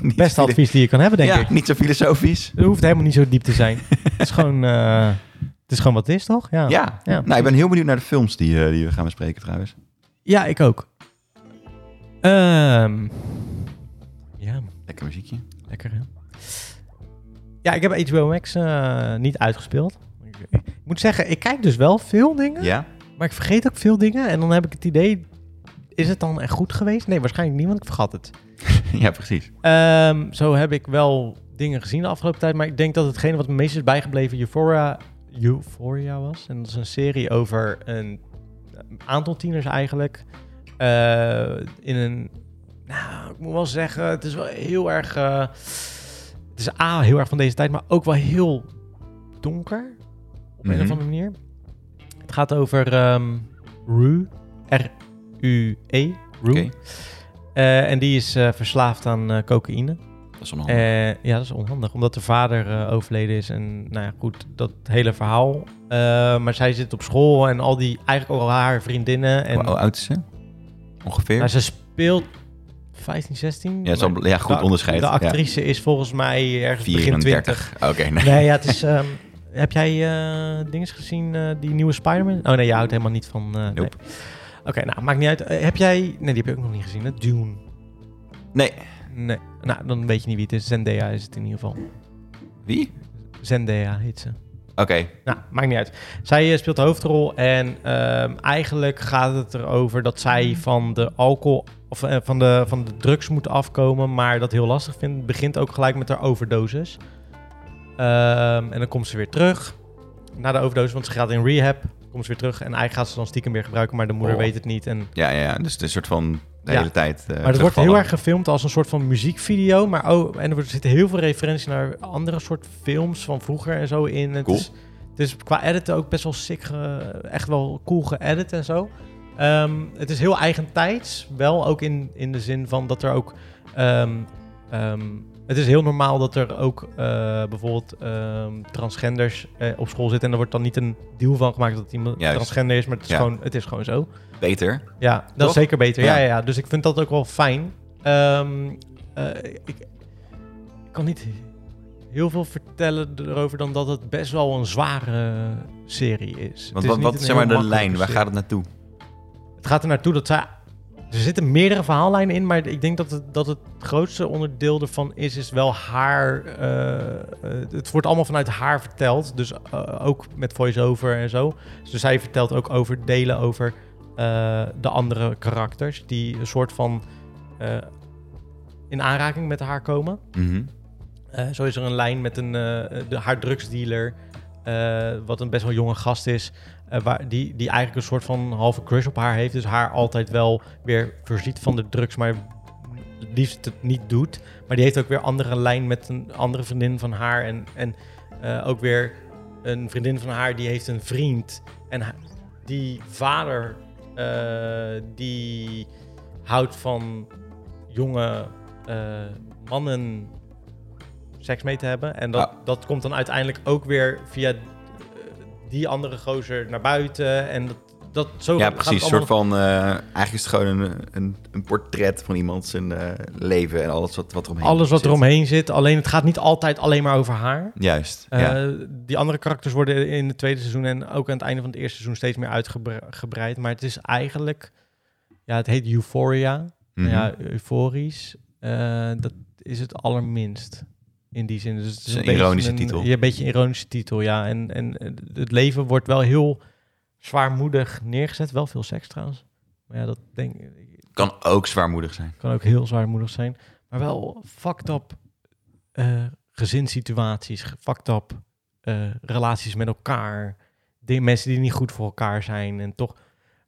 S2: Niet
S1: Beste
S2: zo filo-
S1: advies die je kan hebben, denk
S2: ja,
S1: ik.
S2: niet zo filosofisch.
S1: Het hoeft helemaal niet zo diep te zijn. het, is gewoon, eh, het is gewoon wat het is, toch? Ja.
S2: Ja. Nou, ik ben heel benieuwd naar de films die, eh, die we gaan bespreken trouwens.
S1: Ja, ik ook. Ehm, ja,
S2: Lekker muziekje.
S1: lekker hè? Ja, ik heb HBO Max eh, niet uitgespeeld. Ik, ik moet zeggen, ik kijk dus wel veel dingen,
S2: Ja?
S1: maar ik vergeet ook veel dingen. En dan heb ik het idee, is het dan echt goed geweest? Nee, waarschijnlijk niet, want ik vergat het.
S2: ja, precies.
S1: Ehm, zo heb ik wel dingen gezien de afgelopen tijd. Maar ik denk dat hetgene wat me meest is bijgebleven Euphoria, Euphoria was. En dat is een serie over een aantal tieners eigenlijk. Eh, in een... Nou, ik moet wel zeggen, het is wel heel erg... eh, het is A, heel erg van deze tijd, maar ook wel heel donker. Op een
S2: Mhm.
S1: of andere manier. Het gaat over ehm Rue. R-U-E. Rue.
S2: Oké.
S1: E, Eh, en die is eh, verslaafd aan eh, cocaïne.
S2: Dat is onhandig.
S1: Eh, ja, dat is onhandig, omdat de vader eh, overleden is. En nou ja, goed, dat hele verhaal. Eh, maar zij zit op school en al die, eigenlijk al haar vriendinnen. En,
S2: Hoe oud is ze? Ongeveer?
S1: Nou, ze speelt 15, 16.
S2: ja, het is wel- ja, goed
S1: de,
S2: onderscheid.
S1: De
S2: Ja.
S1: actrice is volgens mij ergens begin 20.
S2: 34. Oké, nee.
S1: Nee, ja, het is... ehm, heb jij eh dingen gezien, eh, die nieuwe Spider-Man? Oh nee, je houdt helemaal niet van... eh, nee.
S2: Nope.
S1: Oké, nou, maakt niet uit. Eh, heb jij... Nee, die heb je ook nog niet gezien, hè? Dune.
S2: Nee.
S1: Nee, nou, dan weet je niet wie het is. Zendaya is het in ieder geval.
S2: Wie?
S1: Zendaya heet ze.
S2: Oké.
S1: Nou, maakt niet uit. Zij eh, speelt de hoofdrol en ehm, eigenlijk gaat het erover dat zij van de alcohol of eh, van, de, van de drugs moet afkomen, maar dat heel lastig vindt. Het begint ook gelijk met haar overdosis. Ehm, en dan komt ze weer terug na de overdosis, want ze gaat in rehab. Komt ze weer terug en eigenlijk gaat ze dan stiekem weer gebruiken, maar de moeder
S2: Oh.
S1: weet het niet. En
S2: Ja, ja, ja. Dus het is een soort van de
S1: Ja.
S2: hele tijd eh,
S1: maar het wordt
S2: terugvallen.
S1: heel erg gefilmd als een soort van muziekvideo. Maar oh, en er zitten heel veel referenties naar andere soort films van vroeger en zo in. Het
S2: Cool.
S1: is, het is qua edit ook best wel sick, ge- echt wel cool geëdit en zo. Ehm, het is heel eigentijds, wel ook in, in de zin van dat er ook... ehm, ehm, Het is heel normaal dat er ook eh, bijvoorbeeld ehm, transgenders eh, op school zitten. En er wordt dan niet een deal van gemaakt dat iemand
S2: Juist.
S1: transgender is. Maar het is,
S2: Ja.
S1: gewoon, het is gewoon zo.
S2: Beter.
S1: Ja, dat
S2: Toch?
S1: is zeker beter. Ja.
S2: Ja.
S1: Ja, ja, dus ik vind dat ook wel fijn. Ehm, eh, ik, ik kan niet heel veel vertellen erover dan dat het best wel een zware serie is. Het
S2: Want
S1: is
S2: wat,
S1: niet
S2: wat
S1: een
S2: is
S1: heel
S2: zeg maar de
S1: makkelijke
S2: lijn? Waar
S1: serie.
S2: gaat het naartoe?
S1: Het gaat er naartoe dat zij. Er zitten meerdere verhaallijnen in, maar ik denk dat het, dat het grootste onderdeel ervan is, is wel haar. eh, eh, het wordt allemaal vanuit haar verteld, dus eh, ook met voice-over en zo. Dus zij vertelt ook over delen over eh, de andere karakters die een soort van eh, in aanraking met haar komen.
S2: Mhm.
S1: Eh, zo is er een lijn met een, eh, de, haar drugsdealer, eh, wat een best wel jonge gast is, eh, waar, die, die eigenlijk een soort van halve crush op haar heeft. Dus haar altijd wel weer voorziet van de drugs, maar het liefst het niet doet. Maar die heeft ook weer andere lijn met een andere vriendin van haar. En, en eh, ook weer een vriendin van haar die heeft een vriend. En ha- die vader, eh, die houdt van jonge eh, mannen seks mee te hebben. En dat,
S2: Ah.
S1: dat komt dan uiteindelijk ook weer via eh, die andere gozer naar buiten. En dat, dat zo
S2: Ja,
S1: gaat het
S2: precies. Een
S1: allemaal
S2: soort van. eh, eigenlijk is het gewoon een, een, een portret van iemand zijn eh, leven en alles wat, wat eromheen
S1: Alles wat
S2: zit.
S1: eromheen zit. Alleen het gaat niet altijd alleen maar over haar.
S2: Juist.
S1: Eh,
S2: ja.
S1: Die andere karakters worden in het tweede seizoen en ook aan het einde van het eerste seizoen steeds meer uitgebreid. Maar het is eigenlijk, ja, het heet Euphoria.
S2: Mhm.
S1: Ja, euforisch. eh, dat is het allerminst in die zin. Dus het is
S2: is een
S1: beetje
S2: ironische titel.
S1: Ja, een beetje een ironische titel, ja. En, en eh, het leven wordt wel heel zwaarmoedig neergezet. Wel veel seks trouwens. Maar ja, dat denk ik.
S2: Kan ook zwaarmoedig zijn.
S1: Kan ook heel zwaarmoedig zijn. Maar wel fucked up eh, gezinssituaties, ge- fucked up eh, relaties met elkaar. Die, mensen die niet goed voor elkaar zijn en toch.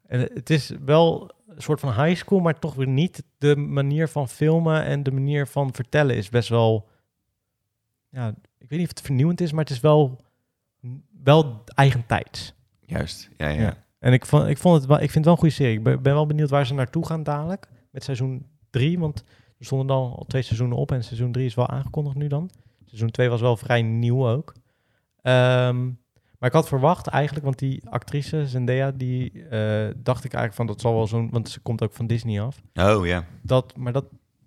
S1: En het is wel een soort van high school, maar toch weer niet. De manier van filmen en de manier van vertellen is best wel. Ja, ik weet niet of het vernieuwend is, maar het is wel, wel eigentijds.
S2: Juist. Ja, ja.
S1: Ja. En ik, vond, ik, vond het wel, ik vind het wel een goede serie. Ik ben, ben wel benieuwd waar ze naartoe gaan dadelijk. Met seizoen 3. Want er stonden dan al twee seizoenen op. En seizoen 3 is wel aangekondigd nu dan. Seizoen 2 was wel vrij nieuw ook. Ehm, maar ik had verwacht eigenlijk, want die actrice Zendaya, die eh, dacht ik eigenlijk van dat zal wel zo'n. Want ze komt ook van Disney af.
S2: Oh ja.
S1: Dat, maar dat,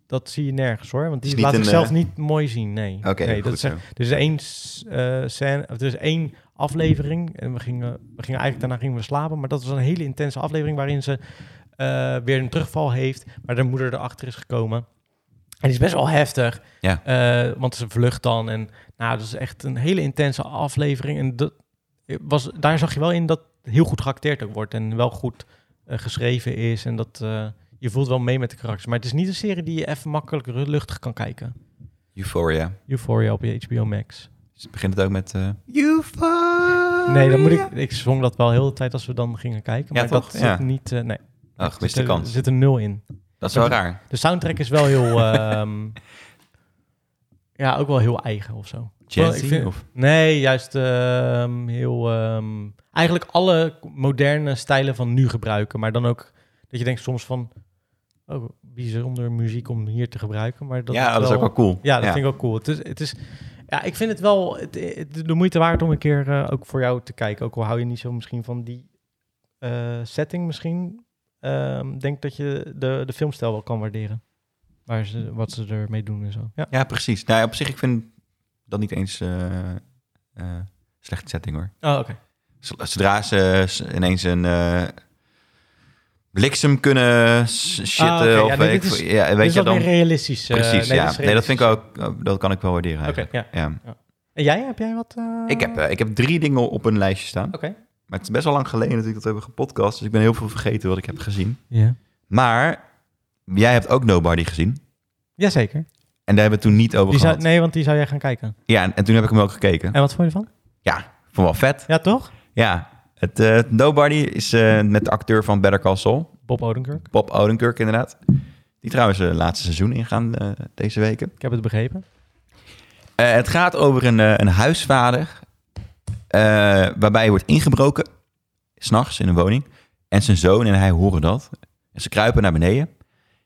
S1: dat zie je nergens hoor. Want
S2: Is
S1: die
S2: niet
S1: laat
S2: een,
S1: zichzelf
S2: eh,
S1: niet mooi zien. Nee.
S2: Oké.
S1: nee, dat
S2: goed
S1: is
S2: zo.
S1: er is één, s- eh, scène, of er is één aflevering. En we gingen, we gingen eigenlijk daarna gingen we slapen. Maar dat was een hele intense aflevering waarin ze eh, weer een terugval heeft. Maar de moeder erachter is gekomen. En die is best wel heftig.
S2: Ja.
S1: Eh, want ze vlucht dan. En nou, dat is echt een hele intense aflevering. En dat eh, was, daar zag je wel in dat het heel goed geacteerd ook wordt. En wel goed eh, geschreven is. En dat eh, je voelt wel mee met de karakters. Maar het is niet een serie die je even makkelijk ru- luchtig kan kijken.
S2: Euphoria.
S1: Euphoria op je HBO Max.
S2: Dus begint het ook met. eh Euphoria.
S1: Nee, dan moet ik. Ik zong dat wel heel de tijd als we dan gingen kijken.
S2: Ja,
S1: Maar
S2: toch?
S1: dat zit
S2: Ja.
S1: niet. eh, nee.
S2: Ach,
S1: Er zit
S2: gemiste
S1: er-
S2: kans.
S1: Er zit een nul in.
S2: Dat is wel raar.
S1: De soundtrack is wel heel. ehm, ja, ook wel heel eigen of zo.
S2: Jazzy,
S1: ik vind-
S2: of?
S1: Nee, juist ehm, heel. ehm, eigenlijk alle moderne stijlen van nu gebruiken. Maar dan ook dat je denkt soms van. Oh, bijzonder muziek om hier te gebruiken. Maar dat
S2: ja,
S1: het
S2: dat is ook wel cool.
S1: ja, dat vind ik ook cool. Het is, het is, ja, ik vind het wel het, het- de moeite waard om een keer eh, ook voor jou te kijken. Ook al hou je niet zo misschien van die eh, setting misschien. Ehm, Ik denk dat je de, de filmstijl wel kan waarderen. Waar ze, wat ze ermee doen en zo. Ja.
S2: Ja, precies. Nou, ja, op zich, ik vind dat niet eens eh eh slechte setting hoor.
S1: Oh, oké.
S2: Z- Zodra ze s- ineens een eh, bliksem kunnen s- shitten
S1: Ah, oké, ja,
S2: of
S1: nee,
S2: weet ik
S1: dit
S2: veel-
S1: is-
S2: ja,
S1: Dit
S2: weet
S1: Dus is
S2: je
S1: wat
S2: dan.
S1: meer realistisch. eh,
S2: Precies,
S1: nee,
S2: ja.
S1: dat is
S2: nee, dat vind ik
S1: realistisch.
S2: ook, ook- dat kan ik wel waarderen
S1: Oké,
S2: eigenlijk.
S1: ja.
S2: Ja.
S1: En jij, heb jij wat? eh,
S2: Ik, heb, eh, ik heb drie dingen op een lijstje staan.
S1: Oké.
S2: Maar het is best wel lang geleden dat ik dat heb gepodcast. Dus ik ben heel veel vergeten wat ik heb gezien.
S1: Ja.
S2: Maar jij hebt ook Nobody gezien.
S1: Jazeker.
S2: En daar hebben we het toen niet over
S1: Die zou,
S2: gehad.
S1: nee, want die zou jij gaan kijken.
S2: Ja, en, en toen heb ik hem ook gekeken.
S1: En wat vond je ervan?
S2: Vond wel vet.
S1: Ja, toch?
S2: Ja, het eh, Nobody is eh, met de acteur van Better Call Saul.
S1: Bob Odenkirk.
S2: Bob Odenkirk inderdaad. Die trouwens het laatste seizoen ingaan eh, deze weken.
S1: Ik heb het begrepen.
S2: Eh, het gaat over een, eh, een huisvader. eh, waarbij hij wordt ingebroken. S'nachts in een woning. En zijn zoon en hij horen dat. En ze kruipen naar beneden.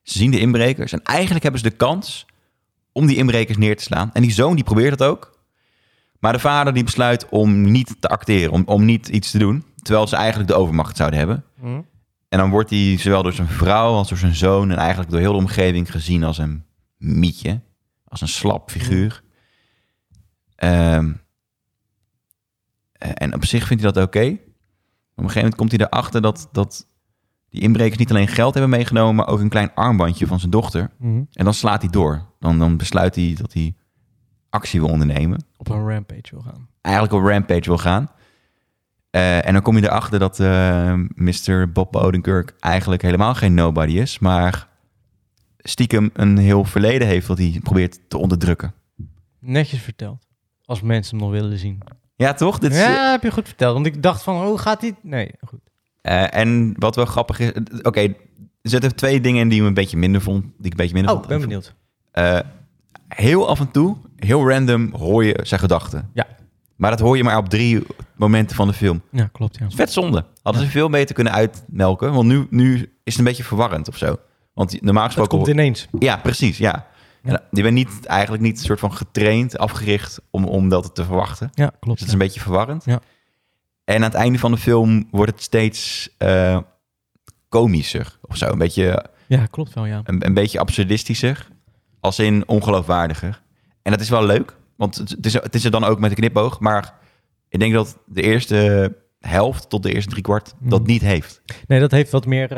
S2: Ze zien de inbrekers. En eigenlijk hebben ze de kans om die inbrekers neer te slaan. En die zoon die probeert dat ook. Maar de vader die besluit om niet te acteren, om, om niet iets te doen. Terwijl ze eigenlijk de overmacht zouden hebben.
S1: Hm?
S2: En dan wordt hij zowel door zijn vrouw als door zijn zoon en eigenlijk door heel de omgeving gezien als een mietje. Als een slap figuur. Ehm, eh, en op zich vindt hij dat oké. Op een gegeven moment komt hij erachter dat, dat die inbrekers niet alleen geld hebben meegenomen, maar ook een klein armbandje van zijn dochter.
S1: Hm?
S2: En dan slaat hij door. Dan, dan besluit hij dat hij actie wil ondernemen.
S1: Op een rampage wil gaan.
S2: Eigenlijk op rampage wil gaan. Eh, en dan kom je erachter dat eh Mr. Bob Odenkirk eigenlijk helemaal geen nobody is. Maar stiekem een heel verleden heeft dat hij probeert te onderdrukken.
S1: Netjes verteld. Als mensen hem nog willen zien.
S2: Ja, toch? Dit is,
S1: ja, heb je goed verteld. Want ik dacht van, oh, gaat die... Nee, goed.
S2: eh, en wat wel grappig is... Oké, er zitten twee dingen in die ik een beetje minder vond. Die ik een beetje minder
S1: Oh,
S2: vond.
S1: ben benieuwd.
S2: Eh, heel af en toe, heel random, hoor je zijn gedachten.
S1: Ja.
S2: Maar dat hoor je maar op drie momenten van de film.
S1: Ja, klopt, ja.
S2: Dat is vet zonde. Hadden ze veel beter kunnen uitmelken. Want nu, nu is het een beetje verwarrend of zo. Want normaal
S1: Het
S2: gesproken...
S1: komt ineens.
S2: Ja, precies, ja. En
S1: Ja.
S2: je bent niet, eigenlijk niet soort van getraind, afgericht om, om dat te verwachten. Dus
S1: Ja, klopt.
S2: het is een beetje verwarrend.
S1: Ja.
S2: En aan het einde van de film wordt het steeds eh, komischer of zo. Een beetje,
S1: Ja, klopt wel, ja.
S2: een, een beetje absurdistischer. Als in ongeloofwaardiger. En dat is wel leuk. Want het het is, het is er dan ook met een knipoog. Maar ik denk dat de eerste helft tot de eerste driekwart dat
S1: Mm.
S2: niet heeft.
S1: Nee, dat heeft wat meer eh,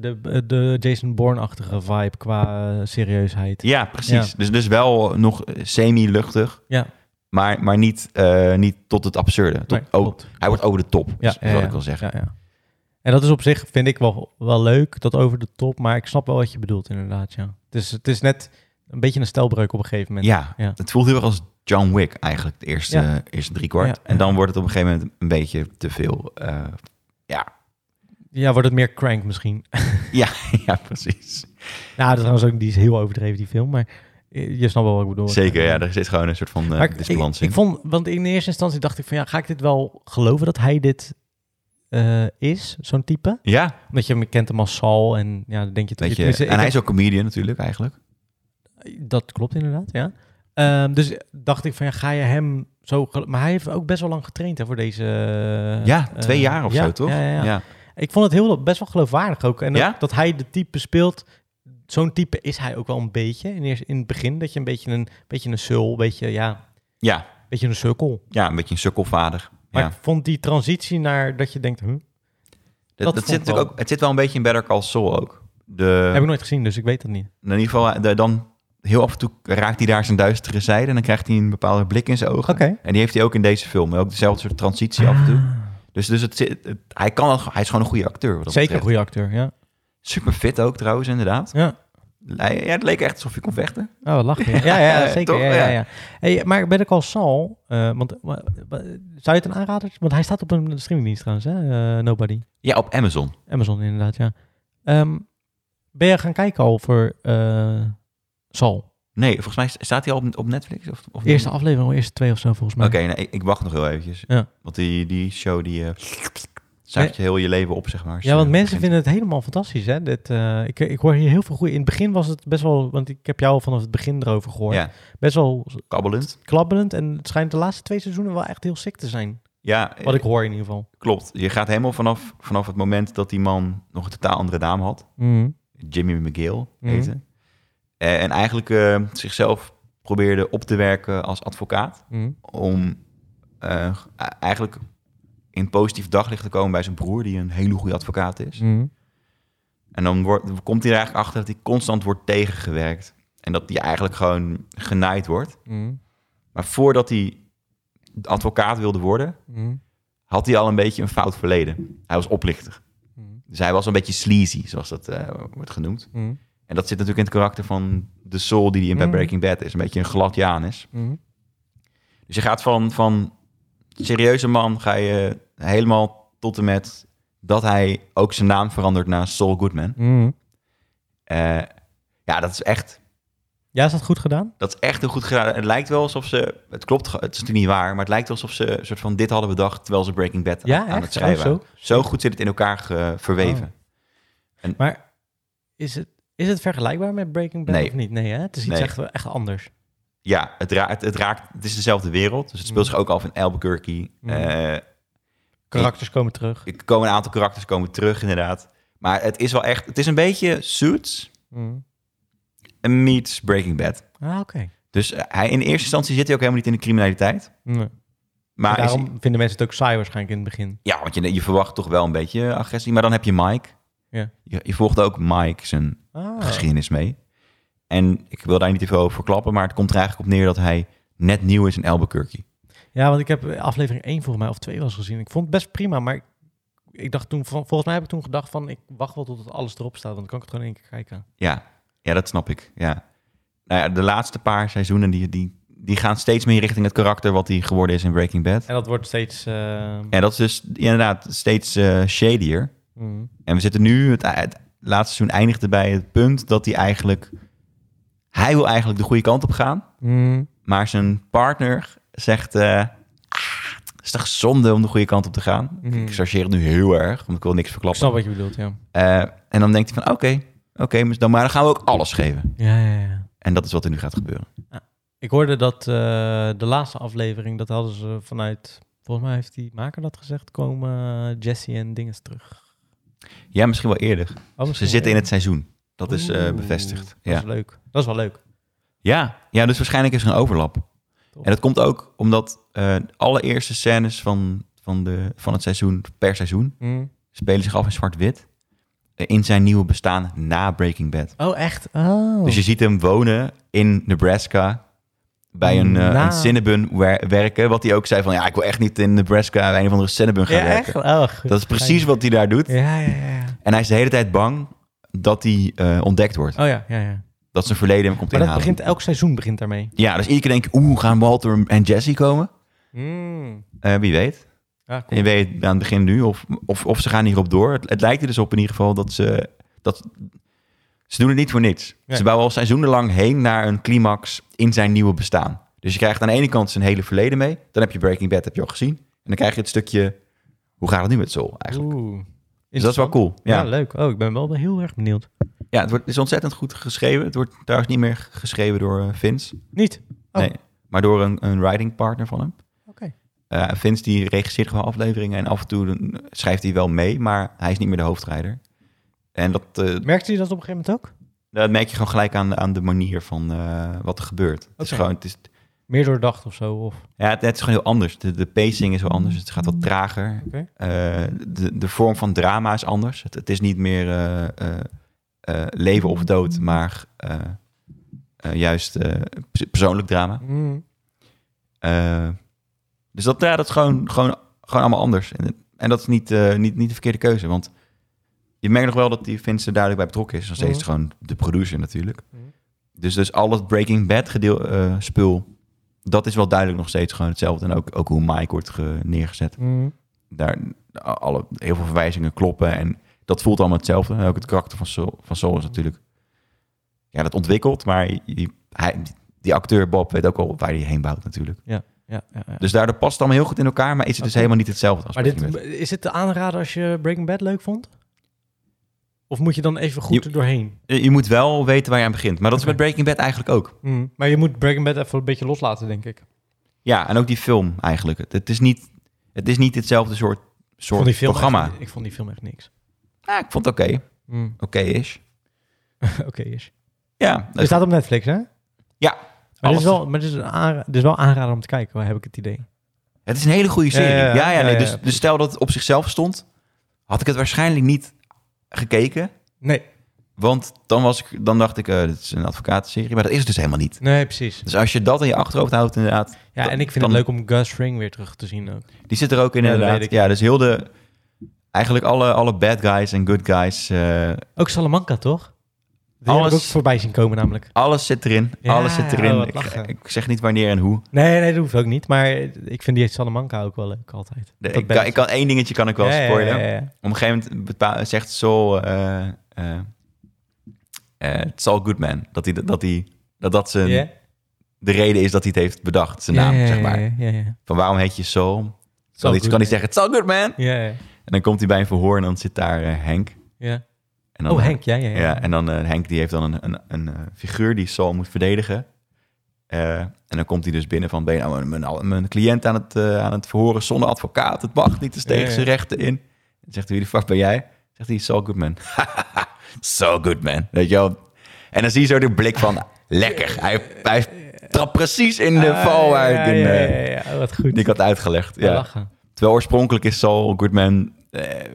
S1: de, de Jason Bourne-achtige vibe qua eh, serieusheid.
S2: Ja, precies. Dus, dus wel nog semi-luchtig.
S1: Ja.
S2: Maar, maar niet, eh, niet tot het absurde. Tot,
S1: Nee,
S2: o-
S1: klopt.
S2: hij wordt over de top,
S1: Ja,
S2: ja, is, is
S1: ja,
S2: wat
S1: ja.
S2: ik wil zeggen.
S1: Ja, ja. En dat is op zich, vind ik wel, wel leuk, dat over de top. Maar ik snap wel wat je bedoelt, inderdaad, ja. Het is, het is net een beetje een stelbreuk op een gegeven moment.
S2: Ja,
S1: Ja.
S2: het voelt heel erg als John Wick eigenlijk, de eerste,
S1: Ja.
S2: eerste driekwart.
S1: Ja, ja.
S2: En dan wordt het op een gegeven moment een beetje te veel. eh,
S1: Ja, wordt het meer crank misschien.
S2: ja, precies.
S1: nou, dat is trouwens ook, die is heel overdreven, die film. Maar eh, je snapt wel wat ik bedoel.
S2: Zeker, ja, er zit gewoon een soort van eh,
S1: Maar ik-
S2: disbalans
S1: ik,
S2: in.
S1: ik vond, want in eerste instantie dacht ik van ja, ga ik dit wel geloven dat hij dit eh, is, zo'n type?
S2: ja,
S1: Omdat je hem kent hem als Sal en ja, dan denk je toch.
S2: weet je.
S1: tenminste,
S2: En
S1: ik
S2: hij
S1: heb-
S2: is ook comedian natuurlijk eigenlijk.
S1: Dat klopt inderdaad, ja. Ehm, dus dacht ik van ja, ga je hem zo. gelo- Maar hij heeft ook best wel lang getraind hè, voor deze. eh,
S2: ja, twee
S1: eh,
S2: jaar of
S1: ja,
S2: zo, toch?
S1: Ja, ja, ja.
S2: ja.
S1: Ik vond het heel, best wel geloofwaardig ook. En ook
S2: Ja?
S1: dat hij de type speelt. Zo'n type is hij ook wel een beetje. In, eerst, in het begin dat je een beetje een, beetje een sul, een beetje, ja,
S2: Ja,
S1: een beetje een sukkel.
S2: ja, een beetje een sukkelvader.
S1: Maar
S2: Ja.
S1: ik vond die transitie naar dat je denkt, huh,
S2: Dat,
S1: dat
S2: dat
S1: vond
S2: zit
S1: ik
S2: natuurlijk
S1: wel-
S2: ook, het zit wel een beetje in Better Call Saul ook. De,
S1: heb ik nooit gezien, dus ik weet dat niet.
S2: In ieder geval, eh, de- dan heel af en toe raakt hij daar zijn duistere zijde. En dan krijgt hij een bepaalde blik in zijn ogen. En die heeft hij ook in deze film. Ook dezelfde soort transitie af en toe.
S1: Ah.
S2: Dus, dus het, zit- het- hij, kan, wel- hij is gewoon een goede acteur. wat dat
S1: Zeker een
S2: betreft.
S1: goede acteur, ja.
S2: Super fit ook trouwens, inderdaad.
S1: Ja,
S2: Hij, ja, het leek echt alsof hij kon vechten.
S1: oh, wat lach je. Ja, ja, zeker.
S2: Toch?
S1: ja, ja,
S2: Ja.
S1: ja. Hey, maar ben ik al Sal, eh, want wa- wa- zou je het een aanrader? Want hij staat op een streamingdienst trouwens, hè? eh, Nobody.
S2: Ja, op Amazon.
S1: Amazon inderdaad, ja. Ehm, ben je gaan kijken al voor eh Sal?
S2: Nee, volgens mij staat hij al op, op Netflix. Of, of
S1: Eerste aflevering, of eerste twee of zo volgens mij.
S2: Hm. Oké, nee, ik, ik wacht nog heel eventjes.
S1: Ja.
S2: Want die, die show die eh, zuigt je heel je leven op, zeg maar. als
S1: Ja,
S2: je
S1: want mensen
S2: begint.
S1: vinden het helemaal fantastisch, hè? Dit, eh, ik, ik hoor hier heel veel goede... In het begin was het best wel... Want ik heb jou vanaf het begin erover gehoord.
S2: Ja,
S1: Best wel
S2: kabbelend.
S1: klabberend. En het schijnt de laatste twee seizoenen wel echt heel sick te zijn.
S2: Ja,
S1: Wat ik hoor in ieder geval.
S2: klopt. Je gaat helemaal vanaf, vanaf het moment dat die man nog een totaal andere naam had. Mm. Jimmy McGill
S1: Mhm.
S2: heette. Eh, en eigenlijk eh, zichzelf probeerde op te werken als advocaat. Om eh, g- a- eigenlijk in positief daglicht te komen bij zijn broer, die een hele goede advocaat is. En dan wordt, komt hij er eigenlijk achter dat hij constant wordt tegengewerkt. En dat hij eigenlijk gewoon genaaid wordt. Maar voordat hij advocaat wilde worden, had hij al een beetje een fout verleden. Hij was oplichter. Dus hij was een beetje sleazy, zoals dat eh, wordt genoemd. En dat zit natuurlijk in het karakter van de soul die die in
S1: Mm.
S2: Breaking Bad is. Een beetje een glad Janus. Dus je gaat van, van serieuze man, ga je helemaal tot en met dat hij ook zijn naam verandert naar Saul Goodman. Eh, ja, dat is, echt,
S1: Ja, is dat goed gedaan?
S2: dat is echt heel goed gedaan. Het lijkt wel alsof ze, het klopt, ge- het is natuurlijk niet waar, maar het lijkt wel alsof ze een soort van dit hadden bedacht terwijl ze Breaking Bad
S1: Ja,
S2: aan
S1: echt?
S2: het schrijven
S1: Oh, zo? Oh.
S2: waren. Zo goed zit het in elkaar ge- verweven.
S1: Maar is het... Is het vergelijkbaar met Breaking Bad
S2: Nee.
S1: of niet? Nee, hè? het is iets
S2: Nee.
S1: echt, echt anders.
S2: Ja, het, ra- het, het raakt, het is dezelfde wereld. Dus het speelt
S1: Mm.
S2: zich ook af in Albuquerque.
S1: Mm.
S2: Eh,
S1: Karakters komen terug.
S2: er komen een aantal karakters komen terug, inderdaad. Maar het is wel echt... Het is een beetje Suits
S1: Mm.
S2: meets Breaking Bad.
S1: Ah, oké.
S2: Dus eh, hij, in eerste instantie zit hij ook helemaal niet in de criminaliteit.
S1: Nee.
S2: Maar is-
S1: Daarom vinden mensen het ook saai waarschijnlijk in het begin.
S2: ja, want je, je verwacht toch wel een beetje agressie. Maar dan heb je Mike.
S1: Ja.
S2: Je, je volgt ook Mike zijn
S1: Ah.
S2: geschiedenis mee. En ik wil daar niet te veel over verklappen, maar het komt er eigenlijk op neer dat hij net nieuw is in Albuquerque.
S1: Ja, want ik heb aflevering 1 volgens mij of 2 was gezien. Ik vond het best prima, maar ik, ik dacht toen, van- volgens mij heb ik toen gedacht van ik wacht wel tot het alles erop staat, want dan kan ik het gewoon in één keer kijken.
S2: Ja, ja dat snap ik. Ja. Nou ja, de laatste paar seizoenen die, die, die gaan steeds meer richting het karakter wat hij geworden is in Breaking Bad.
S1: En dat wordt steeds. eh,
S2: En dat is dus inderdaad steeds eh shadier.
S1: mm,
S2: En we zitten nu, het, het laatste seizoen eindigde bij het punt dat hij eigenlijk... Hij wil eigenlijk de goede kant op gaan,
S1: mm,
S2: maar zijn partner zegt... eh, ah, het is toch zonde om de goede kant op te gaan?
S1: mm.
S2: Ik chargeer het nu heel erg, want ik wil niks
S1: Ik
S2: verklappen.
S1: snap wat je bedoelt, ja.
S2: Eh, en dan denkt hij van, oké, oké, maar dan, maar dan gaan we ook alles geven.
S1: Ja, ja, ja.
S2: En dat is wat er nu gaat gebeuren.
S1: Ik hoorde dat eh, de laatste aflevering, dat hadden ze vanuit. Volgens mij heeft die maker dat gezegd, komen eh, Jesse en dinges terug.
S2: Ja, misschien wel eerder.
S1: Oh,
S2: Ze zitten in het seizoen. Dat
S1: dat
S2: is eh, bevestigd.
S1: Dat
S2: Ja.
S1: is leuk. Dat is wel leuk.
S2: Ja, ja, dus waarschijnlijk is er een overlap.
S1: Top.
S2: En dat komt ook omdat eh alle eerste scènes van, van, de, van het seizoen, per seizoen,
S1: Mm.
S2: spelen zich af in zwart-wit. eh, In zijn nieuwe bestaan na Breaking Bad.
S1: Oh, echt? Oh.
S2: Dus je ziet hem wonen in Nebraska. Bij een, eh,
S1: Na-
S2: een Cinnabon wer- werken. Wat hij ook zei van, ja, ik wil echt niet in Nebraska bij een of andere Cinnabon gaan
S1: ja,
S2: werken.
S1: echt? Oh, goed.
S2: Dat is precies wat hij daar doet.
S1: Ja, ja, ja. ja.
S2: En hij is de hele tijd bang dat hij eh, ontdekt wordt.
S1: Oh ja, ja, ja.
S2: Dat zijn verleden hem komt
S1: Maar dat
S2: inhalen.
S1: begint, elk seizoen begint daarmee.
S2: Ja, dus iedere keer denk ik, oeh, gaan Walter en Jesse komen? Eh, wie weet.
S1: Mm. Ja, cool.
S2: Je weet het aan het begin nu. Of, of, of ze gaan hierop door. Het, het lijkt er dus op in ieder geval dat ze... Dat, ze doen het niet voor niks.
S1: Nee.
S2: Ze bouwen al seizoenenlang heen naar een climax in zijn nieuwe bestaan. Dus je krijgt aan de ene kant zijn hele verleden mee. Dan heb je Breaking Bad, heb je al gezien. En dan krijg je het stukje, hoe gaat het nu met Sol eigenlijk?
S1: Oeh.
S2: Dus dat is wel cool.
S1: Ja.
S2: Ja,
S1: leuk. Oh, ik ben wel heel erg benieuwd.
S2: ja het wordt, het is ontzettend goed geschreven. Het wordt trouwens niet meer geschreven door eh, Vince.
S1: Niet? Oh.
S2: Nee, maar door een, een writing partner van hem.
S1: Oké.
S2: Eh, Vince die regisseert gewoon afleveringen en af en toe dan schrijft hij wel mee, maar hij is niet meer de hoofdrijder. En dat, eh,
S1: Merkte je dat op een gegeven moment ook?
S2: dat merk je gewoon gelijk aan, aan de manier van eh, wat er gebeurt. Het, is
S1: Oké.
S2: gewoon, het, is,
S1: Meer doordacht of zo? Of...
S2: ja, het, het is gewoon heel anders. De, de pacing is wel anders, het gaat wat trager.
S1: Mm. Oké.
S2: Eh, de, de vorm van drama is anders. Het, het is niet meer eh, eh, eh, leven of dood, maar eh, eh, juist eh, pers- persoonlijk drama.
S1: Mm.
S2: Eh, dus dat, ja, dat is gewoon, gewoon, gewoon allemaal anders. En, en dat is niet, eh, niet, niet de verkeerde keuze. Want je merkt nog wel dat die Vince er duidelijk bij betrokken is. Nog steeds
S1: Mhm.
S2: gewoon de producer natuurlijk.
S1: Mhm.
S2: Dus, dus al het Breaking Bad gedeel, eh, spul, dat is wel duidelijk nog steeds gewoon hetzelfde. En ook, ook hoe Mike wordt ge- neergezet.
S1: Mm.
S2: Daar, a- alle, heel veel verwijzingen kloppen en dat voelt allemaal hetzelfde. En ook het karakter van Sol, van Sol is
S1: Mhm.
S2: natuurlijk... Ja, dat ontwikkelt, maar je- hij, die acteur Bob weet ook al waar hij heen bouwt natuurlijk.
S1: Ja, ja, ja.
S2: Dus daardoor past het allemaal heel goed in elkaar, maar is het dus
S1: Oké.
S2: helemaal niet hetzelfde als
S1: maar
S2: Breaking
S1: dit,
S2: Bad.
S1: is het te aanraden als je Breaking Bad leuk vond? Of moet je dan even goed
S2: Je-
S1: er doorheen?
S2: Je je moet wel weten waar je aan begint. Maar dat
S1: Oké.
S2: is met Breaking Bad eigenlijk ook.
S1: Mm. Maar je moet Breaking Bad even een beetje loslaten, denk ik.
S2: Ja, en ook die film eigenlijk. Het, het is, niet, het is niet hetzelfde soort,
S1: Ik
S2: soort
S1: vond die film
S2: programma.
S1: echt- ik vond die film echt niks.
S2: Ja, ik vond het oké.
S1: Mm.
S2: Oké-ish.
S1: Oké, is.
S2: Ja, dat
S1: Er
S2: is
S1: staat op Netflix, hè? Maar dit
S2: alles-
S1: is wel, maar dit is, een aanra- dit is wel aanrader om te kijken, heb ik het idee.
S2: Het is een hele goede
S1: Ja,
S2: serie. Ja,
S1: ja,
S2: ja,
S1: ja,
S2: nee,
S1: ja,
S2: dus,
S1: ja,
S2: dus stel dat het op zichzelf stond, had ik het waarschijnlijk niet gekeken.
S1: Nee,
S2: Want dan, was ik, dan dacht ik, eh dit is een advocatenserie. Maar dat is het dus helemaal niet.
S1: nee, precies.
S2: Dus als je dat in je achterhoofd houdt, inderdaad,
S1: Ja,
S2: Dan-
S1: en ik vind
S2: dan-
S1: het leuk om Gus Ring weer terug te zien ook.
S2: Die zit er ook in,
S1: Ja, dat
S2: inderdaad.
S1: weet ik.
S2: Ja, dus heel de... Eigenlijk alle, alle bad guys en good guys. eh,
S1: Ook Salamanca, toch? Die Alles...
S2: Alles-
S1: heb ik ook voorbij zien komen namelijk.
S2: alles zit erin.
S1: Ja,
S2: alles zit erin.
S1: oh, wat
S2: ik,
S1: lachen.
S2: ik zeg niet wanneer en hoe.
S1: Nee, nee, dat hoeft ook niet. Maar ik vind die Salamanca ook wel leuk altijd.
S2: De-
S1: Dat
S2: ik,
S1: band.
S2: kan, ik kan één dingetje kan ik wel
S1: Ja, ja,
S2: spoilen.
S1: ja, ja.
S2: Op een gegeven moment bepa- zegt Sol... eh eh eh, Saul Goodman. Dat, hij, dat, hij, dat dat zijn,
S1: Ja?
S2: de reden is dat hij het heeft bedacht. Zijn naam,
S1: Ja, ja,
S2: zeg maar.
S1: Ja, ja, ja.
S2: Van waarom heet je Sol? Zal
S1: Saul
S2: iets, kan
S1: Goodman.
S2: hij zeggen, Saul Goodman.
S1: Ja, ja,
S2: En dan komt hij bij een verhoor en dan zit daar eh, Henk.
S1: ja.
S2: En
S1: Oh, Henk, ja, ja, ja.
S2: Ja, en dan eh, Henk die heeft dan een, een, een eh, figuur die Sal moet verdedigen. Eh, en dan komt hij dus binnen van, ben je nou mijn, mijn, mijn cliënt aan het, eh, aan het verhoren zonder advocaat? Het mag niet, het is tegen
S1: Ja, ja.
S2: zijn rechten in. Dan zegt hij, wie de fuck ben jij? Zegt hij, Saul Goodman. Saul Goodman, weet je wel. En dan zie je zo de blik van, lekker, hij, hij trapt precies in de
S1: Ah,
S2: val waar
S1: ja,
S2: ik in,
S1: ja,
S2: eh,
S1: ja, ja, ja, wat goed.
S2: die ik had uitgelegd. Ja.
S1: Lachen.
S2: Terwijl oorspronkelijk is Saul Goodman eh,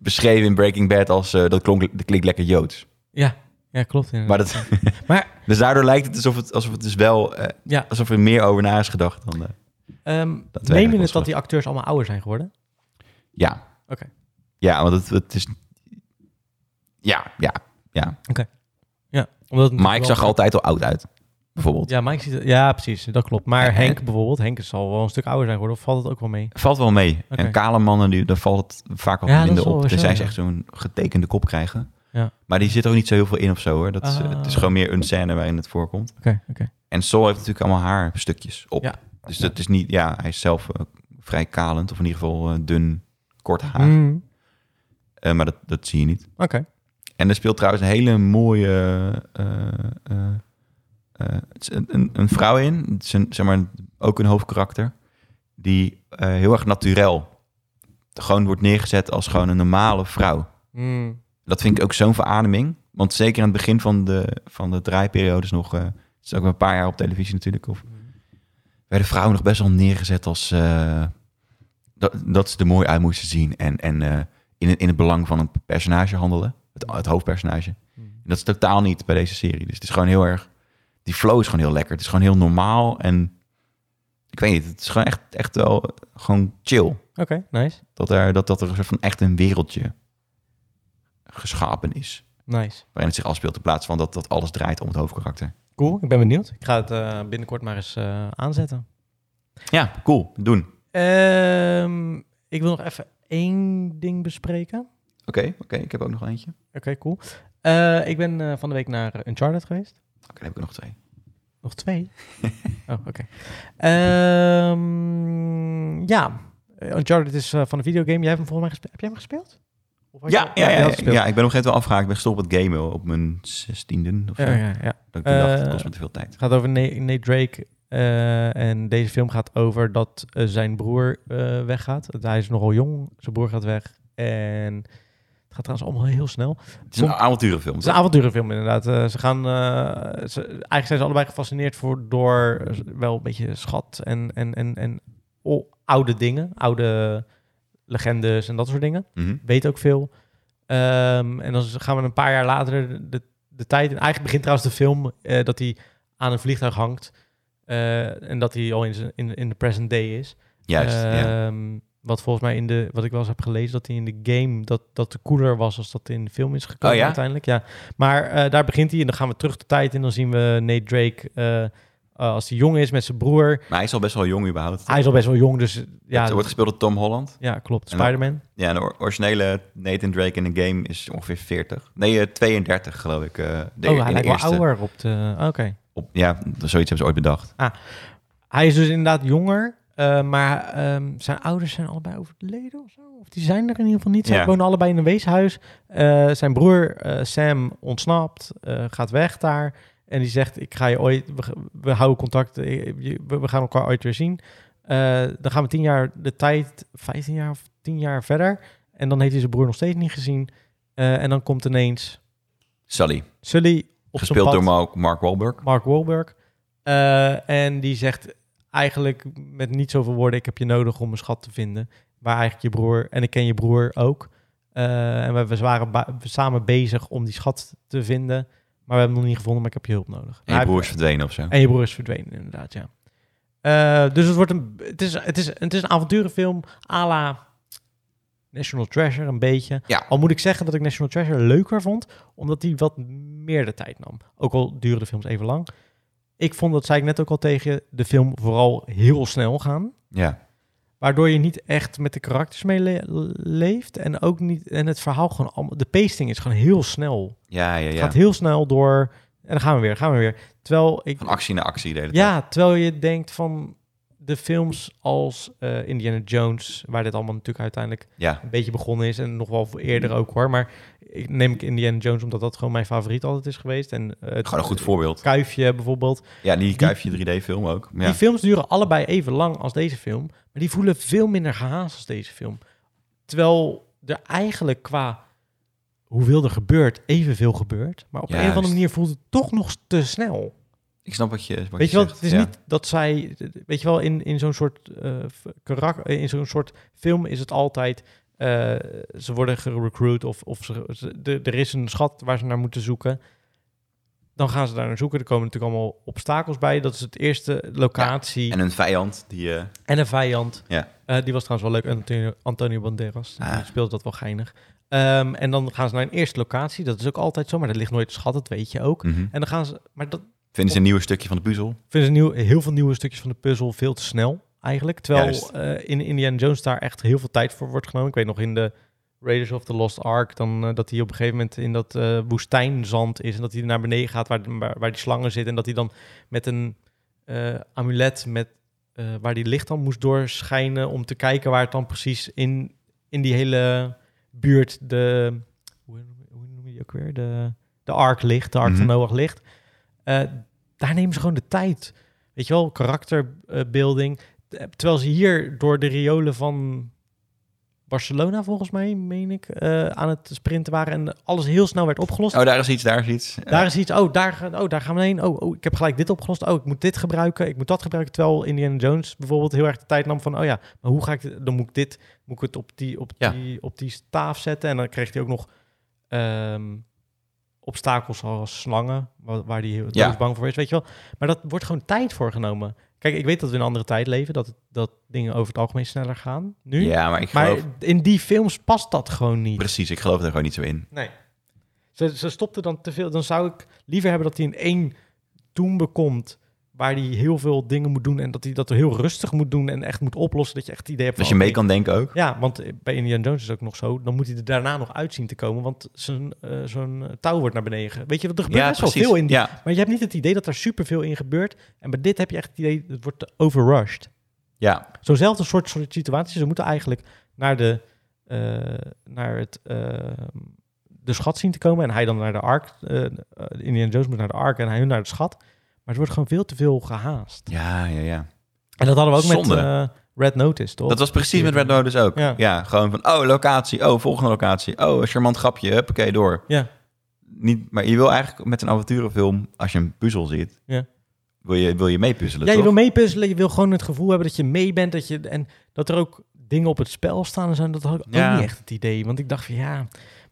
S2: beschreven in Breaking Bad als, eh, dat, klonk, dat klinkt lekker Joods.
S1: Ja, ja klopt. inderdaad.
S2: Maar dat...
S1: Maar
S2: Dus daardoor lijkt het alsof het, alsof het dus wel... eh,
S1: Ja.
S2: Alsof er meer over na is gedacht dan... eh,
S1: ehm
S2: werkt
S1: neem je
S2: wel
S1: het
S2: zo.
S1: dat die acteurs allemaal ouder zijn geworden?
S2: ja.
S1: Oké.
S2: Ja, want het, het is... Ja, ja, ja.
S1: Omdat het
S2: Maar ik
S1: wel-
S2: zag er altijd al oud uit. Bijvoorbeeld.
S1: Ja, Mike ziet het- Ja, precies. Dat klopt. Maar
S2: Eh,
S1: Henk
S2: eh.
S1: bijvoorbeeld. Henk zal wel een stuk ouder zijn geworden. Of valt het ook wel mee?
S2: Valt wel mee.
S1: Oké.
S2: En kale mannen, die, daar valt het vaak al
S1: Ja, dat
S2: minder
S1: is wel
S2: op.
S1: weer zo,
S2: Tenzij ze
S1: ja.
S2: echt zo'n getekende kop krijgen.
S1: Ja.
S2: Maar die zit er ook niet zo heel veel in of zo, hoor. Dat is, eh,
S1: Ah.
S2: Het is gewoon meer een scène waarin het voorkomt.
S1: Oké, oké.
S2: En Sol heeft natuurlijk allemaal haarstukjes op.
S1: Ja.
S2: Dus dat is niet... Ja, hij is zelf eh, vrij kalend. Of in ieder geval eh, dun, kort haar.
S1: Mm,
S2: Eh, maar dat, dat zie je niet.
S1: Oké.
S2: En er speelt trouwens een hele mooie. eh, eh, eh, het is een, een, een vrouw in. Het is een, zeg maar ook een hoofdkarakter. Die eh, heel erg naturel. Gewoon wordt neergezet als gewoon een normale vrouw.
S1: Mm,
S2: Dat vind ik ook zo'n verademing. Want zeker aan het begin van de, van de draaiperiodes nog. eh, het is ook een paar jaar op televisie natuurlijk. Of,
S1: Mm.
S2: werden vrouwen nog best wel neergezet als. eh, dat, dat ze er mooi uit moesten zien. En, en eh, in, het- in het belang van een personage handelen. Het, het hoofdpersonage.
S1: mm.
S2: En dat is totaal niet bij deze serie. Dus het is gewoon heel erg... Die flow is gewoon heel lekker. Het is gewoon heel normaal en... Ik weet niet, het is gewoon echt, echt wel gewoon chill.
S1: Oké, nice.
S2: Dat er, dat, dat er een soort van echt een wereldje geschapen is.
S1: Nice.
S2: Waarin het zich afspeelt in plaats van dat, dat alles draait om het hoofdkarakter.
S1: Cool, ik ben benieuwd. Ik ga het eh, binnenkort maar eens eh, aanzetten.
S2: Ja, cool. Doen. Oké,
S1: Ehm, ik wil nog even één ding bespreken. Oké,
S2: oké. ik heb ook nog eentje. Oké,
S1: cool. Eh, ik ben eh, van de week naar eh, Uncharted geweest.
S2: dan heb ik er nog twee.
S1: Nog twee? oh, oké. Ehm, ja, Eh, Uncharted is eh, van een videogame. Jij hebt hem volgens mij gespeeld. Heb jij hem gespeeld? Of had
S2: Ja,
S1: je-
S2: ja, ja,
S1: jij
S2: ja,
S1: had gespeeld.
S2: ja, ik ben op een gegeven moment wel afgehaakt. Ik ben gestopt met gamen op mijn zestiende of zo.
S1: Oh, Ja, ja, ja.
S2: Dat ik toen dacht,
S1: Eh,
S2: dat kost me te veel tijd.
S1: Het gaat over Nate, Nate Drake. eh, en deze film gaat over dat eh, zijn broer eh, weggaat. Want Hij is nogal jong. Zijn broer gaat weg. En het gaat trouwens allemaal heel snel.
S2: Het is een avonturenfilm.
S1: Het is een avonturenfilm inderdaad. Eh, ze gaan, eh, ze, eigenlijk zijn ze allebei gefascineerd voor, door eh, wel een beetje schat en, en, en, en o- oude dingen. Oude legendes en dat soort dingen.
S2: Mhm.
S1: Weet ook veel. Ehm, en dan gaan we een paar jaar later de, de tijd... En eigenlijk begint trouwens de film eh, dat hij aan een vliegtuig hangt. eh, en dat hij al in, zijn- in, in de present day is.
S2: Juist, ja.
S1: Ehm, Wat volgens mij in de, wat ik wel eens heb gelezen, dat hij in de game dat, dat de cooler was als dat in de film is gekomen
S2: Oh ja?
S1: uiteindelijk. Ja. Maar eh, daar begint hij en dan gaan we terug de tijd en dan zien we Nate Drake eh, eh, als hij jong is met zijn broer.
S2: Maar hij is al best wel jong überhaupt.
S1: Hij is al best wel jong, dus eh,
S2: Ja,
S1: ja,
S2: het wordt gespeeld door Tom Holland.
S1: ja klopt.
S2: En dan-
S1: Spider-Man.
S2: Ja, de or- originele Nathan Drake in de game is ongeveer 40. Nee, eh, 32 geloof ik. eh, de,
S1: Oh, hij
S2: in de
S1: lijkt wel
S2: eerste.
S1: ouder op de... oh, Oké.
S2: Op, ja, zoiets hebben ze ooit bedacht.
S1: Hij is dus inderdaad jonger, eh, maar ehm, zijn ouders zijn allebei overleden of zo. Of die zijn er in ieder geval niet. Ze
S2: Ja.
S1: wonen allebei in een weeshuis. Eh, zijn broer eh, Sam ontsnapt, eh, gaat weg daar. En die zegt, ik ga je ooit, we, we houden contact, eh, je- we, we gaan elkaar ooit weer zien. Eh, dan gaan we tien jaar de tijd, 15 jaar of tien jaar verder. En dan heeft hij zijn broer nog steeds niet gezien. Eh, en dan komt ineens
S2: Sully,
S1: Sully op zijn
S2: gespeeld
S1: pad.
S2: door Mark, Mark Wahlberg.
S1: Mark Wahlberg. Eh, en die zegt eigenlijk met niet zoveel woorden: Ik heb je nodig om een schat te vinden. Waar eigenlijk je broer, en ik ken je broer ook. Eh, en we, we waren ba- samen bezig om die schat te vinden. Maar we hebben hem nog niet gevonden, maar ik heb je hulp nodig.
S2: En
S1: Hij-
S2: je broer is verdwenen of zo.
S1: en je broer is verdwenen, inderdaad, ja. Eh, dus het, wordt een, het, is, het, is, het is een avonturenfilm à la National Treasure, een beetje.
S2: Ja.
S1: Al moet ik zeggen dat ik National Treasure leuker vond, omdat die wat meer de tijd nam. Ook al duren de films even lang. Ik vond, dat zei ik net ook al tegen je, de film vooral heel snel gaan.
S2: Ja,
S1: Waardoor je niet echt met de karakters meeleeft. En ook niet. En het verhaal gewoon. allemaal- De pacing is gewoon heel snel.
S2: ja, ja.
S1: Het
S2: ja.
S1: gaat heel snel door. En dan gaan we weer, gaan we weer. Terwijl ik.
S2: Van actie naar actie de hele tijd.
S1: Ja, terwijl je denkt van... de films als eh, Indiana Jones, waar dit allemaal natuurlijk uiteindelijk
S2: Ja,
S1: een beetje begonnen is en nog wel voor eerder ook hoor. Maar ik neem ik Indiana Jones omdat dat gewoon mijn favoriet altijd is geweest. En eh, het
S2: gewoon een goed voorbeeld.
S1: Kuifje bijvoorbeeld.
S2: Ja, die Kuifje 3D-film ook. Ja.
S1: Die films duren allebei even lang als deze film, maar die voelen veel minder gehaast als deze film. Terwijl er eigenlijk qua hoeveel er gebeurt, evenveel gebeurt. Maar op een
S2: Juist.
S1: of andere manier voelt het toch nog te snel.
S2: Ik snap wat je, wat
S1: Weet je wel, het is
S2: ja.
S1: niet dat zij, weet je wel, in, in zo'n soort eh, f- karak, in zo'n soort film is het altijd, eh, ze worden gerecruit of, of ze, ze- de- er is een schat waar ze naar moeten zoeken. Dan gaan ze daar naar zoeken. Er komen natuurlijk allemaal obstakels bij. Dat is het eerste locatie en,
S2: En een vijand die... eh,
S1: een vijand.
S2: Ja.
S1: Eh, die was trouwens wel leuk. Antonio, Antonio Banderas die
S2: Ah.
S1: speelde dat wel geinig. Ehm, en dan gaan ze naar een eerste locatie. Dat is ook altijd zo, maar dat ligt nooit een schat. Dat weet je ook.
S2: mhm.
S1: En dan gaan ze, maar dat,
S2: Vinden ze een nieuw stukje van de puzzel?
S1: vinden ze nieuw, heel veel nieuwe stukjes van de puzzel veel te snel eigenlijk.
S2: Juist.
S1: Terwijl eh, in Indiana Jones daar echt heel veel tijd voor wordt genomen. Ik weet nog in de Raiders of the Lost Ark, dan, eh, dat hij op een gegeven moment in dat eh, woestijnzand is en dat hij naar beneden gaat waar, waar, waar die slangen zitten en dat hij dan met een eh, amulet met, eh, waar die licht dan moest doorschijnen om te kijken waar het dan precies in, in die hele buurt de, hoe, hoe noem je die ook weer? De, de Ark ligt, de Ark
S2: Mhm.
S1: van Noach ligt. Eh, daar nemen ze gewoon de tijd. Weet je wel, karakterbeelding. Eh, terwijl ze hier door de riolen van Barcelona, volgens mij, meen ik, eh, aan het sprinten waren en alles heel snel werd opgelost.
S2: Oh, daar is iets, daar is iets. Eh,
S1: Daar is iets, oh daar, gaan- oh, daar gaan we heen. Oh, oh, ik heb gelijk dit opgelost. Oh, ik moet dit gebruiken, ik moet dat gebruiken. Terwijl Indiana Jones bijvoorbeeld heel erg de tijd nam van... oh ja, maar hoe ga ik dit, dan moet ik dit, moet ik het op die, op
S2: Ja.
S1: die, op die staaf zetten. En dan kreeg hij ook nog ehm, obstakels als slangen... wa- waar hij heel
S2: Ja.
S1: doodsbang bang voor is, weet je wel. Maar dat wordt gewoon tijd voor genomen. Kijk, ik weet dat we in een andere tijd leven... dat, het- dat dingen over het algemeen sneller gaan nu.
S2: Ja, maar ik
S1: maar
S2: geloof...
S1: in die films past dat gewoon niet.
S2: Precies, ik geloof er gewoon niet zo in.
S1: Nee. Ze, ze stopte dan te veel. Dan zou ik liever hebben dat hij in één toen bekomt. Waar hij heel veel dingen moet doen. En dat hij dat heel rustig moet doen. En echt moet oplossen. Dat je echt het idee hebt
S2: Dat
S1: van...
S2: je mee
S1: oké,
S2: kan denken ook.
S1: Ja, want bij Indiana Jones is het ook nog zo. Dan moet hij er daarna nog uit zien te komen. Want zijn, eh, zo'n eh, touw wordt naar beneden. ge- Weet je, er gebeurt
S2: Ja,
S1: best wel veel in. die-
S2: Ja,
S1: Maar je hebt niet het idee dat er superveel in gebeurt. En bij dit heb je echt het idee, het wordt te overrushed.
S2: ja.
S1: Zo'nzelfde soort, soort situaties. Ze moeten eigenlijk naar, de, eh, naar het, eh, de schat zien te komen. En hij dan naar de ark. eh eh, Indiana Jones moet naar de ark en hij hun naar de schat. Maar het wordt gewoon veel te veel gehaast.
S2: Ja, ja, ja.
S1: En dat hadden we ook
S2: Zonde.
S1: met eh, Red Notice, toch?
S2: Dat was precies met Red Notice ook. Ja.
S1: Ja.
S2: gewoon van, oh, locatie, oh, volgende locatie. Oh, een charmant grapje, huppakee, door.
S1: Ja.
S2: Niet, maar je wil eigenlijk met een avonturenfilm, als je een puzzel ziet,
S1: Ja.
S2: wil je, wil je meepuzzelen,
S1: ja, je
S2: toch?
S1: wil meepuzzelen. Je wil gewoon het gevoel hebben dat je mee bent. Dat je, en dat er ook dingen op het spel staan en zo. Dat had ik
S2: Ja.
S1: ook niet echt het idee. Want ik dacht van ja...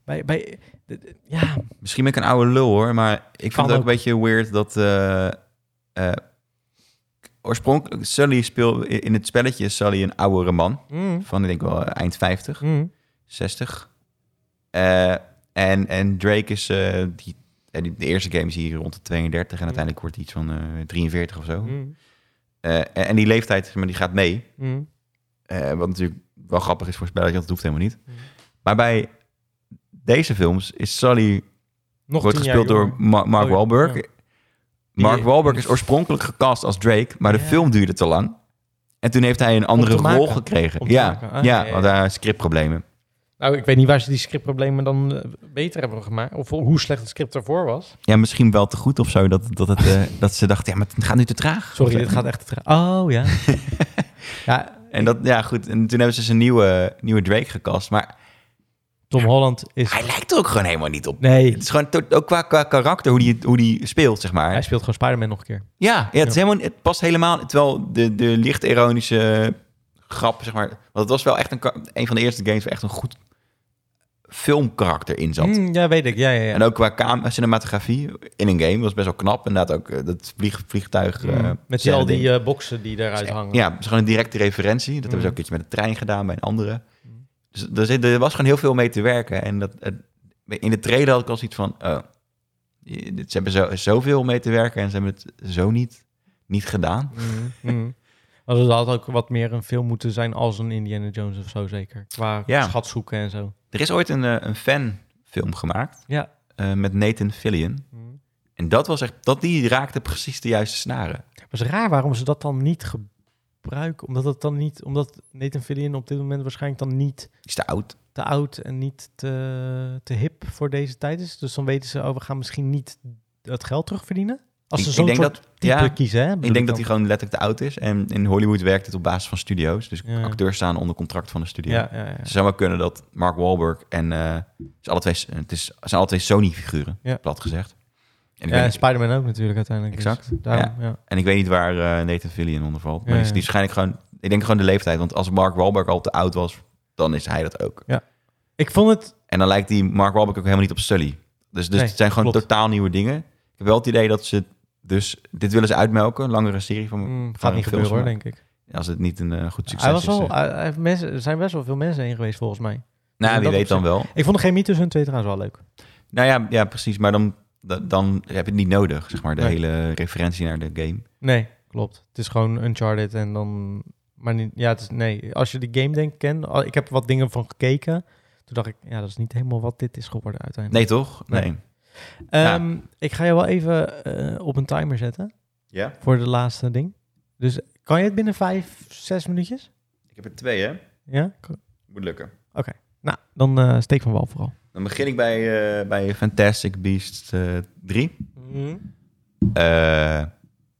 S1: Bij, bij, d- d- ja,
S2: Misschien ben ik een oude lul, hoor. Maar ik vind
S1: Kan
S2: het ook
S1: ook.
S2: een beetje weird dat... eh, eh, oorspronkelijk, Sully speelde... In het spelletje is Sully een oudere man.
S1: Mm.
S2: Van, ik denk wel, eh, eind 50.
S1: Mm.
S2: 60. Eh, en, en Drake is... eh, die, eh, die- de eerste game is hier rond de 32. En uiteindelijk wordt hij iets van eh, 43 of zo.
S1: Mm.
S2: Eh, en, en die leeftijd zeg maar, die gaat mee.
S1: Mm.
S2: Eh, wat natuurlijk wel grappig is voor een spelletje, want dat hoeft helemaal niet.
S1: Mm.
S2: Maar bij deze films is Sully...
S1: Nog
S2: wordt
S1: tien jaar
S2: gespeeld door
S1: jonger.
S2: Ma- Mark
S1: Oh ja,
S2: Wahlberg.
S1: ja.
S2: Mark
S1: Die-
S2: Wahlberg is oorspronkelijk gecast als Drake, maar de
S1: Ja.
S2: film duurde te lang. En toen heeft hij een andere
S1: te maken.
S2: rol gekregen.
S1: Om te
S2: Ja,
S1: maken. Ah,
S2: ja,
S1: ja, ja,
S2: want
S1: ja.
S2: daar zijn scriptproblemen.
S1: Nou, ik weet niet waar ze die scriptproblemen dan eh, beter hebben gemaakt. Of hoe slecht het script ervoor was.
S2: Ja, misschien wel te goed of zo. Dat, dat, het, eh, dat ze dachten, ja, maar het gaat nu te traag.
S1: Sorry, dit gaat echt te traag. Oh, ja. ja,
S2: En dat, ja, goed. En toen hebben ze dus een nieuwe, nieuwe Drake gecast. Maar
S1: Tom Holland is...
S2: hij lijkt er ook gewoon helemaal niet op.
S1: Nee,
S2: Het is gewoon to- ook qua, qua karakter, hoe die, hoe die speelt, zeg maar.
S1: hij speelt gewoon Spider-Man nog een keer.
S2: Ja, ja, het, is helemaal, het past helemaal. Terwijl de, de licht ironische grap, zeg maar. Want het was wel echt een, ka- een van de eerste games waar echt een goed filmkarakter in zat.
S1: Mm, ja, weet ik. Ja, ja, ja.
S2: En ook qua cam- cinematografie in een game was best wel knap. Inderdaad ook eh, dat vlieg, vliegtuig.
S1: Mm.
S2: eh,
S1: Met die- al die
S2: ding.
S1: eh, boksen die daaruit hangen.
S2: Ja, het is gewoon een directe referentie. Dat hebben ze
S1: Mm.
S2: ook een keertje met de trein gedaan bij een andere.
S1: Mm.
S2: Dus er, zit- er was gewoon heel veel mee te werken. En dat, het- in de trailer had ik al zoiets van... oh, je- dit- ze hebben zo, zoveel mee te werken en ze hebben het zo niet, niet gedaan.
S1: Mm, mm. Want het had ook wat meer een film moeten zijn als een Indiana Jones of zo, zeker. Qua
S2: Ja.
S1: schat zoeken en zo.
S2: Er is ooit een, eh, een fanfilm gemaakt
S1: Ja.
S2: eh, met Nathan Fillion.
S1: Mm.
S2: En dat was echt, dat die raakte precies de juiste snaren.
S1: Maar het is raar waarom ze dat dan niet gebruiken. Omdat het dan niet, omdat Nathan Fillion op dit moment waarschijnlijk dan niet
S2: Is te oud.
S1: te oud en niet te, te hip voor deze tijd is. Dus dan weten ze, oh, we gaan misschien niet het geld terugverdienen. Als
S2: Ik-
S1: ze
S2: ik
S1: zo'n
S2: denk
S1: soort
S2: dat-
S1: type
S2: ja,
S1: kiezen, hè?
S2: Ik
S1: bedoel
S2: denk dat
S1: dan.
S2: hij gewoon letterlijk te oud is. En in Hollywood werkt het op basis van studio's. Dus
S1: Ja.
S2: acteurs staan onder contract van de studio. Dus
S1: Ja, ja, ja.
S2: Het zou wel kunnen dat Mark Wahlberg en... eh, het, is alle twee, het is, het zijn alle twee Sony-figuren,
S1: Ja.
S2: plat gezegd. En ik,
S1: Ja, en
S2: weet, niet-
S1: Spider-Man ook natuurlijk uiteindelijk. dus
S2: Exact,
S1: daarom, ja.
S2: en ik weet niet waar eh, Nathan Fillion onder valt. Maar
S1: Ja,
S2: die is
S1: ja.
S2: die is waarschijnlijk gewoon... Ik denk gewoon de leeftijd. Want als Mark Wahlberg al te oud was, dan is hij dat ook.
S1: Ik vond het
S2: En dan lijkt die Mark Wahlberg ook helemaal niet op Sully. Dus, dus
S1: Nee,
S2: het zijn gewoon
S1: klopt.
S2: totaal nieuwe dingen. Ik heb wel het idee dat ze... Dus dit willen ze uitmelken, een langere serie van...
S1: mm, gaat
S2: van
S1: niet
S2: films
S1: gebeuren hoor,
S2: maken.
S1: denk ik.
S2: Als het niet een eh, goed succes
S1: Hij was
S2: is.
S1: wel,
S2: eh.
S1: hij- hij heeft mensen, er zijn best wel veel mensen heen geweest volgens mij.
S2: nou,
S1: in
S2: wie
S1: dat
S2: weet dan wel.
S1: Ik vond de chemie tussen hun twee trouwens wel leuk.
S2: Nou ja, ja precies. Maar dan, da- dan heb je het niet nodig, zeg maar. De
S1: Nee.
S2: hele referentie naar de game.
S1: Nee, klopt. Het is gewoon Uncharted en dan... Maar niet, ja, het is, nee, als je de game denkt, ken... al- Ik heb wat dingen van gekeken. Toen dacht ik, ja, dat is niet helemaal wat dit is geworden uiteindelijk.
S2: Nee, toch? Nee.
S1: Nee. Ehm, Ik ga je wel even eh, op een timer zetten
S2: Ja?
S1: voor de laatste ding. Dus kan je het binnen vijf, zes minuutjes?
S2: Ik heb er twee, hè?
S1: Ja? Oké.
S2: Moet lukken.
S1: Nou, dan eh, steek van wal vooral.
S2: Dan begin ik bij, eh, bij Fantastic Beasts eh, 3.
S1: Mhm.
S2: Eh,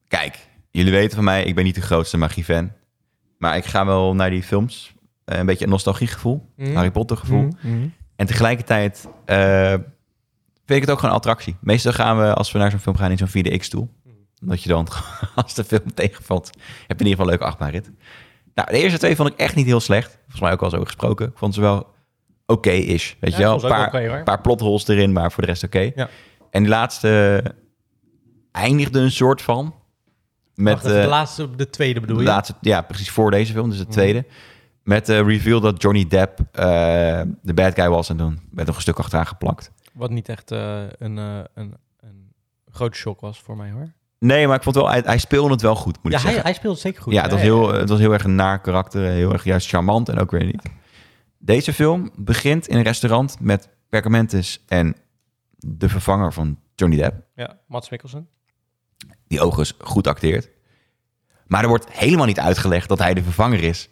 S2: kijk, jullie weten van mij, ik ben niet de grootste magie-fan. Maar ik ga wel naar die films. Eh, een beetje een nostalgiegevoel.
S1: Mhm.
S2: Harry Potter gevoel. En tegelijkertijd eh, vind ik het ook gewoon een attractie. Meestal gaan we, als we naar zo'n film gaan, in zo'n 4DX-stoel. Omdat je dan, als de film tegenvalt, heb je in ieder geval een leuke achtbaanrit. Nou, de eerste twee vond ik echt niet heel slecht. Volgens mij ook al zo gesproken. Ik vond ze wel oké-ish. Weet je wel, een paar, een paar plotholes erin, maar voor de rest oké.
S1: Ja.
S2: En die laatste eindigde een soort van... Met, eh,
S1: de laatste, de tweede bedoel
S2: de
S1: je?
S2: laatste, ja, precies voor deze film, dus de
S1: Mhm.
S2: tweede. Met de reveal dat Johnny Depp eh, de bad guy was en toen werd nog een stuk achteraan geplakt.
S1: Wat niet echt eh, een, eh, een, een grote shock was voor mij hoor.
S2: Nee, maar ik vond wel, hij, hij speelde het wel goed, moet
S1: Ja,
S2: ik
S1: hij,
S2: zeggen.
S1: hij speelt zeker goed.
S2: ja, het was, heel, het was heel erg een naar karakter, heel erg juist charmant en ook weer niet. Deze film begint in een restaurant met Perkamentus en de vervanger van Johnny Depp.
S1: Ja, Mats Mikkelsen.
S2: die overigens goed acteert. Maar er wordt helemaal niet uitgelegd dat hij de vervanger is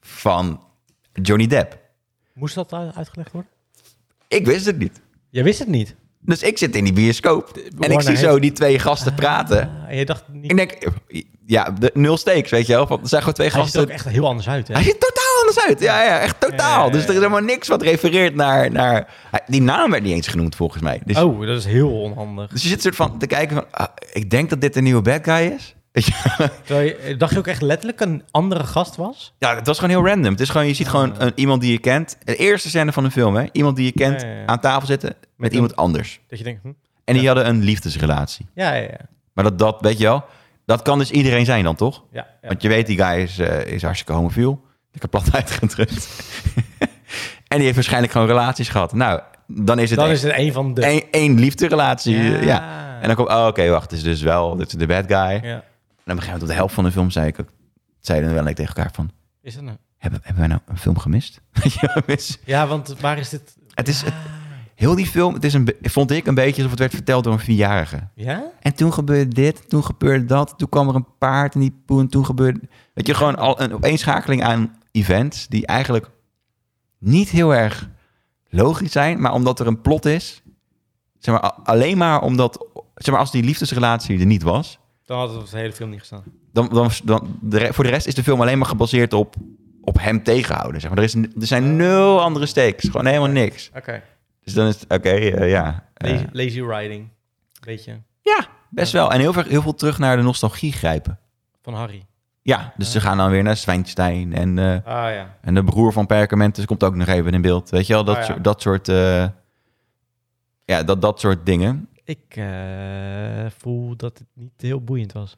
S2: van Johnny Depp.
S1: Moest dat u- uitgelegd worden?
S2: Ik wist het niet.
S1: Jij wist het niet.
S2: Dus ik zit in die bioscoop en ik
S1: Warner
S2: zie
S1: heeft-
S2: zo die twee gasten praten.
S1: Ah, en je dacht niet.
S2: Ik denk, ja, de, nul stakes, weet je wel. Van, er zijn gewoon twee
S1: hij ziet er ook
S2: gasten.
S1: echt heel anders uit. Hè?
S2: Hij ziet totaal anders uit. Ja, ja, echt
S1: Ja,
S2: totaal.
S1: ja, ja,
S2: Dus er is
S1: ja.
S2: helemaal niks wat refereert naar... naar hij- die naam werd niet eens genoemd, volgens mij. Dus,
S1: Oh, dat is heel onhandig.
S2: dus je zit soort van te kijken van... ah, ik denk dat dit een nieuwe bad guy is. Weet je?
S1: Terwijl je- eh, dacht je ook echt letterlijk een andere gast was?
S2: Ja, het was gewoon heel random. Het is gewoon, je ziet gewoon een, iemand die je kent. De eerste scène van een film, hè? Iemand die je kent
S1: Ah. Ja, ja, ja.
S2: aan tafel zitten met,
S1: Met
S2: iemand anders.
S1: Dat je denkt, hm?
S2: En die hadden een liefdesrelatie.
S1: ja, ja, ja.
S2: Maar dat, dat, weet je wel, dat kan dus iedereen zijn dan, toch?
S1: ja, ja.
S2: Want je weet, die guy is, eh, is hartstikke homofiel. Ik heb plat uitgedrukt. en die heeft waarschijnlijk gewoon relaties gehad. Nou, dan is het
S1: Dan
S2: één-
S1: is het een van de.
S2: één, één liefdesrelatie. Ja. En
S1: En
S2: dan komt, oh, oké, wacht, het is dus wel, dit is de bad guy.
S1: ja.
S2: En op een gegeven moment op de helft van de film zei ik, ook- zeiden we wel en ik tegen elkaar van,
S1: Is dat nou?
S2: hebben, hebben wij nou een film gemist? ja, mis-
S1: Ja, want waar is dit?
S2: Het is het- heel die film. Het is een, be- vond ik een beetje alsof het werd verteld door een vierjarige.
S1: Ja?
S2: En toen gebeurde dit, toen gebeurde dat, toen kwam er een paard en die poen, toen gebeurde. Weet je, gewoon al een opeenschakeling aan events die eigenlijk niet heel erg logisch zijn, maar omdat er een plot is, zeg maar a- alleen maar omdat, zeg maar als die liefdesrelatie er niet was,
S1: Dan had het op de hele film niet gestaan.
S2: dan, dan, dan de re- voor de rest is de film alleen maar gebaseerd op, op hem tegenhouden. Zeg maar. er, is, n- er zijn nul andere stakes, gewoon helemaal niks.
S1: Oké.
S2: Dus dan is het, oké, eh, ja. eh,
S1: Lazy, lazy riding. Beetje
S2: Ja, best wel. En heel veel, heel veel terug naar de nostalgie grijpen.
S1: van Harry.
S2: Ja, dus ze gaan dan weer naar Zwijnstein en, eh,
S1: Ah ja.
S2: en de broer van Perkament dus komt ook nog even in beeld. Weet je wel, dat,
S1: Ah, ja.
S2: soort- dat soort... eh, ja, dat, dat soort dingen.
S1: Ik eh, voel dat het niet heel boeiend was.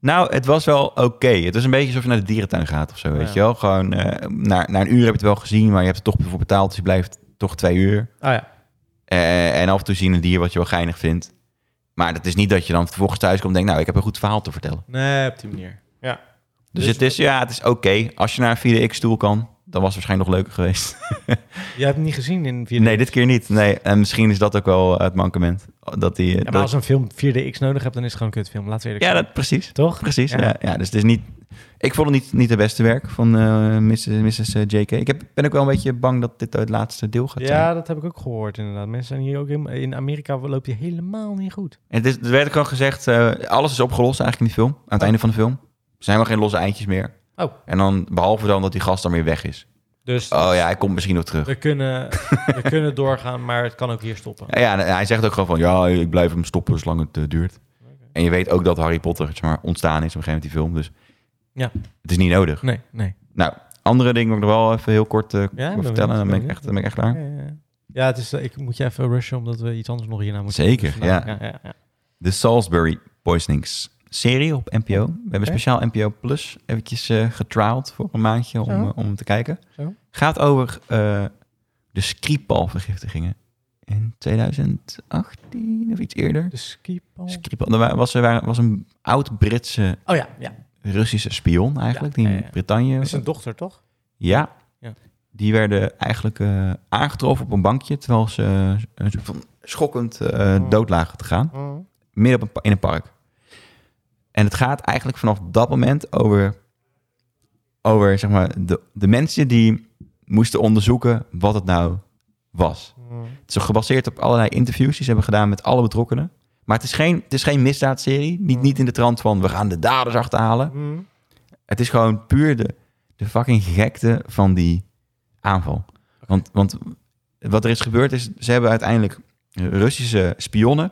S2: Nou, het was wel oké. Het was een beetje alsof je naar de dierentuin gaat of zo, weet
S1: Ja.
S2: je wel. Gewoon, eh, na, na een uur heb je het wel gezien, maar je hebt er toch voor betaald. Dus je blijft toch twee uur.
S1: Ah ja.
S2: Eh, en af en toe zien een dier wat je wel geinig vindt. Maar dat is niet dat je dan vervolgens thuis komt en denkt... nou, ik heb een goed verhaal te vertellen.
S1: Nee, op die manier. Ja.
S2: Dus,
S1: Dus-
S2: het is, ja, het is oké. Als je naar een 4DX-stoel kan, dan was het waarschijnlijk nog leuker geweest.
S1: Jij hebt hem niet gezien in 4D.
S2: nee, dit keer niet. Nee, en misschien is dat ook wel het mankement. Dat die,
S1: Ja,
S2: dat-
S1: maar als een film 4DX nodig hebt, dan is het gewoon een kutfilm. Laten we eerlijk
S2: ja
S1: zijn.
S2: dat, precies.
S1: Toch?
S2: Precies,
S1: Ja.
S2: ja. ja. dus het is niet... Ik vond het niet, niet het beste werk van eh Mrs. Mrs. JK. Ik heb, ben ook wel een beetje bang dat dit het laatste deel gaat zijn.
S1: Ja, dat heb ik ook gehoord inderdaad. Mensen zijn hier ook in, in Amerika loopt hij helemaal niet goed.
S2: En het is, er werd ook al gezegd, eh, alles is opgelost eigenlijk in die film. Aan het
S1: Oh.
S2: einde van de film. Er zijn wel geen losse eindjes meer.
S1: Oh.
S2: En dan, behalve dan dat die gast dan weer weg is.
S1: Dus
S2: Oh ja, hij komt misschien nog terug.
S1: we, kunnen, we kunnen doorgaan, maar het kan ook hier stoppen.
S2: Ja, ja, en hij zegt ook gewoon van, ja, ik blijf hem stoppen zolang het eh, duurt. En je weet ook dat Harry Potter zeg maar, ontstaan is op een gegeven moment die film. Dus
S1: Ja.
S2: het is niet nodig. Nou,
S1: Nee, nee.
S2: Andere dingen wil ik nog wel even heel kort eh,
S1: ben
S2: vertellen.
S1: benieuwd,
S2: Dan
S1: ben
S2: ben ik,
S1: benieuwd.
S2: echt, dan ben ik echt klaar.
S1: Ja, ja, ja. Ja, het is, eh, ik moet je even rushen omdat we iets anders nog hierna moeten
S2: Zeker,
S1: doen. nou,
S2: ja.
S1: ja, ja, ja.
S2: De Salisbury Poisonings serie op NPO. We hebben speciaal NPO Plus eventjes eh getriald voor een maandje om,
S1: Zo.
S2: eh, om te kijken.
S1: Zo.
S2: Gaat over eh, de Skripal-vergiftigingen in 2018 of iets eerder.
S1: De skipal.
S2: Skripal, er wa- was, er wa- was een oud-Britse,
S1: Oh ja, ja.
S2: Russische spion eigenlijk, die in
S1: ja, ja.
S2: Brittannië...
S1: Dat is een dochter, toch?
S2: Ja.
S1: Ja.
S2: Die werden eigenlijk eh, aangetroffen op een bankje, terwijl ze eh, een soort van schokkend eh
S1: Oh.
S2: dood lagen te gaan
S1: Hm,
S2: midden op een pa- in een park. En het gaat eigenlijk vanaf dat moment over, over zeg maar, de, de mensen die moesten onderzoeken wat het nou was.
S1: hm,
S2: Het is gebaseerd op allerlei interviews die ze hebben gedaan met alle betrokkenen. Maar het is geen, het is geen misdaadserie. Niet, niet in de trant van we gaan de daders achterhalen.
S1: hm,
S2: Het is gewoon puur de, de fucking gekte van die aanval. Want, want wat er is gebeurd is, ze hebben uiteindelijk Russische spionnen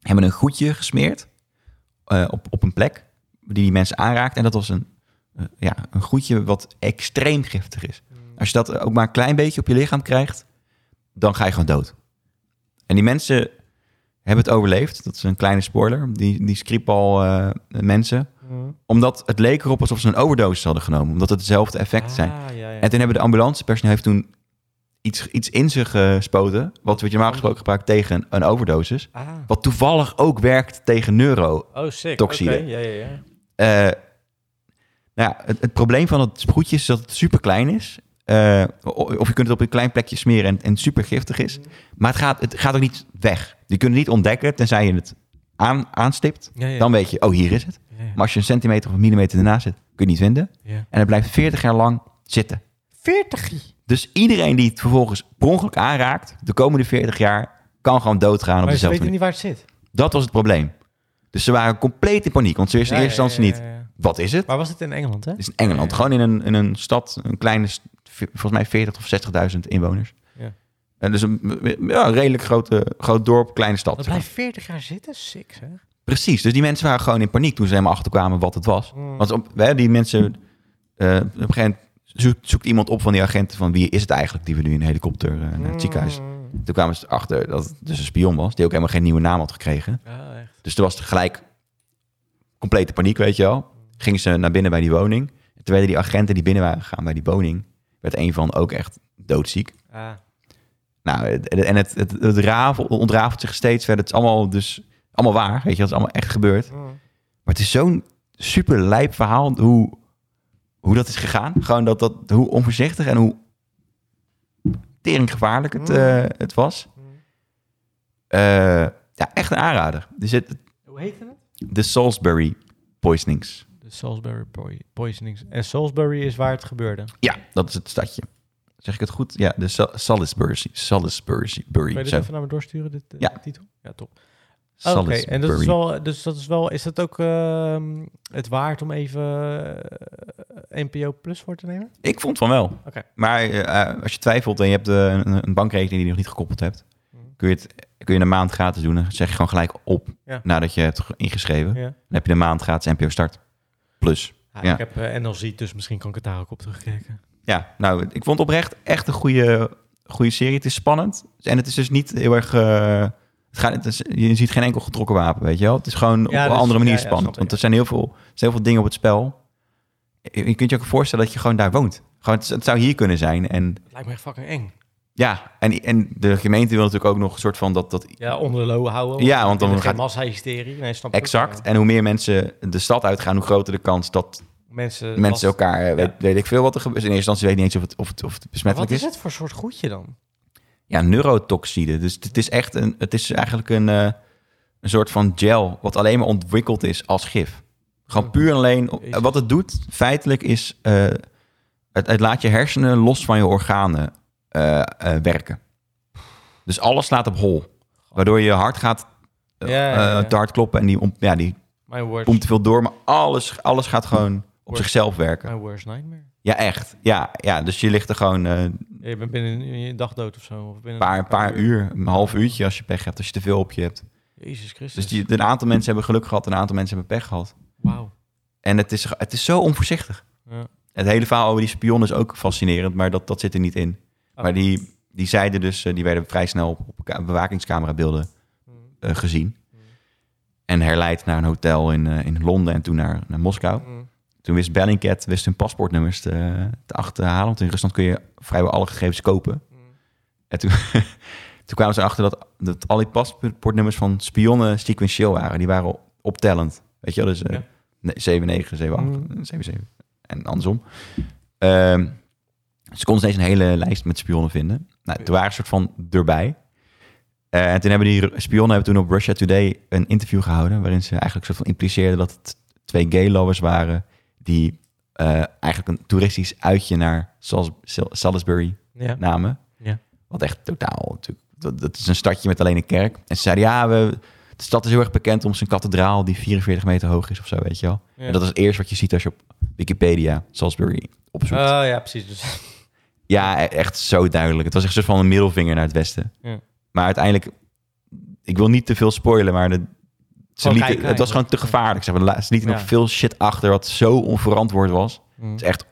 S2: hebben een goedje gesmeerd eh, op, op een plek die die mensen aanraakt. En dat was een, eh, ja, een goedje wat extreem giftig is.
S1: hm,
S2: Als je dat ook maar een klein beetje op je lichaam krijgt, dan ga je gewoon dood. En die mensen hebben het overleefd. Dat is een kleine spoiler. Die, die Skripal eh, mensen
S1: hm.
S2: omdat het leek erop alsof ze een overdosis hadden genomen. Omdat het dezelfde effecten zijn.
S1: Ah, ja, ja.
S2: En toen hebben de ambulancepersoneel heeft toen iets, iets in zich eh, gespoten. Wat we normaal gesproken gebruikt tegen een, een overdosis.
S1: Ah.
S2: Wat toevallig ook werkt tegen neuro.
S1: Oh, sick.
S2: Toxide.
S1: Oké, Ja, ja, ja.
S2: Eh, nou ja, het, het probleem van het sproetje is dat het super klein is. Eh, o- of je kunt het op een klein plekje smeren en, en super giftig
S1: Hm.
S2: is. Maar het gaat, het gaat ook niet weg. Je kunt het niet ontdekken tenzij je het aan, aanstipt.
S1: Ja, ja.
S2: Dan weet je, oh hier is het.
S1: Ja, ja.
S2: Maar als je een centimeter of een millimeter ernaast zit, kun je het niet vinden.
S1: Ja.
S2: En het blijft 40 jaar lang zitten.
S1: 40
S2: Dus iedereen die het vervolgens per ongeluk aanraakt, de komende 40 jaar, kan gewoon doodgaan op
S1: Maar ze
S2: dezelfde
S1: weten
S2: manier.
S1: niet waar het zit.
S2: Dat was het probleem. Dus ze waren compleet in paniek, want ze wisten
S1: Ja,
S2: in eerste
S1: ja,
S2: instantie
S1: ja, ja, ja.
S2: niet, wat is het?
S1: Maar was het in Engeland, hè?
S2: Het is in Engeland, gewoon in een, in een stad, een kleine, st- v- volgens mij 40.000 of 60.000 inwoners.
S1: Ja.
S2: En dus een ja, een redelijk grote, groot dorp, kleine stad.
S1: Dat
S2: zeg maar.
S1: blijft 40 jaar zitten, sick, hè?
S2: Precies, dus die mensen waren gewoon in paniek toen ze helemaal achterkwamen wat het was.
S1: Mm.
S2: Want op, hè, die mensen, eh, op een gegeven moment zoekt, zoekt iemand op van die agenten van wie is het eigenlijk die we nu in een helikopter eh, naar
S1: Mm.
S2: het ziekenhuis. Toen kwamen ze achter dat het dus een spion was, die ook helemaal geen nieuwe naam had gekregen.
S1: Ja, echt.
S2: Dus er was gelijk complete paniek, weet je wel. Gingen ze naar binnen bij die woning. Toen werden die agenten die binnen waren gegaan bij die woning, werd een van ook echt doodziek.
S1: Ah.
S2: Nou, het- en het, het, het rafel- ontrafelt zich steeds verder. Het is allemaal dus, allemaal waar, weet je, dat is allemaal echt gebeurd.
S1: Mm.
S2: Maar het is zo'n super lijp verhaal hoe, hoe dat is gegaan. Gewoon dat, dat, hoe onvoorzichtig en hoe tering gevaarlijk het,
S1: Mm.
S2: eh, het was. Eh, ja, echt een aanrader. Er zit
S1: Hoe heette het?
S2: de Salisbury Poisonings.
S1: De Salisbury poi- Poisonings. En Salisbury is waar het gebeurde.
S2: Ja, dat is het stadje. Zeg ik het goed? Ja, de Sa- Salisbury. Salisbury. Bury,
S1: Kan je dit
S2: zo.
S1: even naar me doorsturen, dit eh,
S2: Ja.
S1: titel? Ja, top. Oh, Oké,
S2: Salisbury.
S1: en dat is wel, dus dat is wel, is dat ook ehm, het waard om even eh, NPO Plus voor te nemen?
S2: Ik vond van wel.
S1: Oké.
S2: Maar eh, eh, als je twijfelt en je hebt eh, een, een bankrekening die je nog niet gekoppeld hebt,
S1: Mm.
S2: kun je het kun je een maand gratis doen. Dan zeg je gewoon gelijk op
S1: Ja.
S2: nadat je hebt ge- ingeschreven.
S1: Ja.
S2: Dan heb je een maand gratis NPO Start. Plus.
S1: Ah,
S2: Ja.
S1: Ik heb eh, NLZ, dus misschien kan ik het daar ook op terugkijken.
S2: Ja, nou, ik vond oprecht echt een goede, goede serie. Het is spannend. En het is dus niet heel erg... eh, het gaat, het is- je ziet geen enkel getrokken wapen, weet je wel? Het is gewoon op
S1: Ja,
S2: een
S1: dus-
S2: andere manier
S1: ja, ja,
S2: spannend.
S1: snap ik,
S2: want
S1: ja.
S2: er zijn heel veel, er zijn heel veel dingen op het spel. Je, je kunt je ook voorstellen dat je gewoon daar woont. Gewoon, het, het zou hier kunnen zijn. En
S1: Het lijkt me echt fucking eng.
S2: ja, en, en de gemeente wil natuurlijk ook nog een soort van dat... dat
S1: Ja, onder de low houden.
S2: Ja, want dan
S1: Geen
S2: gaat-
S1: massa-hysterie. Nee, snap ik.
S2: exact.
S1: Ja.
S2: En hoe meer mensen de stad uitgaan, hoe groter de kans dat
S1: mensen
S2: mensen
S1: last-
S2: elkaar, eh, weet, weet ik veel wat er gebeurt. In eerste instantie weet je niet eens of het, of het, of het
S1: Maar
S2: besmettelijk
S1: Wat
S2: is.
S1: is het voor soort goedje dan?
S2: Ja, neurotoxide. Dus het is echt een, het is eigenlijk een, eh, een soort van gel wat alleen maar ontwikkeld is als gif. Gewoon puur en alleen. op-
S1: Jezus.
S2: Wat het doet, feitelijk, is. eh, het, het laat je hersenen los van je organen eh, eh, werken. Dus alles slaat op hol. Waardoor je hart gaat eh,
S1: Ja, ja, ja.
S2: eh, te hard kloppen en die, om, ja, die
S1: My worst,
S2: pompt te veel door. Maar alles, alles gaat gewoon op
S1: Wordt-
S2: zichzelf werken.
S1: my worst nightmare.
S2: Ja, echt. Ja, ja dus je ligt er gewoon eh, een
S1: Ja, je bent binnen een, een dag dood of zo. Of binnen
S2: paar, een paar uur, een half uurtje als je pech hebt, als je te veel op je hebt.
S1: Jezus Christus.
S2: Dus die, een aantal mensen hebben geluk gehad, een aantal mensen hebben pech gehad.
S1: Wauw.
S2: En het is, het is zo onvoorzichtig.
S1: Ja.
S2: Het hele verhaal over die spion is ook fascinerend, maar dat, dat zit er niet in.
S1: Oh.
S2: Maar die, die zeiden dus, eh, die werden vrij snel op, op ka- bewakingscamerabeelden eh, gezien. En herleid naar een hotel in, eh, in Londen en toen naar, naar Moskou.
S1: Mm,
S2: Toen wist Bellingcat wist hun paspoortnummers te, te achterhalen. Want in Rusland kun je vrijwel alle gegevens kopen.
S1: mm,
S2: En toen, toen kwamen ze erachter dat, dat al die paspoortnummers van spionnen sequentieel waren. Die waren optellend. Weet je wel, dus eh,
S1: Ja.
S2: ne- 79, 78,
S1: Mm.
S2: 77 eh, en andersom. Ehm, ze konden steeds een hele lijst met spionnen vinden. Nou, toen waren ze soort van erbij. Eh, en toen hebben die Ru- spionnen hebben toen op Russia Today een interview gehouden... waarin ze eigenlijk soort van impliceerden dat het twee gay lovers waren... die eh, eigenlijk een toeristisch uitje naar Salis- Sal- Salisbury
S1: Ja.
S2: namen.
S1: Ja.
S2: Wat echt totaal natuurlijk. Dat, dat is een stadje met alleen een kerk. En ze zeiden, ja, we, de stad is heel erg bekend om zijn kathedraal die 44 meter hoog is of zo, weet je wel.
S1: Ja.
S2: En dat is het eerst wat je ziet als je op Wikipedia Salisbury opzoekt.
S1: Oh, ja, precies. Dus,
S2: Ja, e- echt zo duidelijk. Het was echt een soort van een middelvinger naar het westen.
S1: Ja.
S2: Maar uiteindelijk, ik wil niet te veel spoilen, maar de, ze
S1: Gewoon
S2: lieten-
S1: kijken,
S2: het
S1: eigenlijk.
S2: was gewoon te gevaarlijk. Ze, hebben la- ze lieten
S1: Ja.
S2: nog veel shit achter wat zo onverantwoord was.
S1: Mm,
S2: Het is echt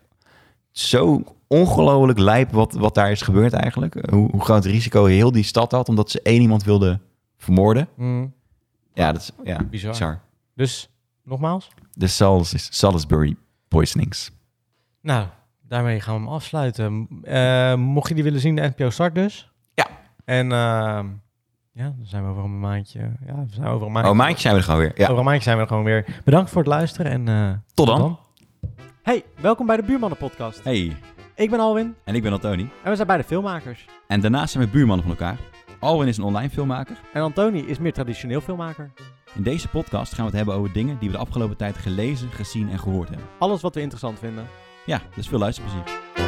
S2: zo ongelooflijk lijp wat, wat daar is gebeurd eigenlijk. Eh, Hoe, hoe groot risico heel die stad had, omdat ze één iemand wilden vermoorden.
S1: Mm.
S2: Ja, dat is ja,
S1: Bizar.
S2: bizar.
S1: Dus, nogmaals.
S2: De Salis, Salisbury poisonings.
S1: Nou, daarmee gaan we hem afsluiten. Eh, mocht je die willen zien, de NPO start dus.
S2: Ja.
S1: En ehm, ja, dan zijn we over een maandje. Ja, we zijn over een maandje.
S2: Oh, maandje zijn we er gewoon weer. Ja,
S1: Over een maandje zijn we er gewoon weer. Bedankt voor het luisteren en eh,
S2: tot dan.
S3: Hey, welkom bij de Buurmannen Podcast.
S2: Hey,
S3: Ik ben Alwin
S2: en ik ben Antoni.
S3: en we zijn beide filmmakers.
S2: En daarnaast zijn we buurmannen van elkaar. Alwin is een online filmmaker.
S3: En Antoni is meer traditioneel filmmaker.
S2: In deze podcast gaan we het hebben over dingen die we de afgelopen tijd gelezen, gezien en gehoord hebben.
S3: Alles wat we interessant vinden.
S2: Ja, dus veel luisterplezier.